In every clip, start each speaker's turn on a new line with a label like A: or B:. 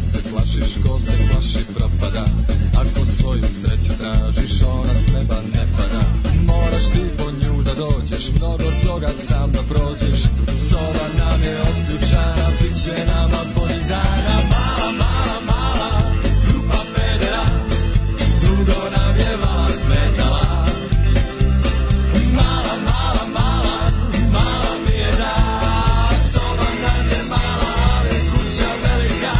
A: plašiš, ko da se plaši propada Ako svoju sreću tražiš, ona s neba ne pada Moraš ti po nju da dođeš, mnogo toga sam da prođeš Sova nam je otključana, bit će nama bolji dana Mala, mala, mala, grupa pedera Dugo nam je vala smetala Mala, mala, mala, mala mi je da Soba nam je mala, ali kuća velika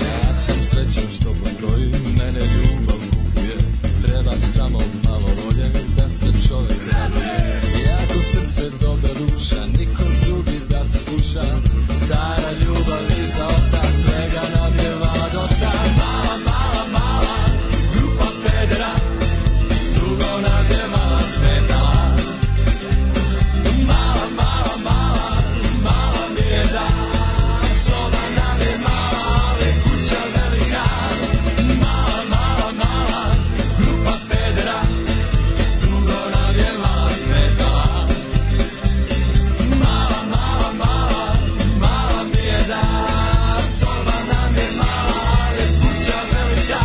A: Ja sam srećan što postoji, mene ljubav kupuje Treba samo malo volje, da se čovjek raduje Jako srce, dobra duša, niko drugi da se sluša Stara ljubav iza osta, svega nam je vala dosta Mala, mala, mala, grupa pedera Dugo nam je mala smetala Mala, mala, mala, mala mi je da Soba nam je mala, ali kuća velika Mala, mala, mala, grupa pedera Dugo nam je mala smetala Mala, mala, mala, mala mi je da Soba nam je mala, ali kuća velika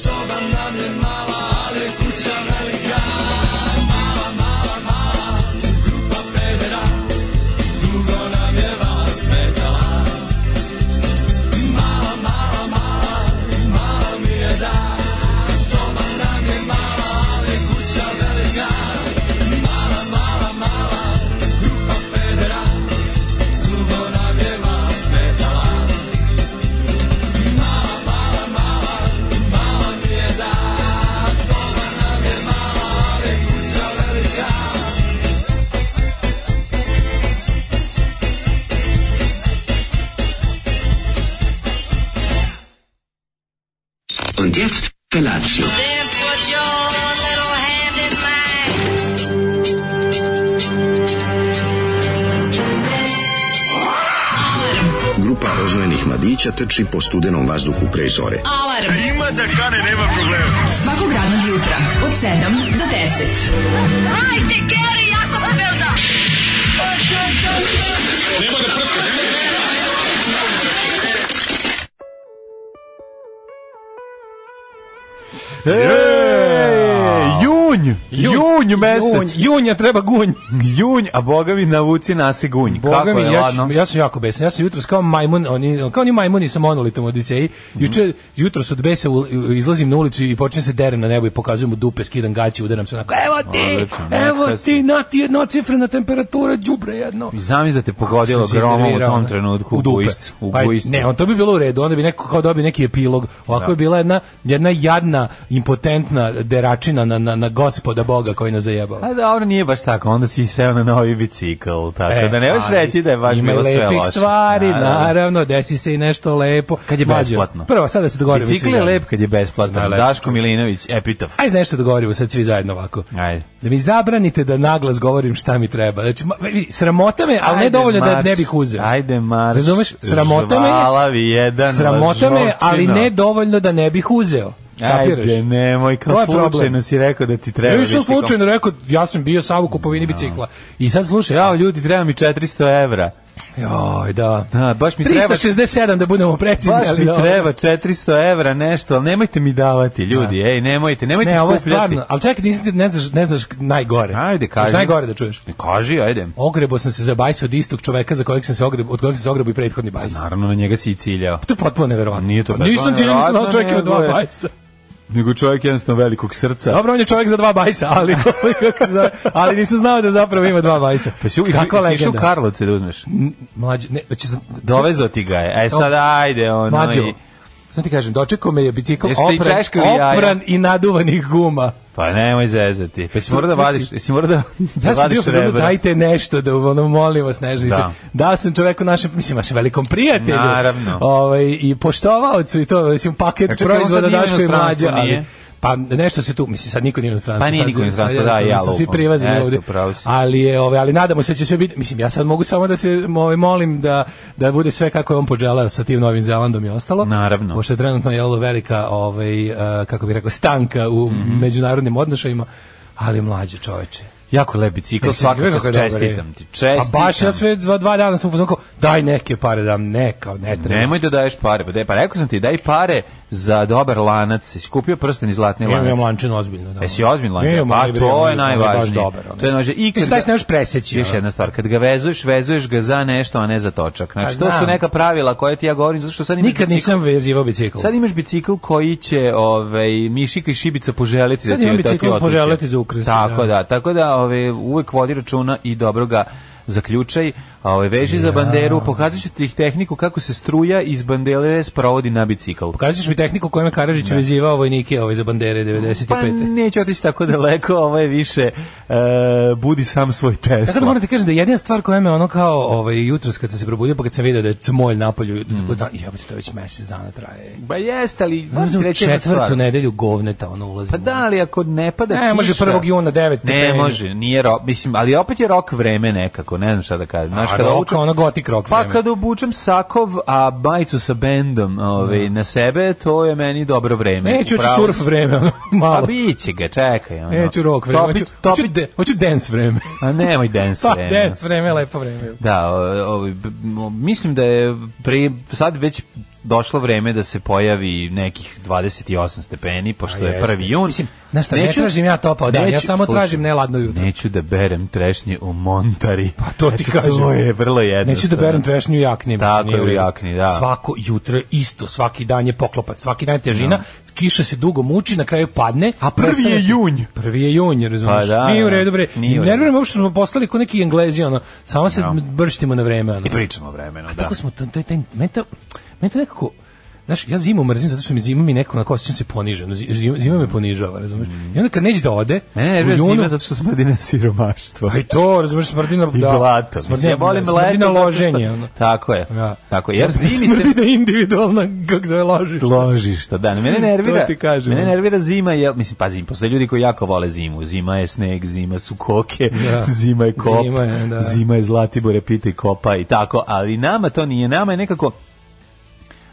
A: Soba nam je mala, ali kuća velika Mala, mala, mala, grupa pedera Dugo nam je vala smetala Mala, mala, mala, mala mi je da Soba nam je mala, ali kuća velika Mala, mala, mala, grupa pedera Dugo nam je vala smetala Mala, mala, mala, mala mi je da Soba nam je mala, ali kuća velika
B: Und jetzt Felatio.
C: Then put your little hand in mine.
D: Grupa rozvojenih mladića trči po studenom vazduhu pre zore.
E: Alarm. Ima da kane, nema problema. Svakog radnog jutra, od 7 do 10.
F: Hajde, Geri, jako se velda!
G: E, junj, junj mesec.
H: Junj, junja treba gunj.
G: Junj, a boga mi navuci nasi gunj.
H: Boga
G: Kako
H: mi,
G: je,
H: ja,
G: ladno?
H: ću- ja sam jako besan. Ja sam jutros kao majmun, oni, kao oni majmuni sa monolitom u Odiseji.
G: Mhm.
H: Juče, jutros od besa u- u- izlazim na ulicu i počnem se derem na nebo i pokazujem mu dupe, skidam gaće, udaram se onako, evo ti,
G: Odlično, neka
H: evo
G: si.
H: ti, na ti jedna cifrena temperatura, đubre jedno.
G: I zamisli da te pogodilo
H: Sam se
G: gromom u
H: iznervirao,
G: tom
H: ne.
G: trenutku u
H: dupe.
G: bujscu. U
H: Pa,
G: bujscu.
H: ne, on to bi bilo u redu, onda bi neko kao dobio neki epilog. Ovako
G: Da.
H: je bila jedna, jedna jadna, impotentna deračina na, na, na gospoda Boga koji nas zajebao.
G: A dobro, nije baš tako, onda si seo na novi bicikl, tako
H: E,
G: da ne možeš
H: ali
G: reći da je baš
H: ima
G: bilo sve
H: lepih
G: loše.
H: stvari,
G: Da, da, da.
H: naravno, desi se i nešto lepo.
G: Kad je
H: Mlađo,
G: besplatno.
H: Prvo, sad da se dogovorimo.
G: Bicikl
H: svi
G: je
H: zajedno.
G: lep kad je besplatan.
H: Najlepši
G: Daško Milinović, epitaf.
H: Ajde nešto da govorimo sad svi zajedno ovako.
G: Ajde.
H: Da mi zabranite da naglas govorim šta mi treba. Znači, ma, vidi, sramota me, ali ne
G: Ajde,
H: dovoljno da
G: marš.
H: ne bih uzeo.
G: Ajde marš. da
H: Razumeš? Sramota me,
G: Žvalavi jedan
H: sramota me, ali
G: lažovčino.
H: ne dovoljno da ne bih uzeo. Kapiraš?
G: Ajde, nemoj,
H: To
G: kao
H: je problem.
G: slučajno si rekao da ti treba.
H: Ja nisam
G: vistikom.
H: slučajno rekao, ja sam bio sam u kupovini bicikla. I sad slušaj,
G: Jao,
H: ja,
G: ljudi, treba mi 400 evra.
H: joj, da.
G: Da, baš mi treba...
H: 367 da budemo precizni,
G: Baš
H: ali
G: mi
H: da, ovo-
G: treba 400 evra nešto, ali nemojte mi davati, ljudi, ej, nemojte, nemojte
H: Da. Ne, ovo je
G: skupljati.
H: stvarno, ali čekaj, nisi, ne, znaš, ne znaš najgore.
G: Ajde, kaži.
H: Znaš najgore da čuješ.
G: Kaži, ajde.
H: Ogrebo sam se za bajs od istog čoveka za kojeg sam se ogrebo, od kojeg sam se ogrebo i prethodni bajs.
G: Naravno, na njega si i ciljao.
H: To je potpuno neverovatno.
G: Pa
H: Pa
G: Nije to
H: Nisam ti nisam znao
G: neverovatno,
H: čovjek ima dva
G: nego je-
H: bajsa.
G: Nego čovjek jednostavno velikog srca.
H: Dobro, on je čovjek za dva bajsa, ali, kako se zove, ali nisam znao da zapravo ima dva bajsa.
G: Pa si u- Da
H: Kakva
G: jesi išao u
H: legenda?
G: Karlovce da uzmeš.
H: Mlađe, ne, znači,
G: Dovezo ti ga je. E sad, ajde, ono
H: Mlađo,
G: i...
H: Sam ti kažem, dočekao me je bicikl
G: Jeste i
H: opran,
G: češkali jaja?
H: opran i naduvanih guma.
G: Pa nemoj zezati. Pa si mora da
H: Znači,
G: vadiš, si mora da, da
H: Ja sam bio
G: vadiš
H: fazonu,
G: rebra.
H: dajte nešto, da ono, molim vas, ne da.
G: Da.
H: se. Dao sam čoveku našem, mislim, vašem velikom prijatelju.
G: Naravno.
H: Ovaj, I poštovaocu i to, mislim, paket
G: Ja, čekaj, on
H: proizvoda
G: sad nije
H: Daško i
G: inostranstvo,
H: mlađe, ali...
G: nije?
H: Pa nešto se tu, mislim, sad niko nije u inostranstvu.
G: Pa nije
H: sad-
G: niko u
H: sad
G: inostranstvu, da,
H: jednostavno
G: ja
H: su Svi
G: lupam.
H: privazni
G: Jeste,
H: ovde.
G: u pravu si.
H: Ali, je, ovaj, ali nadamo se da će sve biti, mislim, ja sad mogu samo da se ovaj, molim da, da bude sve kako je on poželeo sa tim Novim Zelandom i ostalo.
G: Naravno.
H: Pošto je trenutno je ovo velika, ovaj, eh, kako bih rekao, stanka u
G: Mhm.
H: međunarodnim odnošajima, ali mlađe čoveče.
G: Jako lep bicikl,
H: Jesi vidio
G: svakako
H: kako je dobar,
G: čestitam
H: je?
G: ti. Čestitam.
H: A baš ja sve dva, dva dana sam upoznan kao, daj neke pare dam, ne, kao ne treba.
G: Nemoj da daješ pare. Pa, daj, pa rekao sam ti, daj pare za dobar lanac. Jesi kupio prsten iz zlatne
H: Imam ja
G: lanac?
H: lančin ozbiljno. Da.
G: Jesi ozbiljno lančin?
H: Imam,
G: Pa,
H: ali, bre,
G: to
H: on
G: je
H: on baš
G: najvažnije.
H: dobar.
G: To je najvažnije. I
H: I
G: kad
H: sad
G: ga-
H: se ne možeš preseći.
G: Još
H: ono.
G: jedna stvar, kad ga vezuješ, vezuješ ga za nešto, a ne za točak. Znači,
H: Pa,
G: to su
H: znam.
G: neka pravila koje ti ja govorim, zato što sad imaš
H: Nikad
G: bicikl-
H: nisam vezivao bicikl.
G: Sad imaš bicikl koji će ovaj mišika i šibica poželiti
H: Sad
G: da ti
H: imam
G: da ti
H: bicikl
G: otuče.
H: poželeti za ukras,
G: Tako
H: da.
G: da, tako da ovaj uvek vodi računa i dobro ga zaključaj, a ovaj veži za banderu, pokazaću ti ih tehniku kako se struja iz bandere sprovodi na bicikl.
H: Pokazuješ mi tehniku kojom je Karadžić vezivao vojnike ovaj za bandere
G: Da. Pa
H: 95.
G: neću otići tako daleko, ovo je više e, budi sam svoj
H: Ja sad moram
G: Tesla.
H: ti kažem da jedina stvar koja me ono kao ovaj, jutros kad sam se probudio pa kad sam vidio da je cmolj napolju, mm. da, jebate, to već mesec dana traje.
G: Ba jeste, Pa ali moram ti
H: Možda u
G: reći jednu stvar.
H: četvrtu nedelju govneta ono ulazi.
G: Pa da, ali ako ne pada
H: Ne, može 1. juna 9
G: Ne
H: stepeni.
G: može, nije rok, mislim, ali opet je rok vreme nekako, ne znam šta da kažem. Znaš,
H: A
G: kada
H: rock,
G: obučem-
H: ono gotik rock
G: Pa
H: vreme.
G: kada obučem sakov, a majicu sa bendom ovaj, na sebe, to je meni dobro vreme.
H: Da. Neću hoću
G: Upravo
H: surf vreme, ono,
G: Pa
H: malo.
G: biće ga, čekaj. Ono.
H: Neću rock vreme,
G: Topić-
H: hoću, hoću,
G: topić-
H: de, hoću dance vreme.
G: A nemoj dance
H: Pa,
G: vreme.
H: dance vreme, lepo vreme.
G: Da, o- ovaj, b- m- mislim da je pre, sad već došlo vreme da se pojavi nekih 28 stepeni, pošto
H: A
G: je
H: jeste.
G: 1. jun.
H: Mislim, znaš šta, ne tražim ja topao dan, ja samo tražim neladno jutro.
G: Neću da berem trešnje u montari. Pa
H: to ti kažem.
G: To je vrlo jednostavno.
H: Neću da berem trešnju jakni. mislim,
G: Tako
H: nije
G: je, u
H: u redu.
G: jakni, da.
H: Svako jutro je isto, svaki dan je poklopac, svaki dan je težina, kiša se dugo muči, na kraju padne.
G: A prvi
H: prestane-
G: je junj.
H: Prvi je junj, razumiješ?
G: Pa da,
H: Nije u
G: da.
H: redu, bre.
G: Nije u redu.
H: Nerviram uopšte smo poslali ko neki englezi, ono, samo se
G: Da.
H: brštimo na vreme. Ono.
G: I pričamo o vremenu, da.
H: Tako smo, taj, taj, taj, meni to, meni to nekako, znaš, ja zimu mrzim zato što mi zima mi neko na osjećam se poniženo, zi- zima, zima me ponižava, razumeš? I onda kad neće da ode,
G: Mene
H: u
G: nervira
H: junu-
G: Mm. E, zima zato što smrdi na siromaštvo.
H: Pa i to, razumeš, smrdi na...
G: I
H: da,
G: blato.
H: Smrdi,
G: Mislim, ja volim leto.
H: smrdi na
G: zato što-
H: loženje. ono.
G: Tako je.
H: Da.
G: Tako je. Jer zimi se...
H: smrdi na individualna, kako zove, ložiš.
G: ložišta. Da, mene nervira.
H: To ti kažem.
G: Mene nervira zima, je, mislim, pazi, postoje ljudi koji jako vole zimu. Zima je sneg, zima su koke,
H: Da.
G: zima je kop,
H: Zima
G: zima
H: je,
G: je,
H: da.
G: zima je zlatibore, pita i kopa i tako, ali nama to nije, nama je nekako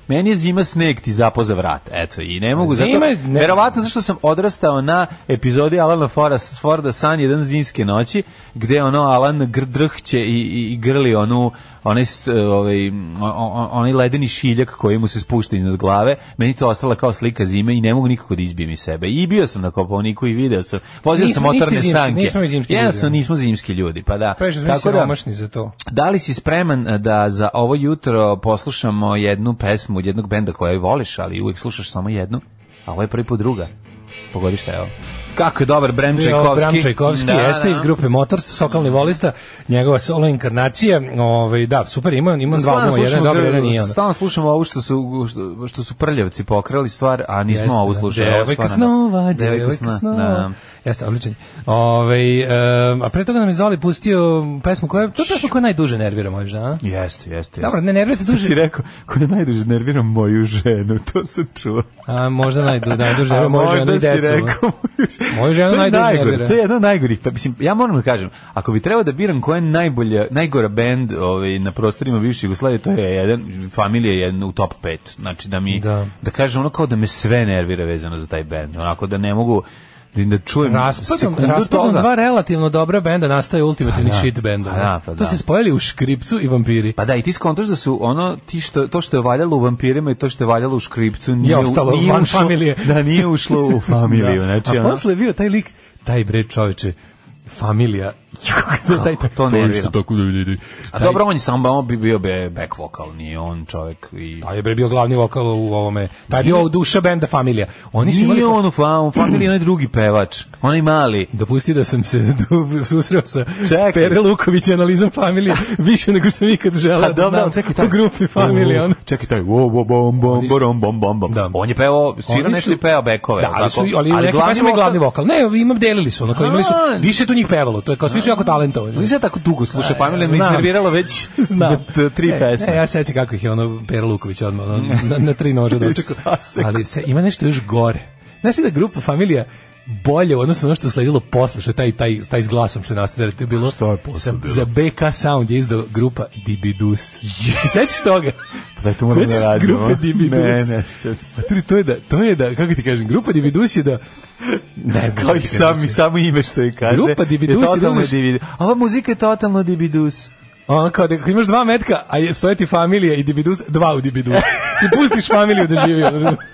G: Meni je zima sneg ti zapoza vrat, eto, i ne mogu
H: Zima
G: zato,
H: je- ne-
G: verovatno zašto sam odrastao na epizodi Alana Forda- Forda San jedan zimske noći, gde ono Alan gr- drhće i, i, i grli onu, onaj, s- ovaj, o- o- onaj ledeni šiljak koji mu se spušta iznad glave, meni to ostala kao slika zime i ne mogu nikako da izbijem iz sebe. I bio sam na koponiku i video sam, vozio
H: Nismo-
G: sam motorne
H: niste zimski-
G: sanke.
H: nismo mi zimski ljudi,
G: Jednostavno
H: ono.
G: nismo zimski ljudi, pa da.
H: Previše smo
G: Tako da-
H: siromašni za to.
G: da li si spreman e, da za ovo jutro poslušamo jednu pesmu od jednog benda koju voliš, ali uvijek slušaš samo jednu, a ovo je prvi put druga. Pogodi šta je ovo. Kako je dobar Bram Čajkovski.
H: Bram Čajkovski
G: Da,
H: jeste
G: da.
H: iz grupe Motors, sokalni volista, njegova solo inkarnacija, ovaj, da, super, ima, ima dva
G: Stalno
H: albuma, jedan je
G: slušamo
H: dobar,
G: gr-
H: jedan nije. ono.
G: Stalno slušamo ovo što su, što, što su prljavci pokrali stvar, a nismo
H: Jeste,
G: ovo
H: da.
G: slušali. Ovo je
H: Devojka
G: stvarno- da.
H: snova,
G: Devojka
H: devojka
G: sna-
H: snova.
G: da, da.
H: Jeste, odličan. Ove, a pre toga nam je Zoli pustio pesmu koja, to je pesma koja najduže nervira možda, a?
G: Jeste, jeste. jeste.
H: Dobro, ne nervirate
G: Sad si
H: duže.
G: rekao,
H: da
G: ko je najduže nervira moju ženu, to sam čuo.
H: A, možda najdu, najduže
G: A
H: nervira, možda, možda i
G: možda si
H: decu. ono.
G: rekao.
H: Moju ženu
G: To je
H: najduže
G: najgore,
H: nervira.
G: To je jedna od najgorih. Pa, mislim, ja moram da kažem, ako bi trebao da biram koja je najbolja, najgora band ovaj, na prostorima bivše Jugoslavije, to je jedan, familija je jedna u top 5. Znači da mi,
H: Da.
G: da, kažem ono kao da me sve nervira vezano za taj band. Onako da ne mogu da, da čujem
H: Raspadom,
G: sekundu
H: raspadom
G: toga.
H: dva relativno dobra benda nastaje ultimativni shit band.
G: Pa da, pa
H: To
G: da.
H: se spojili u škripcu i vampiri.
G: Pa da, i ti skontaš da su ono ti što to što je valjalo u vampirima i to što je valjalo u škripcu nije, u-
H: ostalo
G: nije
H: van
G: ušlo,
H: familije.
G: Da nije ušlo u familiju,
H: Da.
G: znači
H: A
G: ono.
H: posle je bio taj lik, taj bre čoveče, familija. Kako taj,
G: to nervira.
H: tako da vidi.
G: A dobro, on je samba, on bi bio be back vokal, nije on čovjek i...
H: Taj Pa je bre bio glavni vokal u ovome. Taj je bio duša benda familija. Pa, Oni su imali
G: Nije on u, fa, u familiji, onaj drugi pevač, onaj mali.
H: Dopusti da sam se du- susreo sa
G: Čekaj.
H: Pere Luković i analizom familije više nego što sam ikad želeo
G: A
H: da
G: dobro,
H: znam
G: ali čekaj taj.
H: u grupi familije. Ono.
G: Čekaj taj. Wo, wo, bom, bom, bom, bom, bom, bom.
H: Da.
G: On je pevao, svirao
H: Oni
G: nešto
H: su-
G: i pevao bekove.
H: Da,
G: jel
H: ali su
G: tako?
H: ali, ali glavni, vokal...
G: vokal-
H: glavni vokal. Ne, imam delili su, ono kao imali su
G: A.
H: više tu njih pevalo. To je kao svi su jako talentovani.
G: Nisam ja tako dugo slušao familije, me
H: E, znam.
G: iznerviralo već
H: Znam.
G: t- tri
H: Da. E, Ne,
G: pesme.
H: Ne, ja se sećam kako ih je ono Pera Luković odmah ono, na, na tri nože dočekao.
G: Saseko.
H: Ali se, ima nešto još gore. Znaš li da grupa familija bolje u odnosu na ono što je sledilo posle, što je taj, taj, taj s glasom što je nastao, jer to je bilo,
G: Šta je posle
H: za,
G: bilo?
H: za BK Sound je izdao grupa Dibidus. Se sećaš toga?
G: Pa daj, to moramo da
H: Sećaš
G: radimo.
H: grupe Dibidus?
G: Ne, ne, sećam se.
H: A tri, to je da, to je da, kako ti kažem, grupa Dibidus je da, ne znam.
G: Kao
H: šta
G: i
H: ti
G: sam,
H: kažem.
G: samo ime što je kaže.
H: Grupa Dibidus
G: je
H: i
G: totalno
H: dođeš-
G: Dibidus. Ova muzika je totalno Dibidus.
H: Ono kao da ako imaš dva metka, a je- stoje ti familija i dibidus, dva u dibidus. Ti pustiš familiju da živi. ono.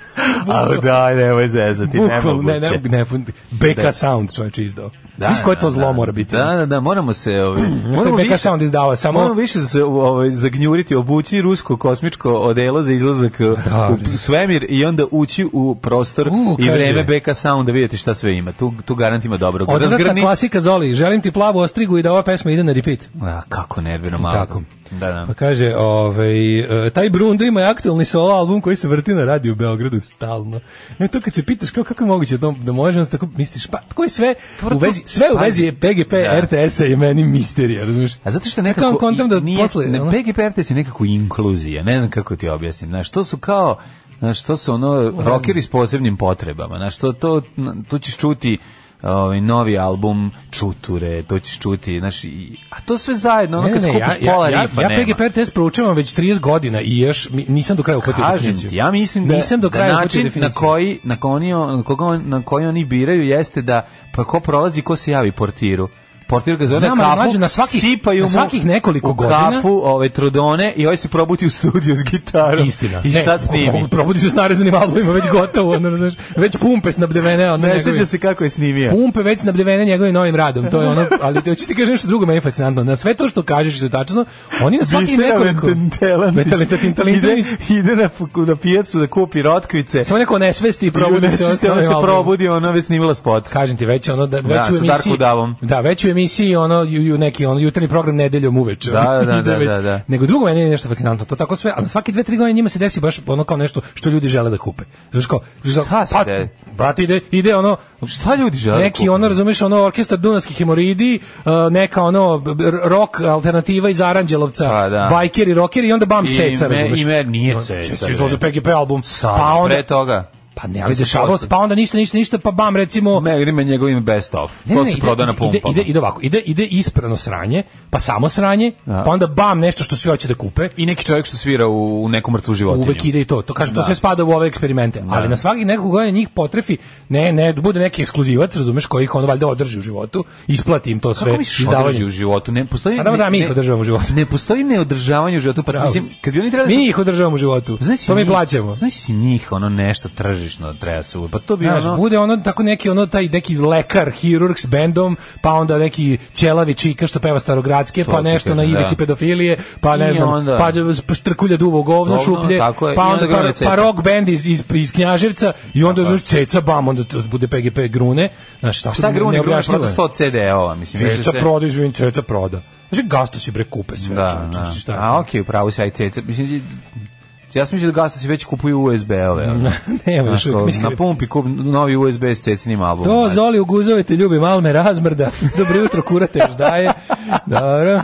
G: Ali daj, nemoj zezati,
H: Bukvalno,
G: nemoguće.
H: ne, ne, ne, BK
G: Da.
H: Sound čovječ izdao. Da, Znaš koje to zlo mora biti?
G: Da, da, da, moramo se... Ovaj,
H: Što je
G: moramo
H: BK
G: više,
H: Sound izdava, samo...
G: moramo više se ovaj, zagnjuriti, obući rusko kosmičko odelo za izlazak eh,
H: da,
G: u svemir i onda ući u prostor
H: U,
G: i
H: kaže.
G: vreme BK Sound da vidite šta sve ima. Tu, tu garant ima dobrog. Da
H: Odvrtna
G: Razgrni-
H: klasika Zoli, želim ti plavu ostrigu i da ova pesma ide na repeat.
G: A, kako nervino malo.
H: Tako.
G: Da, da.
H: Pa kaže, ovaj, e, taj Brundo ima i aktualni solo album koji se vrti na radiju u Beogradu stalno. Ne, to kad se pitaš kao kako je moguće to, da može, onda tako misliš, pa tko je sve u vezi, sve u vezi je PGP,
G: Da.
H: RTS-a i meni misterija, razumiješ?
G: A zato što
H: Ja kao
G: nekako
H: kontam da
G: nije,
H: posle,
G: ne,
H: ono-
G: PGP RTS je nekako inkluzija, ne znam kako ti objasnim, znaš, to su kao Znaš, to su ono rockeri s posebnim potrebama. Znaš, to, to, to ćeš čuti ovaj, novi album Čuture, to ćeš čuti, znaš, i, a to sve zajedno, ono kad skupiš pola
H: ja,
G: rifa,
H: ja,
G: nema.
H: ja PGP RTS proučavam već 30 godina i još mi- nisam do kraja uhvatio
G: Kažem
H: definiciju.
G: ti, ja mislim da,
H: nisam do kraja
G: da
H: uhvatio
G: način na
H: definiciju.
G: koji, na, koji on, na, koga on- na koji oni biraju jeste da pa ko prolazi, ko se javi portiru. Portir ga zove
H: Znam,
G: na
H: ali
G: kafu,
H: mlađe, na svakih-
G: sipaju
H: na
G: mu
H: svakih nekoliko
G: u
H: godina-
G: kafu ove trudone i ovaj se probuti u studiju s gitarom.
H: Istina.
G: I šta
H: Ne,
G: snimi?
H: o- da pa Probudi se s narezanim albumima, već gotovo, ono, znaš, već pumpe snabdevene, ono,
G: Ne
H: njegovim-
G: sjeća se kako je snimio.
H: Pumpe već snabdevene njegovim novim radom, to je ono, ali te hoću ti kažem nešto drugo meni je fascinantno. Na sve to što kažeš što je tačno, oni na svaki
G: Bisera
H: nekoliko...
G: Ventantelanić
H: Ventantelanić,
G: ide,
H: Ventantelanić.
G: ide na, pu- na pijacu da kupi rotkvice.
H: Samo neko ne svesti i probudi
G: Probudi
H: se, ono, s
G: se, ona
H: novim
G: se
H: albumom.
G: probudi, ona već snimila spot.
H: kažem ti već ono da već
G: Da,
H: u
G: sa
H: emisiji
G: Darko Davom.
H: da već u emisiji ono ju, ju neki ono jutarnji program nedeljom uveče
G: Da, da, da,
H: Ide
G: da, da, da.
H: nego drugo meni je nešto fascinantno to tako sve a na svaki 2 3 godine njima se desi baš ono kao nešto što ljudi žele da kupe znači kao za-
G: Šta se da
H: pa,
G: de-
H: brate ide ide ono
G: Šta ljudi žele?
H: neki
G: kupiti?
H: ono razumeš ono orkestar dunavskih hemoridi uh, neka ono b- b- rock alternativa iz Aranđelovca
G: Pa, da.
H: bajkeri rockeri i onda bam
G: I
H: ceca
G: me-
H: razumeš
G: i me- nije
H: Ono,
G: ceca,
H: ceca
G: bre.
H: izlazi PGP album
G: Sad,
H: pa onda
G: pre toga.
H: pa ne ali dešavalo se pa onda ništa ništa ništa pa bam recimo
G: Ne, ide me njegovim best of.
H: Ne,
G: to
H: ne,
G: se
H: ide-
G: proda na
H: ide,
G: pumpama.
H: ide, ide ovako, ide, ide isprano sranje, pa samo sranje,
G: Da.
H: pa onda bam nešto što svi hoće da kupe.
G: I neki čovjek što svira u, u nekom mrtvu životinju.
H: Uvek ide i to. To kaže to
G: Da.
H: sve spada u ove eksperimente. Ali na svakih nekoliko godina njih potrefi, ne, ne, da bude neki ekskluzivac, razumeš, koji ih on valjda održi u životu, isplati im to sve
G: Kako misliš da
H: izdavanje.
G: održi u životu? Ne postoji...
H: A da,
G: ne-
H: da, mi ih
G: ne-
H: održavamo u životu.
G: Ne postoji neodržavanje u životu. Pa, mislim, kad bi oni trebali... da
H: Mi
G: se-
H: ih održavamo u životu.
G: Znaš si
H: to mi
G: njih-
H: plaćamo.
G: Znaš si njih, ono nešto tržišno treba se... u- Pa to bi
H: Znaš,
G: ono...
H: bude ono tako neki ono taj neki lekar, hirurg s bendom, pa onda neki ćelavi čika što peva starogradske,
G: To
H: pa
G: ti
H: nešto na
G: kažem, da.
H: ivici pedofilije, pa ne
G: I
H: znam,
G: onda-
H: pa d- štrkulja duvo u govno,
G: Govno,
H: šuplje,
G: tako je, i
H: pa
G: onda
H: onda
G: grune
H: pa,
G: ceca.
H: pa rock band iz, iz, iz Knjaževca i onda
G: Tako je.
H: znaš ceca bam, onda to bude PGP grune. Znaš, tako
G: Šta grune, grune
H: neobjašnjivo
G: proda
H: je.
G: 100 CD-ova, mislim. više
H: Ceca
G: se-
H: proda, izvim, ceca proda. Znači, gastosi bre kupe sve.
G: Da,
H: čovječe,
G: da.
H: šta je?
G: A okej, pravo se aj ceca. Mislim, ja sam mislio da gasto si već kupuju USB-ove. ono.
H: Nema
G: Znaš,
H: još uvijek,
G: kao,
H: mislim, da-
G: na pumpi kup novi USB s cecinim albumom.
H: To
G: Ajde.
H: Zoli uguzove te ljubi, malo me razmrda. Dobro jutro, kurate još daje. Dobro.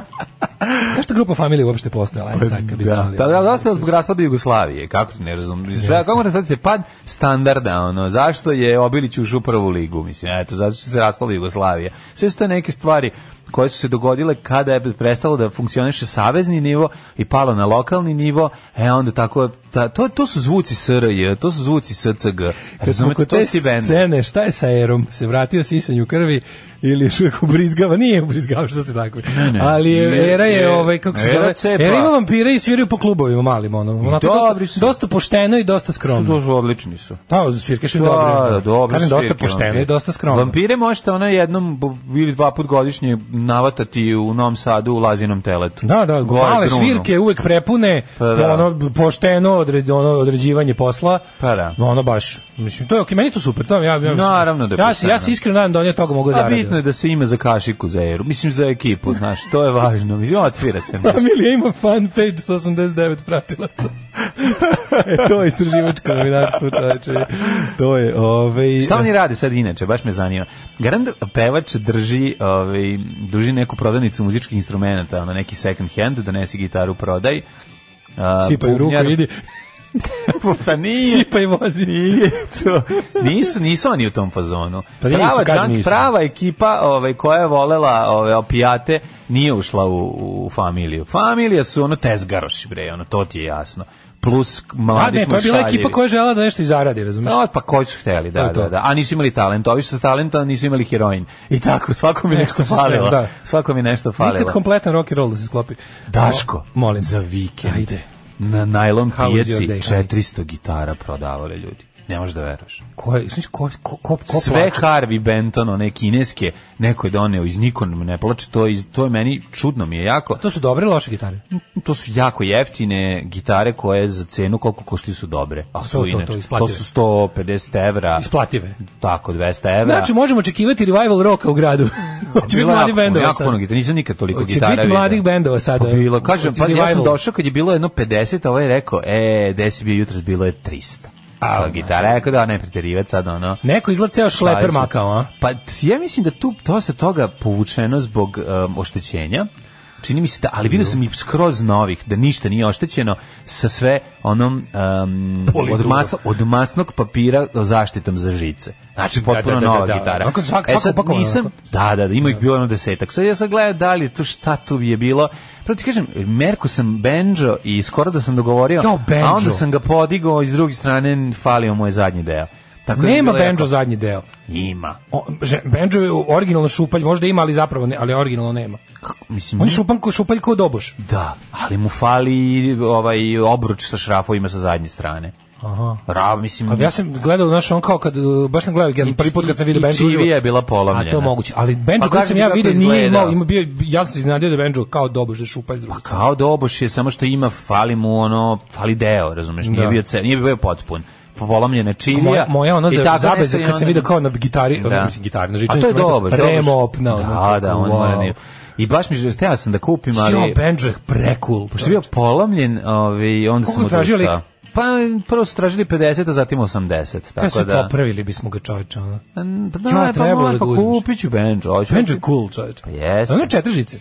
H: Zašto grupa familije uopšte postojala? Ajde sad, kad bi
G: Da,
H: znali.
G: da, da, dosta zbog raspada Jugoslavije, kako ti ne razumem. Sve, kako moram sad pad standarda, ono, zašto je Obilić ušao u prvu ligu, mislim, eto, zato što se raspala Jugoslavija. Sve su to neke stvari koje su se dogodile kada je prestalo da funkcioniše savezni nivo i palo na lokalni nivo, e onda tako je ta, to, to su zvuci SRJ, to su zvuci SCG.
H: Kad smo
G: Razumete,
H: kod
G: to
H: te
G: si bend.
H: scene, šta je sa Erom? Se vratio sisanju krvi ili još uvijek ubrizgava? Nije ubrizgava, što ste tako.
G: ne.
H: Ali je,
G: Je-
H: Era je,
G: je-
H: ovaj, kako se
G: Era
H: zove,
G: cepa.
H: Era ima vampire i sviraju po klubovima malim, ono. Onako,
G: dobri
H: dosta,
G: su.
H: dosta pošteno i dosta skromno.
G: To su odlični su.
H: Da, svirke su im
G: Da,
H: dobre.
G: da, dobro.
H: Kažem, dosta
G: svirke,
H: pošteno
G: vampiri.
H: i dosta skromno.
G: Vampire možete ono jednom bu- ili dva put godišnje navatati u Novom Sadu u Lazinom teletu.
H: Da, da,
G: Gore
H: male
G: Brunu.
H: svirke uvek prepune
G: Pa da.
H: ono pošteno odred, ono određivanje posla.
G: Pa da.
H: Ono baš. Mislim to je okej, meni to super. To ja ja
G: Naravno da je
H: Ja se ja se
G: pošteno.
H: iskreno nadam da oni od toga mogu
G: A
H: zaraditi.
G: bitno je da se ima za kašiku za eru. Mislim za ekipu, znaš, to je važno. Mislim, odsvira se nešto.
H: Familija ima fan page sa 89 pratilaca. e, to je istraživačko novinarstvo, čoveče. To je, ovaj...
G: Šta oni rade sad inače, baš me zanima. Garant pevač drži, ovaj, drži neku prodavnicu muzičkih instrumenta, ono neki second hand, donesi gitaru, prodaj. A,
H: Sipaju ruku,
G: bubnjar-
H: idi,
G: pa nije.
H: sipaj vozi.
G: Nije to. Nisu, nisu oni u tom fazonu.
H: Pa nisu,
G: prava,
H: kažem,
G: džank-
H: nisu.
G: prava ekipa ovaj, koja je volela ove, opijate nije ušla u, u familiju. Familija su ono tezgaroši, bre, ono, to ti je jasno. Plus
H: A
G: mladi
H: Pa ne, to
G: smo
H: je bila
G: šaljivi.
H: ekipa koja je žela da nešto i zaradi, razumiješ?
G: No, pa koji su hteli,
H: To
G: da,
H: je to.
G: da, da. A nisu imali talent, ovi što su talenta, nisu imali heroin. I tako, svako mi nešto
H: su smeli,
G: falilo.
H: da.
G: Svako mi nešto
H: Nikad
G: falilo.
H: kompletan rock and roll da se sklopi.
G: Daško,
H: O, molim.
G: za vikend.
H: Ajde.
G: Na najlon
H: How is your
G: pijaci
H: day? Ajde.
G: 400 gitara prodavali ljudi. Ne možeš da veruješ.
H: Ko je, znaš, ko, ko, ko, ko
G: Sve
H: plače?
G: Harvey Benton, one kineske, neko je doneo iz Nikon, ne plače, to, je iz, to je meni čudno mi je jako.
H: To su dobre ili loše gitare?
G: To su jako jeftine gitare koje za cenu koliko košti su dobre. A
H: To,
G: su
H: to,
G: inače,
H: to,
G: to,
H: isplative.
G: su 150 evra.
H: Isplative.
G: Tako, 200 evra.
H: Znači, možemo očekivati revival roka u gradu. Hoće biti
G: Bilo
H: mladi
G: jako puno,
H: bendova
G: jako
H: sad.
G: puno gitara, nisam nikad toliko
H: Hoće
G: gitara
H: biti
G: video.
H: mladih bendova sada.
G: Pa bilo, kažem,
H: Hoće
G: pa ja sam
H: revival.
G: došao kad je bilo jedno 50, a ovaj je rekao, e, gde si bio jutros, bilo je 300.
H: A,
G: A, gitara, ja rekao da, ne preterivati sad, ono.
H: Neko izgleda ceo šleper
G: Slažem se.
H: makao, a?
G: Pa t- ja mislim da tu dosta toga povučeno zbog um, oštećenja. Čini mi se da, ali vidio sam i skroz novih, da ništa nije oštećeno sa sve onom um, od,
H: Polidrugom.
G: masno, od masnog papira zaštitom za žice. Znači,
H: da,
G: potpuno
H: da, da,
G: nova
H: da.
G: gitara. E
H: Onako svak- svako
G: sad
H: upakovano
G: nisam,
H: onako.
G: da, da, da, ima ih bilo ono desetak. Sad ja sad gledam da li je tu šta tu je bilo. Prvo ti kažem, merku sam banjo i skoro da sam dogovorio,
H: Jao, banjo.
G: a onda sam ga podigao i s druge strane falio mu je zadnji deo. Tako da je
H: Nema
G: bilo jako-
H: banjo zadnji deo.
G: Ima.
H: O, že- banjo je originalno šupalj, možda ima, ali zapravo ne, ali originalno nema.
G: Kako, mislim,
H: On je šupan ko, šupalj kao doboš.
G: Da, ali mu fali ovaj obruč sa šrafovima sa zadnje strane.
H: Aha.
G: Ra, mislim,
H: A Pa ja sam gledao, znaš, on kao kad, uh, baš sam gledao, jedan
G: I
H: prvi put kad sam vidio
G: i
H: Benjo. uživo.
G: čivija je bila
H: A
G: polomljena.
H: to je moguće, ali Benjo
G: Pa
H: koji
G: kažem
H: sam
G: ti
H: ja
G: kako
H: vidio nije
G: izgleda.
H: imao, ima bio, ja sam se iznenadio da je Benjo kao doboš, da je šupalj drugi.
G: kao doboš je, samo što ima, fali mu ono, fali deo, razumeš, nije,
H: Da.
G: bio, ce, nije bio potpun. Polomljena čivija.
H: moja, moja ona
G: i
H: za
G: tako
H: zabeza
G: nešto i
H: kad sam
G: onda-
H: vidio kao na gitari,
G: Da.
H: mislim znači gitari, na žičanim
G: A to je dobro.
H: Remo opna.
G: Da, da, on mora nije. I baš mi je, hteo sam da kupim, ali...
H: Jo, Benjo je precool.
G: Pošto je bio polomljen, ovaj, onda
H: Koliko
G: sam
H: tražio lik?
G: odustao. Pa prvo su tražili 50, a zatim 80. Tako
H: Treba se
G: da...
H: popravili bismo ga čovječa. Ono.
G: Pa Da,
H: Ja,
G: ja,
H: trebalo
G: pa,
H: da
G: da pa
H: ga uzmeš.
G: kupit ću banjo. hoću- da-
H: Benjo je cool čovječ.
G: Pa Jeste.
H: Ono je četiri žice.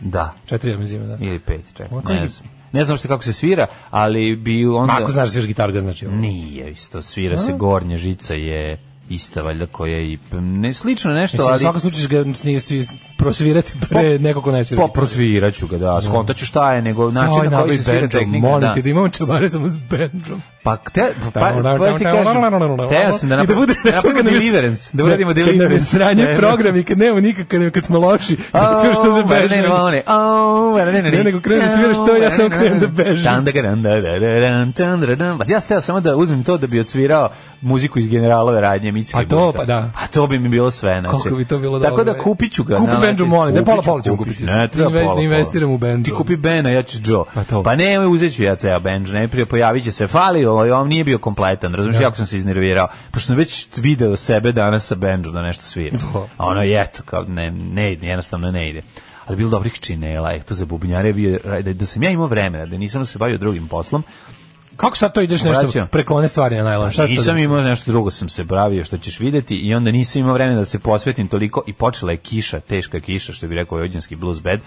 G: Da,
H: Četiri, ja mislim, da.
G: ili pet, čekaj,
H: Ovako je-
G: ne znam. Ne znam što kako se svira, ali bi onda...
H: Ma ako znaš da sviraš gitaru, ga znači ovo.
G: Nije isto, svira se gornja žica je ista valjda koja je i... Ne, slično nešto,
H: Mislim, u
G: ali...
H: svakom slučaju ćeš ga nije svi prosvirati pre nekog ko ne svira.
G: Pa prosvirat ću ga, da, skontat ću šta je, nego način Znači, na koji se svira tehnika,
H: da, Molim
G: da.
H: ti da imamo čabare samo s bendrom.
G: Pa, te, pa, pa, pa ti kažem, teo sam da
H: I da
G: napravimo
H: bude
G: da deliverance, da uradimo
H: Da nam je
G: deliverance.
H: sranje
G: E,
H: program i kad nemamo nikak, kad, kad smo loši, da sve što
G: pa
H: se beže. Ne,
G: Ne,
H: nego krenu da sviraš to, ja samo krenem da bežim.
G: da, Pa ja sam teo samo da uzmem to da bi odsvirao muziku iz generalove radnje Micke
H: A to,
G: Burka.
H: pa da.
G: A to bi mi bilo sve. Znači.
H: Koliko bi to bilo
G: Tako
H: dobro,
G: da kupit ću ga.
H: Kupi
G: na
H: Benjo,
G: leti-
H: molim, da,
G: kupit
H: pola,
G: ću,
H: pola ćemo
G: kupit ću.
H: kupiti.
G: Ne, treba
H: Invest-
G: pola, pola.
H: investiram u Benjo.
G: Ti kupi Bena, ja ću Joe.
H: Pa to.
G: Pa ne, uzet ću ja ceo Benjo, ne prije pojavit će se. Fali, ovaj, on nije bio kompletan, razumiješ,
H: Da.
G: jako sam se iznervirao. Pošto sam već video sebe danas sa Benjo da nešto svira.
H: Da.
G: A ono je eto, kao ne, ne ide, jednostavno ne ide. Ali bilo dobrih činela, eh, to za bubnjare je bio, da, da sam ja imao vremena, da nisam se bavio drugim poslom,
H: Kako sad to ideš nešto
G: Vraćam.
H: preko one stvari na najlon? Šta si to
G: Pa nisam
H: znači?
G: imao nešto drugo sam se bravio što ćeš videti i onda nisam imao vremena da se posvetim toliko i počela je kiša, teška kiša što bi rekao vojvođanski blues band,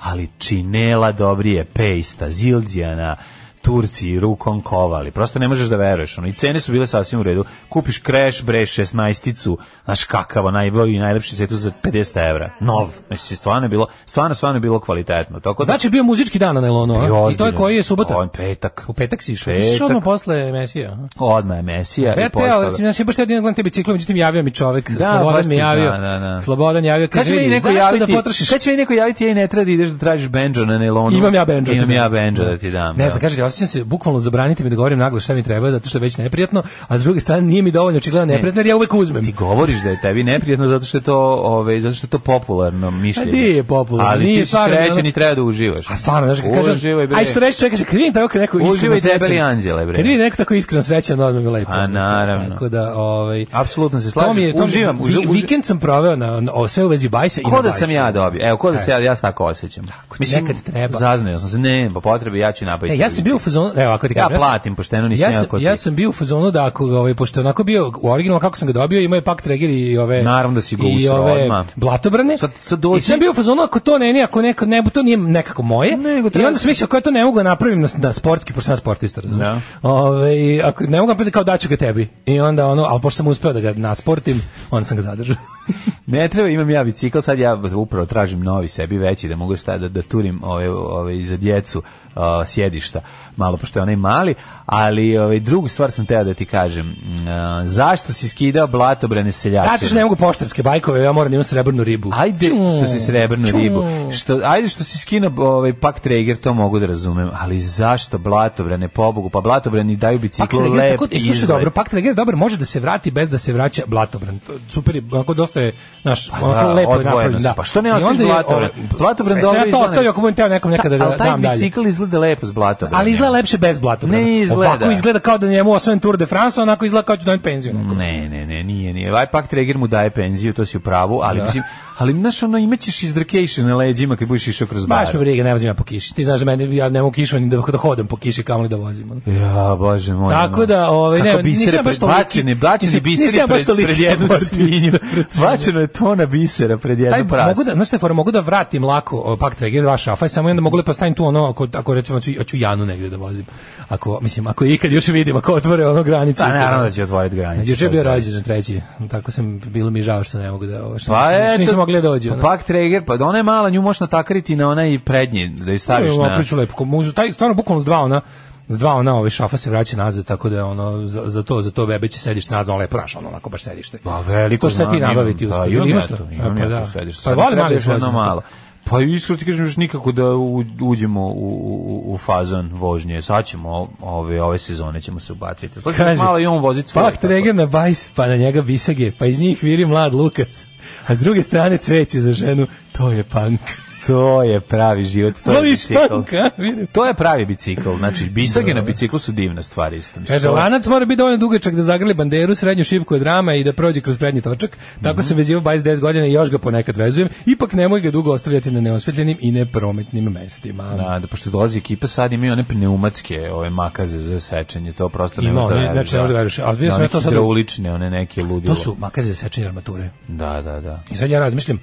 G: ali činela dobrije, pejsta, zilđijana, Turci rukom kovali. Prosto ne možeš da veruješ. Ono. I cene su bile sasvim u redu. Kupiš kreš, bre, 16-icu, znaš kakav, onaj i najlepši setu za 50 evra. Nov. Znači, stvarno je bilo, stvarno, stvarno je bilo kvalitetno. Tako da,
H: Znači bio muzički dan na Nelonu,
G: Bio
H: a? I to je
G: Pa ozbiljan.
H: koji je subota?
G: On petak.
H: U petak si išao.
G: Petak.
H: Petak. Išao odmah posle Mesija. aha.
G: Odmah je Mesija i
H: Ja teo,
G: postala.
H: recimo, ja sam baš teo da gledam te bicikle, međutim javio mi čovek,
G: Da, baš
H: Slobodan mi
G: ti
H: javio,
G: zna, da, da.
H: Slobodan javio,
G: Kad će
H: kaže,
G: meni
H: vidi,
G: neko
H: zašto
G: javiti,
H: da potrošiš?
G: Kad će meni neko javiti, ej, ne treba da ideš da tražiš benđo na nelonu.
H: Imam ja bendžo.
G: Imam ja benđo da ti dam.
H: Ne
G: da.
H: znam, kažete, osjećam se, bukvalno zabranite mi da govorim naglo šta mi treba, zato što je već neprijatno, a s druge strane nije mi dovoljno očigledno neprijatno, jer ja uvek uzmem.
G: Ti govoriš da je tebi neprijatno zato što je to, ovaj, zato što je to popularno mišljenje.
H: A Pa nije popularno,
G: Ali
H: nije
G: ti si
H: stvarno,
G: srećan
H: ono-
G: i treba da uživaš.
H: A stvarno, znaš, kad kažem,
G: Uživaj, bre.
H: aj što reći čovjek, kaže, kad vidim tako neko iskreno
G: Uživaj,
H: srećan.
G: debeli anđele, bre.
H: Kad da- vidim neko tako iskreno srećan, odmah mi je lepo.
G: A, naravno.
H: Tako da, ovaj...
G: Apsolutno se
H: To mi je,
G: slažem.
H: to mi-
G: Uživam.
H: vi-
G: uži-
H: vikend sam proveo na, na o, sve u vezi bajsa i na
G: Ko da
H: bajsu.
G: sam ja dobio? Evo, ko da se ja, ja se tako osjećam.
H: E. nekad treba.
G: Zaznao sam se, ne, po potrebi ja ću napraviti.
H: Ne, E, ja sam bio u fazonu, evo ako ti
G: Ja
H: kažem. sam-
G: platim, pošteno nisam
H: ja
G: ja
H: sam,
G: kod
H: ja
G: ti.
H: sam bio u fazonu da ako ga, ovaj pošto je onako bio u original kako sam ga dobio, imao je pak treger i ove
G: Naravno da si ga
H: i
G: usrao
H: ove
G: odmah.
H: blatobrane.
G: Sad- sad dođi-
H: I sam bio u fazonu ako to ne, ne ako neko ne, to nije nekako moje.
G: Nego
H: I
G: treba-
H: onda sam mislio ako ja to ne mogu da napravim na, na sportski, pošto sam sportista, razumeš?
G: Da.
H: Ove, i ako ne mogu napraviti kao daću ga tebi. I onda ono, al pošto sam uspeo da ga nasportim, onda sam ga zadržao.
G: Ne treba, imam ja bicikl, sad ja upravo tražim novi sebi veći da mogu sta- da, da turim ove, ove, za djecu a, sjedišta, malo pošto je onaj mali, ali ove, drugu stvar sam teo da ti kažem. Mm, a, zašto si skidao blatobrane seljače?
H: Zato što ne mogu poštarske bajkove, ja moram da imam srebrnu ribu.
G: Ajde što si srebrnu
H: Ću.
G: ribu. Što, ajde što si skina ovaj, pak Traeger, to mogu da razumem, ali zašto blatobrane, pobogu, pa blatobrani daju biciklu
H: Pak Traeger,
G: lep
H: tako, i što je
G: izgled.
H: dobro, pa- Pak Traeger je dobar, može da se vrati bez da se vraća Blatobran. To- Super, je, onako dosta je, znaš, onako
G: da,
H: lepo je
G: odvojeno
H: napravljen.
G: se.
H: Da.
G: Pa što ne
H: I
G: ostaviš
H: onda je,
G: Blatobran? Pa
H: ovaj,
G: Blatobran
H: sve-
G: dobro
H: Sve ja to
G: izgleda.
H: ostavio ako budem teo nekom nekada
G: Ta-
H: da
G: ali taj
H: dam dalje.
G: bicikl izgleda lepo s blatobranjem.
H: Ali izgleda lepše bez Blatobrana.
G: Ne izgleda.
H: Ovako izgleda kao da njemu osvojen Tour de France, onako izgleda kao da ću doneti penziju. neku.
G: Ne, ne, ne, nije, nije. Ovaj pak Traeger mu daje penziju, to si u pravu, ali
H: Da.
G: mislim, ali znaš, ono, imaćeš izdrkejšen na leđima kad budeš išao kroz bar.
H: Baš me briga, ne vozim ja po kiši. Ti znaš da meni, ja ne mogu kišu ni da, da hodam po kiši, kamoli da vozim. ono.
G: Ja, bože moj.
H: Tako
G: ono.
H: da, ovaj, ne,
G: Kako bisere
H: nisam baš
G: pred-
H: toliki-
G: Bačene, bačene
H: nisam-
G: bisere
H: nisam baš
G: pred,
H: toliki
G: pred jednu
H: sportista,
G: svinju.
H: pred svinju.
G: Bačeno je tona bisera pred jednu
H: taj
G: prasu.
H: mogu da znači fora mogu da vratim lako o, pak trager dva šafa i samo onda mogu lepo stavim tu ono ako ako recimo ću, hoću Janu negde da vozim. Ako mislim ako je ikad još vidim ako otvore ono granicu.
G: Pa naravno da će otvoriti granice.
H: Juče je bio
G: to je
H: rođendan treći, tako sam bilo mi žao što ne mogu da ovo što
G: Pa
H: nisam-
G: eto,
H: što nisam mogli da dođem. ono.
G: Pak Traeger, pa da ona je mala, nju možeš natakariti na onaj prednji, da ju staviš
H: Evo,
G: na...
H: priču lepo. ko Muzu, taj stvarno bukvalno s dva ona s dva ona ove šafa se vraća nazad tako da je ono za, za to za to bebe će sedište nazad ono lepo naš ono onako baš sedište.
G: Pa veliko
H: to šta ti
G: znam,
H: nabaviti
G: imam,
H: uspeo?
G: Pa imam ja
H: Imaš to?
G: to,
H: A,
G: imam
H: pa
G: ja
H: da.
G: to sedište.
H: Pa
G: Sad
H: volim
G: treba
H: mali
G: još jedno
H: vozi.
G: malo. Pa iskreno ti kažem još nikako da u- uđemo u, u, u fazon vožnje. Sad ćemo ove, ove sezone ćemo se ubaciti. Sad ćemo
H: Kaže,
G: malo i on voziti svoje.
H: Pak
G: tako.
H: treger na bajs, pa na njega bisage, pa iz njih viri mlad lukac. A s druge strane cveće za ženu, to je punk.
G: To je pravi život, to je
H: Voliš
G: bicikl.
H: punk, a? Vidim.
G: To je pravi bicikl, znači bisage na biciklu su divna stvar isto. Mislim,
H: Kaže,
G: to je-
H: lanac mora biti dovoljno dugačak da zagrli banderu, srednju šipku od rama i da prođe kroz prednji točak. Tako
G: Mhm.
H: sam vezivao bajs 10 godina i još ga ponekad vezujem. Ipak nemoj ga dugo ostavljati na neosvetljenim i neprometnim mestima.
G: Da, da pošto dolazi ekipa sad imaju one pneumatske ove makaze za sečenje, to prosto ne
H: Ima
G: može da
H: oni,
G: veruješ,
H: znači, ne može da veruješ. A vidio sam
G: one
H: ja to sad-
G: hidraulične, one neke ludilo.
H: To su makaze za sečenje armature.
G: Da, da, da.
H: I sad ja razmišljam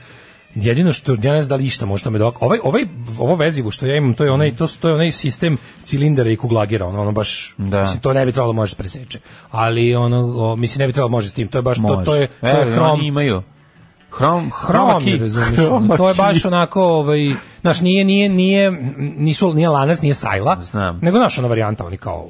H: jedino što ja ne znam da li išta može tome dok ovaj ovaj ovo vezivo što ja imam to je onaj to, su- to je onaj sistem cilindara i kuglagira ono, ono baš
G: Da.
H: mislim to ne bi trebalo da možeš preseče ali ono o, mislim ne bi trebalo da možeš s tim to je baš to,
G: Može. E,
H: to je to
G: Evo,
H: je
G: i
H: hrom
G: Oni imaju hrom,
H: hrom
G: hromaki.
H: je, razumiješ,
G: Hromaki.
H: to je baš onako ovaj znaš nije nije nije nisu nije lanac nije sajla
G: Znam.
H: nego naša ona varijanta oni kao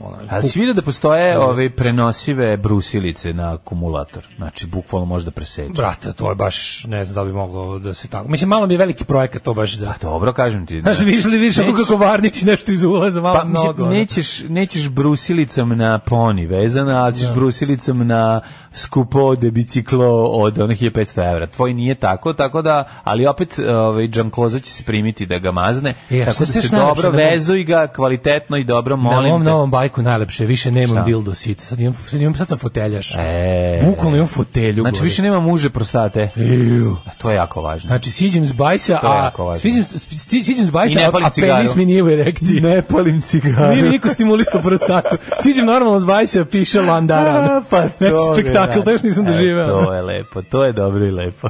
H: ona,
G: A si vidio da postoje ove prenosive brusilice na akumulator. Znači, bukvalno može da preseče.
H: brate to je baš ne znam da li bi moglo da se tako mislim malo mi je veliki projekat to baš da
G: Dobro, kažem ti. Da.
H: Znaš, vidiš li, vidiš
G: Neću-
H: ako kako varnići nešto iz ulaza, malo
G: Pa, mislim,
H: mnogo. ono.
G: nećeš, nećeš brusilicom na poni vezana, ali ćeš
H: Da.
G: brusilicom na skupo de biciklo od onih 1500 evra. Tvoj nije tako, tako da, ali opet ovaj, Džankoza će se primiti da ga mazne,
H: E, a
G: tako da
H: sad
G: se
H: još najlepše
G: dobro
H: na mom-
G: vezuj ga kvalitetno i dobro,
H: Na
G: molim
H: mom
G: te.
H: novom bajku najlepše, više nemam
G: Šta?
H: dildo sice, sad imam, sad, imam, sad sam foteljaš.
G: E.
H: Bukvalno imam fotelju.
G: Znači,
H: gore.
G: više nema muže prostate.
H: E. Iu.
G: A to je jako važno.
H: Znači, siđem s bajsa,
G: je
H: a,
G: jako važno.
H: siđem, si- siđem s
G: I
H: bajsa,
G: ne
H: a,
G: palim
H: a penis
G: cigaru.
H: mi nije u erekciji.
G: ne palim cigaru.
H: Nije niko stimulisao prostatu. Siđem normalno s bajsa, piše Landaran.
G: A, pa to
H: Znači,
G: je,
H: spektakl,
G: da.
H: to još nisam
G: E,
H: doživeo.
G: To je lepo, to je dobro i lepo.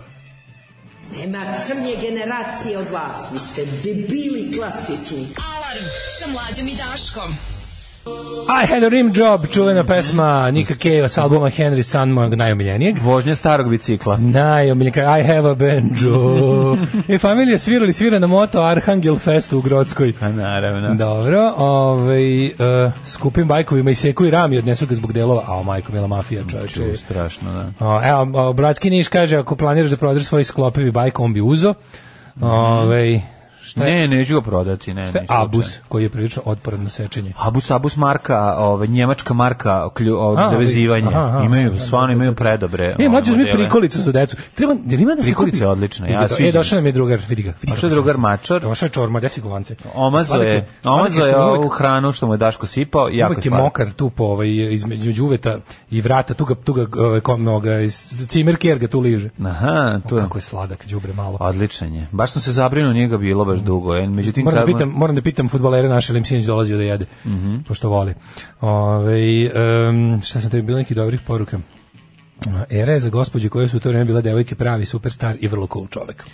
I: Nema crnje generacije od vas. Vi ste debili klasični.
E: Alarm sa mlađom i Daškom.
H: I had a rim job, čuvena pesma Nika Kejva s albuma Henry Sun, mojeg najomiljenijeg.
G: Vožnja starog bicikla.
H: Najomiljenijeg, I have a banjo. I E, familija svirali svira na moto Arhangel Festu u Grodskoj.
G: Pa naravno.
H: Da. Dobro, ovaj, uh, skupim bajkovima i seku i rami odnesu ga zbog delova. Ao, majko, mila mafija, čovječe.
G: Ču, strašno, da.
H: O, evo, o, bratski Niš kaže, ako planiraš da prodaš svoj sklopivi bajk, on bi uzo. Ovaj, šta je?
G: Ne, neću ga prodati, ne.
H: šta je
G: ni slučajno.
H: abus, koji je prilično otporan na sečenje.
G: Abus Abus marka, ovaj njemačka marka klju, ovaj,
H: A,
G: za vezivanje.
H: aha, aha.
G: imaju stvarno imaju predobre.
H: E,
G: one
H: mlađe uzmi
G: modele.
H: prikolicu za decu. Treba, jer ima da se
G: Prikolica
H: kupi-
G: je odlična, ja
H: Vidi ga,
G: sviđa
H: E,
G: mi se.
H: došao nam je drugar, vidi ga.
G: Došao je drugar Mačar.
H: Došao je čorma, desi govance.
G: Omazo je,
H: Sladak
G: omazo
H: što
G: je
H: mu
G: ovu
H: uvek-
G: hranu što mu je Daško sipao, jako
H: Uvek je
G: slatko.
H: mokar tu po ovaj između između uveta i vrata, tu ga tu ga ovaj kom noga iz cimerker ga tu liže.
G: Aha,
H: O,
G: tu da. je.
H: Kako je sladak, đubre malo.
G: Pa Odličan je. Baš sam se zabrinuo, nije ga bilo baš dugo. E, međutim,
H: Moram da
G: kad- Mhm.
H: pitam, moram da pitam fudbalere naše lim sinoć dolazio da jede. Pošto voli. Ovaj em, šta sam tebi bilo nekih dobrih poruka? Era je za gospođe koje su u to vreme bile devojke pravi superstar i vrlo cool čovek.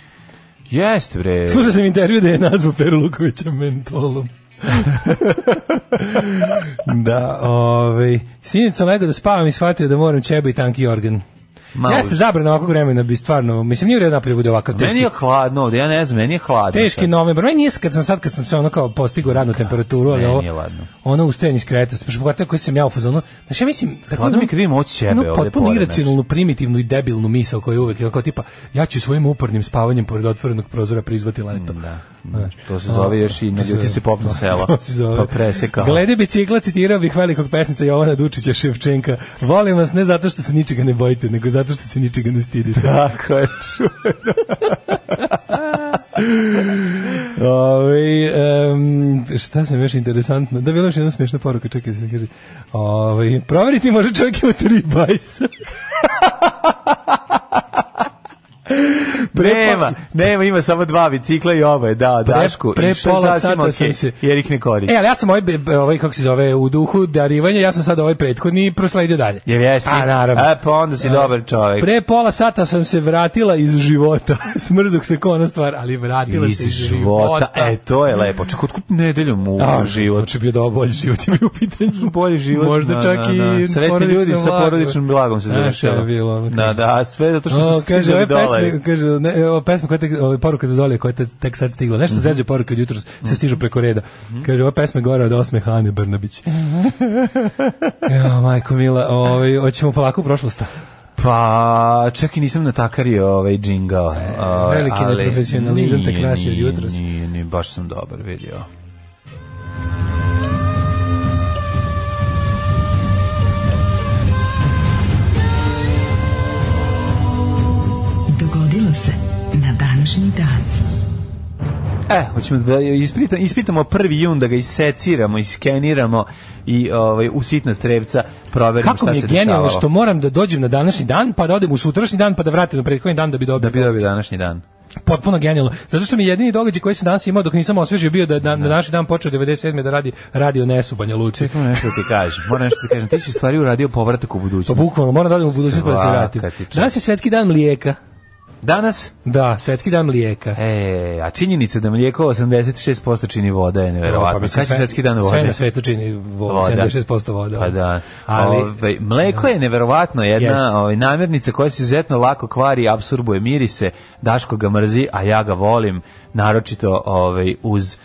G: Jeste, bre.
H: Slušao sam intervju da je nazvao Peru Lukovića mentolom. da, ovaj, sinoć sam legao da spavam i shvatio da moram ćebe i tanki organ.
G: Malo
H: Jeste
G: više.
H: zabrana ovakvog vremena bi stvarno, mislim nije u redu napolju bude ovakav teški.
G: Meni je hladno ovde, ja ne znam, meni je hladno.
H: Teški
G: sad. Da,
H: novembar. Meni je kad sam sad kad sam se ono kao postigao radnu temperaturu, ali
G: Meni
H: ovo.
G: je ladno.
H: Ono ustajanje iz kreveta, pa što pogotovo koji sam ja u fazonu. Znači ja mislim tako
G: Hladno mi je kad vidim od sebe
H: ono
G: ovde
H: potpuno
G: pored,
H: iracionalnu, primitivnu i debilnu misao koja je uvek kao tipa ja ću svojim upornim spavanjem pored otvorenog prozora prizvati leto. Da.
G: To se zove još i na ljuti se popnu sela.
H: To se zove.
G: Pa presekao.
H: Glede bicikla citirao bih velikog pesnica Jovana Dučića Ševčenka. Volim vas ne zato što se ničega ne bojite, nego zato što se ničega ne stidite.
G: Tako je čuo. Ovaj,
H: Ove, um, šta sam još interesantno? Da, bila je još jedna smiješna poruka, čekaj da se kaže. Ove, proveriti može čovjek ima tri bajsa.
G: Nema, nema, ima samo dva bicikla i ovo je, da, Dašku.
H: pre
G: I što je
H: pola
G: sasvim
H: sata sam
G: okej,
H: se-
G: Jer ih ne koristi.
H: E, ali ja sam ovaj, be- be- ovaj kako se zove, u duhu darivanja, ja sam sad ovaj prethodni prosledio dalje.
G: Jer jesi?
H: A, naravno.
G: E, pa onda si dobar čovjek.
H: Pre pola sata sam se vratila iz života. Smrzog se kona stvar, ali vratila
G: iz
H: se iz
G: života.
H: života.
G: E, to je lepo. Čak otkud nedeljom u
H: A,
G: život.
H: Znači bio da bolji život je bio u pitanju.
G: Bolji život.
H: Možda
G: da,
H: čak
G: da,
H: i
G: da. Srećni ljudi sa
H: blago.
G: porodičnim blagom se
H: Znaš šta je
G: završava.
H: bilo, ono,
G: Da, da, a sve zato što
H: O,
G: su
H: kaže,
G: stizali
H: ove
G: dole.
H: pesme, kaže, ne, ova pesma koja tek, ova poruka za Zolija koja je tek- tek sad stigla.
G: Mhm.
H: Nešto zezio poruke od jutros, se stižu preko reda. Kaže, ova pesma je gore od osme Hane Brnabić. Evo, majko mila, ovaj, hoćemo polako u prošlost.
G: Pa, čak i nisam natakario ovaj džingao. E,
H: veliki neprofesionalizam te krasi od jutros.
G: Nije, nije, nije, baš sam dobar vidio.
E: Dogodilo se na današnji dan.
G: E, hoćemo da ispitamo, ispitamo prvi jun, da ga iseciramo, iskeniramo i ovaj, u sitna strevca proverimo
H: Kako
G: šta
H: mi je
G: se
H: genijalno
G: dešavalo.
H: što moram da dođem na današnji dan, pa da odem u sutrašnji dan, pa da vratim na prethodni dan da bi dobio.
G: Da bi dobio današnji dan.
H: Potpuno genijalno. Zato što mi je jedini događaj koji sam danas imao dok nisam osvežio bio da je na, na današnji dan počeo 97. da radi Radio Nesu Banja Luci.
G: Moram nešto da ti kažem. Moram nešto da ti kažem. Ti si stvari uradio povratak u
H: Pa
G: budućnost.
H: bukvalno, moram da odem u budućnost pa da se
G: Svaka
H: vratim.
G: ti čast.
H: Danas je svetski dan mlijeka.
G: Danas,
H: Da, svetski dan mlijeka.
G: e, a činjenica da mlijeko 86% čini voda je
H: Pa
G: neverovatno.
H: mislim,
G: Kada će
H: sve-
G: svetski dan
H: Sve
G: vode?
H: na svetu čini vo-
G: Voda.
H: 76% voda.
G: Pa da.
H: Ali, Da.
G: Ovaj, mleko je neverovatno jedna
H: Jeste.
G: ovaj, namirnica koja se izuzetno lako kvari, absorbuje mirise, Daško ga mrzi, a ja ga volim, naročito ovaj, uz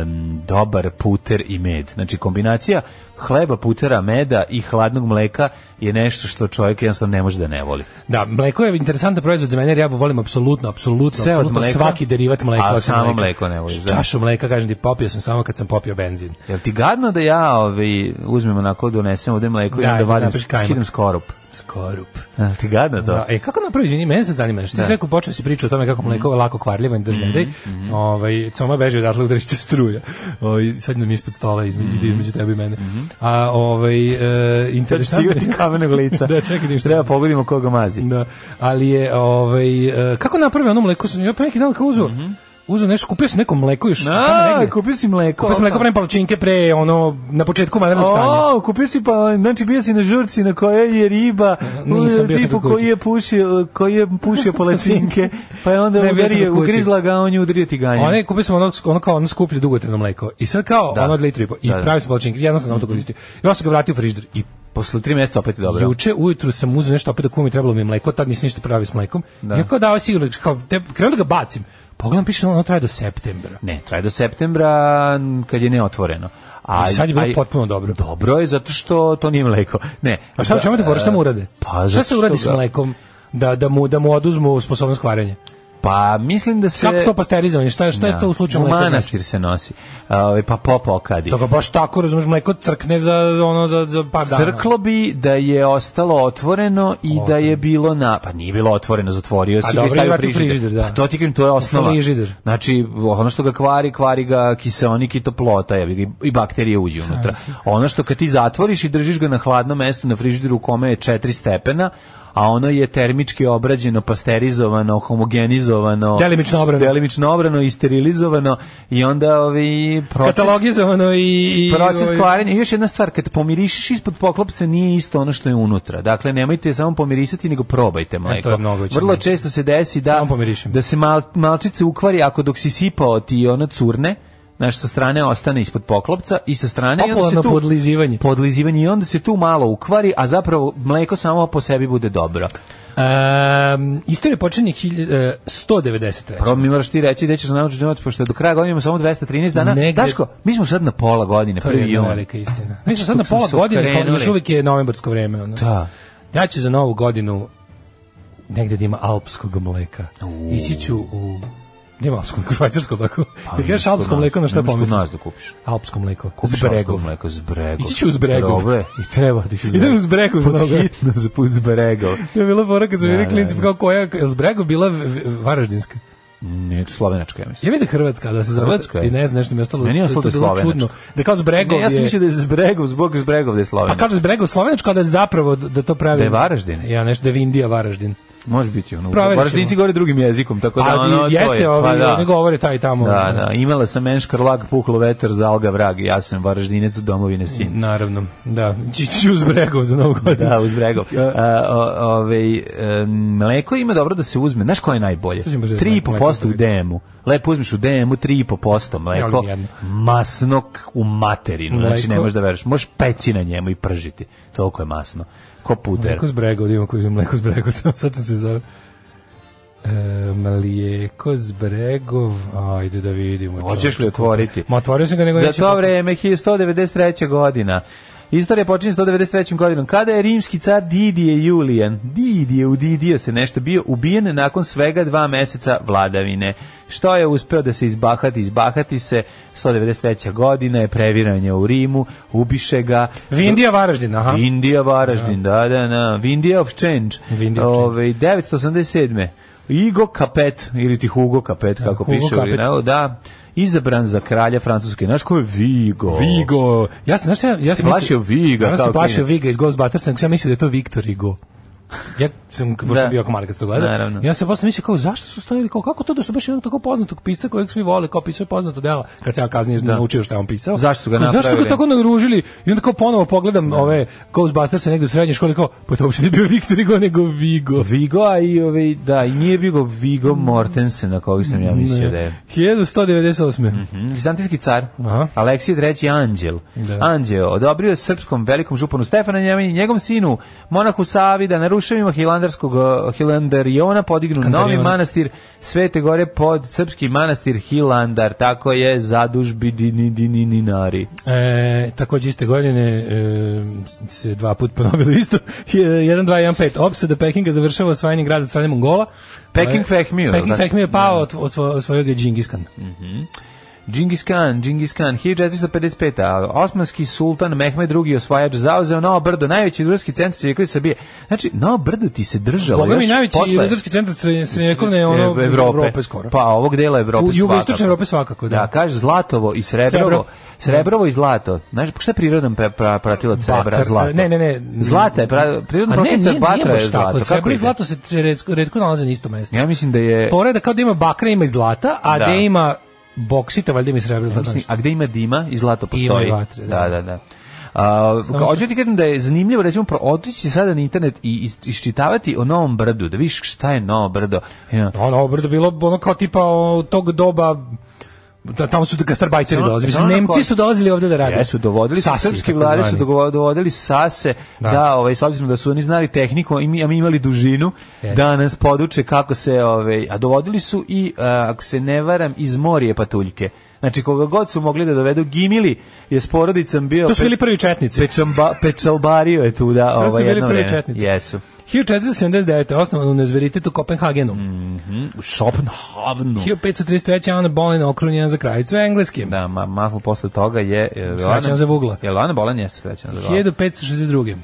G: em, dobar puter i med. Znači kombinacija hleba, putera, meda i hladnog mleka je nešto što čovjek jednostavno ne može da ne voli.
H: da, mleko je interesantan proizvod za mene, jer ja volim apsolutno, apsolutno,
G: Sve od
H: apsolutno
G: mleka,
H: svaki derivat mleka.
G: a
H: osim
G: samo
H: mleka.
G: mleko ne voliš, da.
H: Čašu mleka, kažem ti, popio sam samo kad sam popio benzin.
G: Jel ti gadno da ja ovaj, uzmem onako, donesem ovde mleko i
H: Da,
G: onda
H: da
G: vadim,
H: napraviš kajmak.
G: skidam skorup?
H: Skorup.
G: Jel Ti gadno to?
H: Da. E, kako napraviš, izvini, mene sad zanima, što da. si rekao, počeo si priču o tome kako mleko je lako kvarljivo i držne, mm
G: Mhm,
H: -hmm. ovaj, coma beži odatle udarište struja, ovaj, sad nam ispod stola između, ide između tebe i mene. A, ovaj,
G: Mhm. Sad
H: e,
G: ću si
H: interesantno...
G: igrati kamenog lica.
H: da, čekaj, da im šta-
G: Treba pogodimo koga mazi. Mhm.
H: Da, ali je, ovaj, e, kako naprave ono mleko, su- ja pre neki dan kao uzeo, uzeo nešto, kupio sam neko mleko još. tamo
G: A,
H: negde.
G: kupio si mleko.
H: Kupio sam mleko pre palačinke, pre ono, na početku vanrednog stanja.
G: O, kupio si pa, znači bio si na žurci na kojoj je riba,
H: Nisam, bio sam
G: tipu
H: kod kuće.
G: koji je pušio, koji je pušio palačinke, pa je onda
H: Ne, bio sam
G: udario,
H: kod kuće.
G: ugrizla ga, a on je udario ti ganjem.
H: One kupio sam ono, ono kao ono skuplje dugotrajno mleko. I sad kao
G: Da.
H: ono od litru i po. I
G: Da, da.
H: pravio sam palačinke, jedan sam samo to koristio. I onda sam ga vratio u frižider. I
G: Posle tri mjeseca opet je dobro.
H: Juče ujutru sam uzeo nešto opet da kumim, trebalo mi je mleko, tad nisam ništa pravio s mlekom.
G: Da.
H: I ja kao dao sigurno, kao, te, krenuo da ga bacim. Pogledam, piše ono, ono traje do septembra.
G: Ne, traje do septembra m, kad je neotvoreno. A,
H: I sad je bilo
G: a-
H: potpuno dobro.
G: Dobro je zato što to nije mleko. Ne.
H: A šta u čemu te fora, šta mu urade?
G: Da, Pa,
H: šta
G: zato
H: se
G: što
H: uradi s
G: ga-
H: mlekom? Da, da, mu, da mu oduzmu sposobnost kvarenja.
G: Pa mislim da se... Da,
H: Kako to pasterizovanje? Šta, je- šta je to u slučaju
G: U
H: mleka? znači?
G: manastir se nosi. A, ovaj, pa popa okadi.
H: Da ga baš tako, razumeš, mleko crkne za, ono, za, za par dana.
G: Crklo bi da je ostalo otvoreno i da je bilo na... Pa nije bilo otvoreno, zatvorio
H: A
G: si ga i
H: Pa dobro,
G: stavio
H: i
G: u
H: vrati u
G: frižider.
H: frižider, da.
G: Pa to ti kažem, to je osnova.
H: frižider.
G: Znači, ono što ga kvari, kvari ga kiseonik i toplota, jebi ga, i bakterije uđu unutra.
H: Znači.
G: Ono što kad ti zatvoriš i držiš ga na hladnom mestu na frižideru u kome je 4 stepena, a ono je termički obrađeno, pasterizovano, homogenizovano,
H: Delimično obrano.
G: delimično obrano i sterilizovano i onda ovi proces
H: Katalogizovano i... i
G: proces
H: ovaj-
G: kvarenja. I Još jedna stvar, kad pomirišiš ispod poklopca nije isto ono što je unutra. Dakle, nemojte samo pomirisati, nego probajte mleko.
H: E, to je mnogo veće
G: Vrlo
H: mleko.
G: često se desi da,
H: Samo pomirišem.
G: da se mal, malčice ukvari ako dok si sipao ti ona curne, znaš, sa strane ostane ispod poklopca i sa strane... i onda se
H: Popularno
G: tu-
H: podlizivanje.
G: podlizivanje i onda se tu malo ukvari, a zapravo mleko samo po sebi bude dobro.
H: Um, istorija počinje hilj- e, 193.
G: Prvo mi moraš ti reći gde ćeš naučiti noć, pošto do kraja godine imamo samo 213 dana.
H: Negde-
G: Daško, mi smo sad na pola godine,
H: To je
G: prvi
H: jedna
G: jun.
H: velika istina. Mi smo sad na
G: Tuk smo
H: pola
G: se
H: godine, kao
G: okrenuli.
H: još uvijek je novembarsko vreme. Ono.
G: Da.
H: Ja ću za novu godinu negde da ima alpskog mleka. Ići ću u... da Nema alpskog, u švajcarsko tako. Pa, Gdeš alpsko mleko, na šta
G: pomisliš?
H: pomislim?
G: nas da kupiš.
H: Alpsko mleko.
G: da. Kupiš
H: S bregov.
G: alpsko mleko s bregov.
H: Ići ću uz bregov.
G: Dobro je, I treba
H: da
G: otići uz
H: Idem uz bregov za
G: Pod
H: novu godinu.
G: hitno za uz bregov.
H: To je bila fora kad smo bili
G: da,
H: klinci,
G: da.
H: kao koja, je s bregov bila v- v- varaždinska?
G: Nije to slovenačka, ja mislim.
H: Ja mislim da je Hrvatska, da se zove.
G: Hrvatska je.
H: Ti ne znaš, nešto mi je ostalo.
G: Meni je ostalo da je
H: to bilo
G: slovenačka.
H: čudno. Da kao s bregov
G: Ne, ja sam
H: je...
G: mislio da je s bregov, zbog s bregov da je
H: Pa
G: slovenačka.
H: kažu s bregov slovenačko, a da je zapravo da to pravi...
G: Da je Varaždin.
H: Ja nešto, da je Vindija Varaždin.
G: Može biti ono.
H: Proverit ćemo.
G: Varaždinci govore drugim jezikom, tako da
H: Ali
G: ono to je.
H: jeste, ovi,
G: pa da.
H: oni govore taj tamo.
G: Da, da, imala sam menš karlag, puhlo vetar, zalga vrag, ja sam varaždinec od domovine sin.
H: Naravno, da. Čiću uz bregov za novu godinu.
G: Da, uz bregov. A, o- ovaj, em, mleko ima dobro da se uzme. Znaš koje je najbolje?
H: Sad ćemo baš da
G: 3,5% u
H: mleko.
G: DM-u. Lepo uzmeš u DM-u 3,5% mleko.
H: Volim jedno.
G: Masno k- u materinu. Znači, ne
H: Mleko.
G: možeš da veriš. Možeš peći na njemu i pržiti. Toliko je masno. Ko puter.
H: Mleko s bregov, da imam koji je mleko s bregov, samo sad sam se zove. E, mlijeko s bregov, ajde da vidimo.
G: Hoćeš li
H: čovječe.
G: otvoriti?
H: Ma otvorio sam ga, nego
G: Za
H: neće-
G: to vreme, 1193. godina. Istorija počinje 193. godinom. Kada je rimski car Didije Julijan, Didije u Didije se nešto bio, ubijen nakon svega dva meseca vladavine. Što je uspeo da se izbahati? Izbahati se 193. godina je previranje u Rimu, ubiše ga.
H: Vindija Varaždin, aha.
G: Indija Varaždin, da, da, da. Vindija of Change. Ovaj,
H: Vindija of Change.
G: Ove, 987. Igo Kapet, ili ti Hugo Kapet, kako
H: Hugo
G: piše u
H: Capet.
G: originalu, da. Izabran za kralja Francuske. Znaš ko je Vigo?
H: Vigo. Ja sam, znaš, šta ja, ja
G: Si
H: sam
G: plašio Viga
H: Ja
G: kao
H: sam plašio
G: klinac.
H: Viga iz Ghostbusters, nego sam ja mislio da je to Viktor Igo. Ja sam, pošto
G: Da.
H: sam bio jako mali kad sam to gledao,
G: Naravno.
H: ja sam posle mislio kao, zašto su stavili, kao, kako to da su baš jednog tako poznatog pisca kojeg svi vole, kao pisao je poznato delo, kad sam ja kasnije naučio šta je on pisao.
G: Da. Zašto su ga
H: Kao, Zašto su
G: napravili? Da.
H: ga tako naružili? I onda kao ponovo pogledam ove Ghostbusters negde u srednjoj školi, kao, pa to uopšte nije bio Viktor Igo, nego Vigo.
G: Vigo, a i ovaj, da, i nije bio Vigo Mortensen, na kojeg sam ja mislio da je.
H: 1198.
G: Mhm, Vizantijski car,
H: Aha.
G: Aleksij III. Anđel.
H: Da.
G: Anđeo odobrio je srpskom velikom županu Stefana Njemanji i njegovom sinu, monahu Savi, da na ruševima Hilandarskog eh, Hilandariona podignu novi
H: Hilandariona.
G: manastir Svete Gore pod srpski manastir Hilandar. Tako je zadužbi dini, dini, ninari.
H: E, takođe iste godine e, se dva put ponovilo isto. 1-2-1-5. Opsada Pekinga završava osvajanje grada od strane Mongola.
G: Peking
H: Ovo je-
G: fehmio,
H: E, Peking
G: da.
H: Fehmio je pao, od, osvo, osvojio ga je Džingis Khan.
G: Džingis Khan, Džingis Khan, 1455. Osmanski sultan Mehmed II. osvajač zauzeo Novo Brdo, najveći ruski centar Sredekovne Srbije. Znači, Novo Brdo ti se držalo
H: Boga mi
G: još
H: najveći
G: posle-
H: rudarski centar Sre- Sredekovne je ono
G: Ev- Evrope.
H: Evrope skoro.
G: Pa ovog dela Evrope
H: U jugoistočne
G: svakako.
H: Evrope svakako, da.
G: Da, kaže zlatovo i srebrovo.
H: Srebro.
G: Srebrovo i zlato. Znaš, šta je prirodan pra, pra, pratilac srebra?
H: Bakar,
G: Zlato.
H: ne, ne, ne.
G: Zlata je, pra, prirodan
H: A ne,
G: pratilac
H: nije, nije
G: batra je
H: baš tako.
G: zlato.
H: Srebro
G: Kako
H: i
G: je?
H: zlato se redko, redko nalaze na istom mestu.
G: Ja mislim da je...
H: Fora je da kao da ima bakra, ima i zlata, a
G: Da.
H: da, ima boksita, valjda ima i srebro.
G: Ja
H: zlato.
G: mislim, a gde ima dima i zlato postoji.
H: Ima i vatre, da.
G: da, da. da. A, kao, hoću ti kažem da je zanimljivo, recimo, pro- otići sada na internet i is- iščitavati o Novom Brdu, da vidiš šta je Novo Brdo. Ja.
H: Ono, obrdo bilo ono kao tipa o, tog doba da, tamo su gastarbajteri
G: Ono-
H: dolazili. Mislim,
G: ono ko-
H: Nemci su dolazili ovde da rade.
G: Jesu, dovodili su,
H: Sasi,
G: srpski
H: tako
G: vladari su
H: zvani.
G: dogovo- dovodili sase, da,
H: Da.
G: ovaj, s obzirom da su oni znali tehniku, i mi, a mi imali dužinu,
H: Jeste.
G: da nas poduče kako se, ovaj, a dovodili su i, a, ako se ne varam, iz morije patuljke. Znači, koga god su mogli da dovedu, Gimili je s porodicom bio...
H: To su
G: pe-
H: bili prvi četnici.
G: Pečamba, pečalbario je tu, da,
H: To su
G: ovaj,
H: bili
G: jedno
H: prvi
G: vreme.
H: četnici.
G: Jesu.
H: 1479. osnovano nezveritet u Kopenhagenu.
G: Mm. Mhm, U Schopenhavenu.
H: 1533. Ana Boleyn okrunjena za kraljicu Engleske.
G: Da, ma, malo posle toga je... je
H: Skraćena za Vugla.
G: Je Lana Bolan jeste skraćena za Vugla.
H: 1562.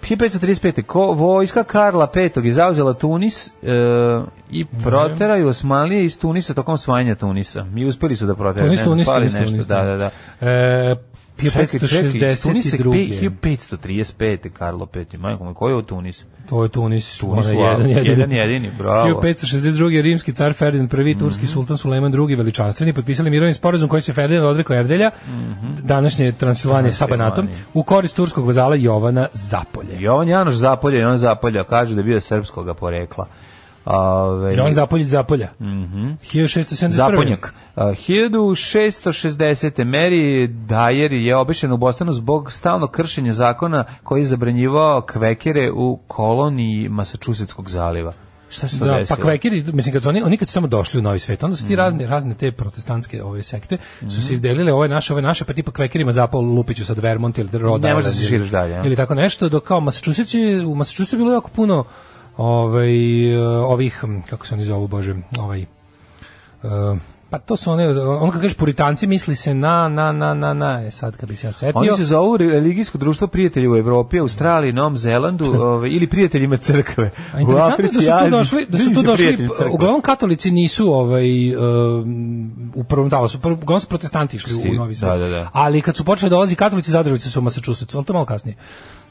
G: 1535. Ko, vojska Karla V. je zauzela Tunis e, i proteraju Osmanlije iz Tunisa tokom svajanja Tunisa. Mi uspeli su da proteraju.
H: Tunis,
G: ne znam,
H: Tunis,
G: fali
H: Tunis,
G: nešto,
H: Tunis.
G: Da, da, da.
H: E,
G: Čekaj, čekaj, iz Tunisa
H: 1562.
G: 1535. Karlo V. Majko, moj, ko je u Tunis?
H: To je Tunis,
G: Tunis,
H: Tunis
G: wow.
H: jedan, jedini.
G: Jedan jedini, bravo.
H: 1562. rimski car Ferdinand I, turski sultan Sulejman II, veličanstveni, potpisali mirovni sporazum koji se Ferdinand odrekao Erdelja, današnje Transilvanije sa Banatom, u korist turskog vazala Jovana Zapolje.
G: Jovan Janoš zapolja i on zapolja. Kažu da je bio srpskoga porekla. Ove,
H: Jovan Zapolje iz Zapolja. 1671.
G: Zaponjak. Uh, 1660. Mary Dyer je obešena u Bostonu zbog stalnog kršenja zakona koji je zabranjivao kvekere u koloniji Masačusetskog zaliva. Šta se to
H: Da, pa
G: desilo? Mm.
H: kvekeri, mislim kad su oni, oni kad su tamo došli u Novi svet, onda su ti razne razne te protestantske ove sekte su se izdelile, ove naše, ove naše, pa tipa kvekerima zapao Lupiću sad Vermont ili Rhode
G: Ne možeš da
H: Island
G: se
H: ili-
G: širiš dalje, a?
H: Ili tako nešto, dok kao Massachusetts je, u Massachusettsu je bilo jako puno ovaj e, ovih m, kako se oni zovu bože, ovaj e, pa to su one, on kad kažeš puritanci misli se na, na, na, na, na, e sad kad bi se ja setio.
G: Oni se zovu religijsko društvo prijatelja u Evropi, Australiji, Novom Zelandu ove, ili prijateljima crkve.
H: A interesantno je da su tu
G: Aziji.
H: došli, da su
G: Nisu
H: tu došli,
G: prijatelji crkve.
H: uglavnom katolici nisu ovaj um, u prvom talasu, prvo, uglavnom su protestanti išli u
G: Sti-
H: Novi Sad.
G: da, da, da.
H: Ali kad su počeli da dolazi katolici, zadržali su se u Massachusettsu, ali to malo kasnije.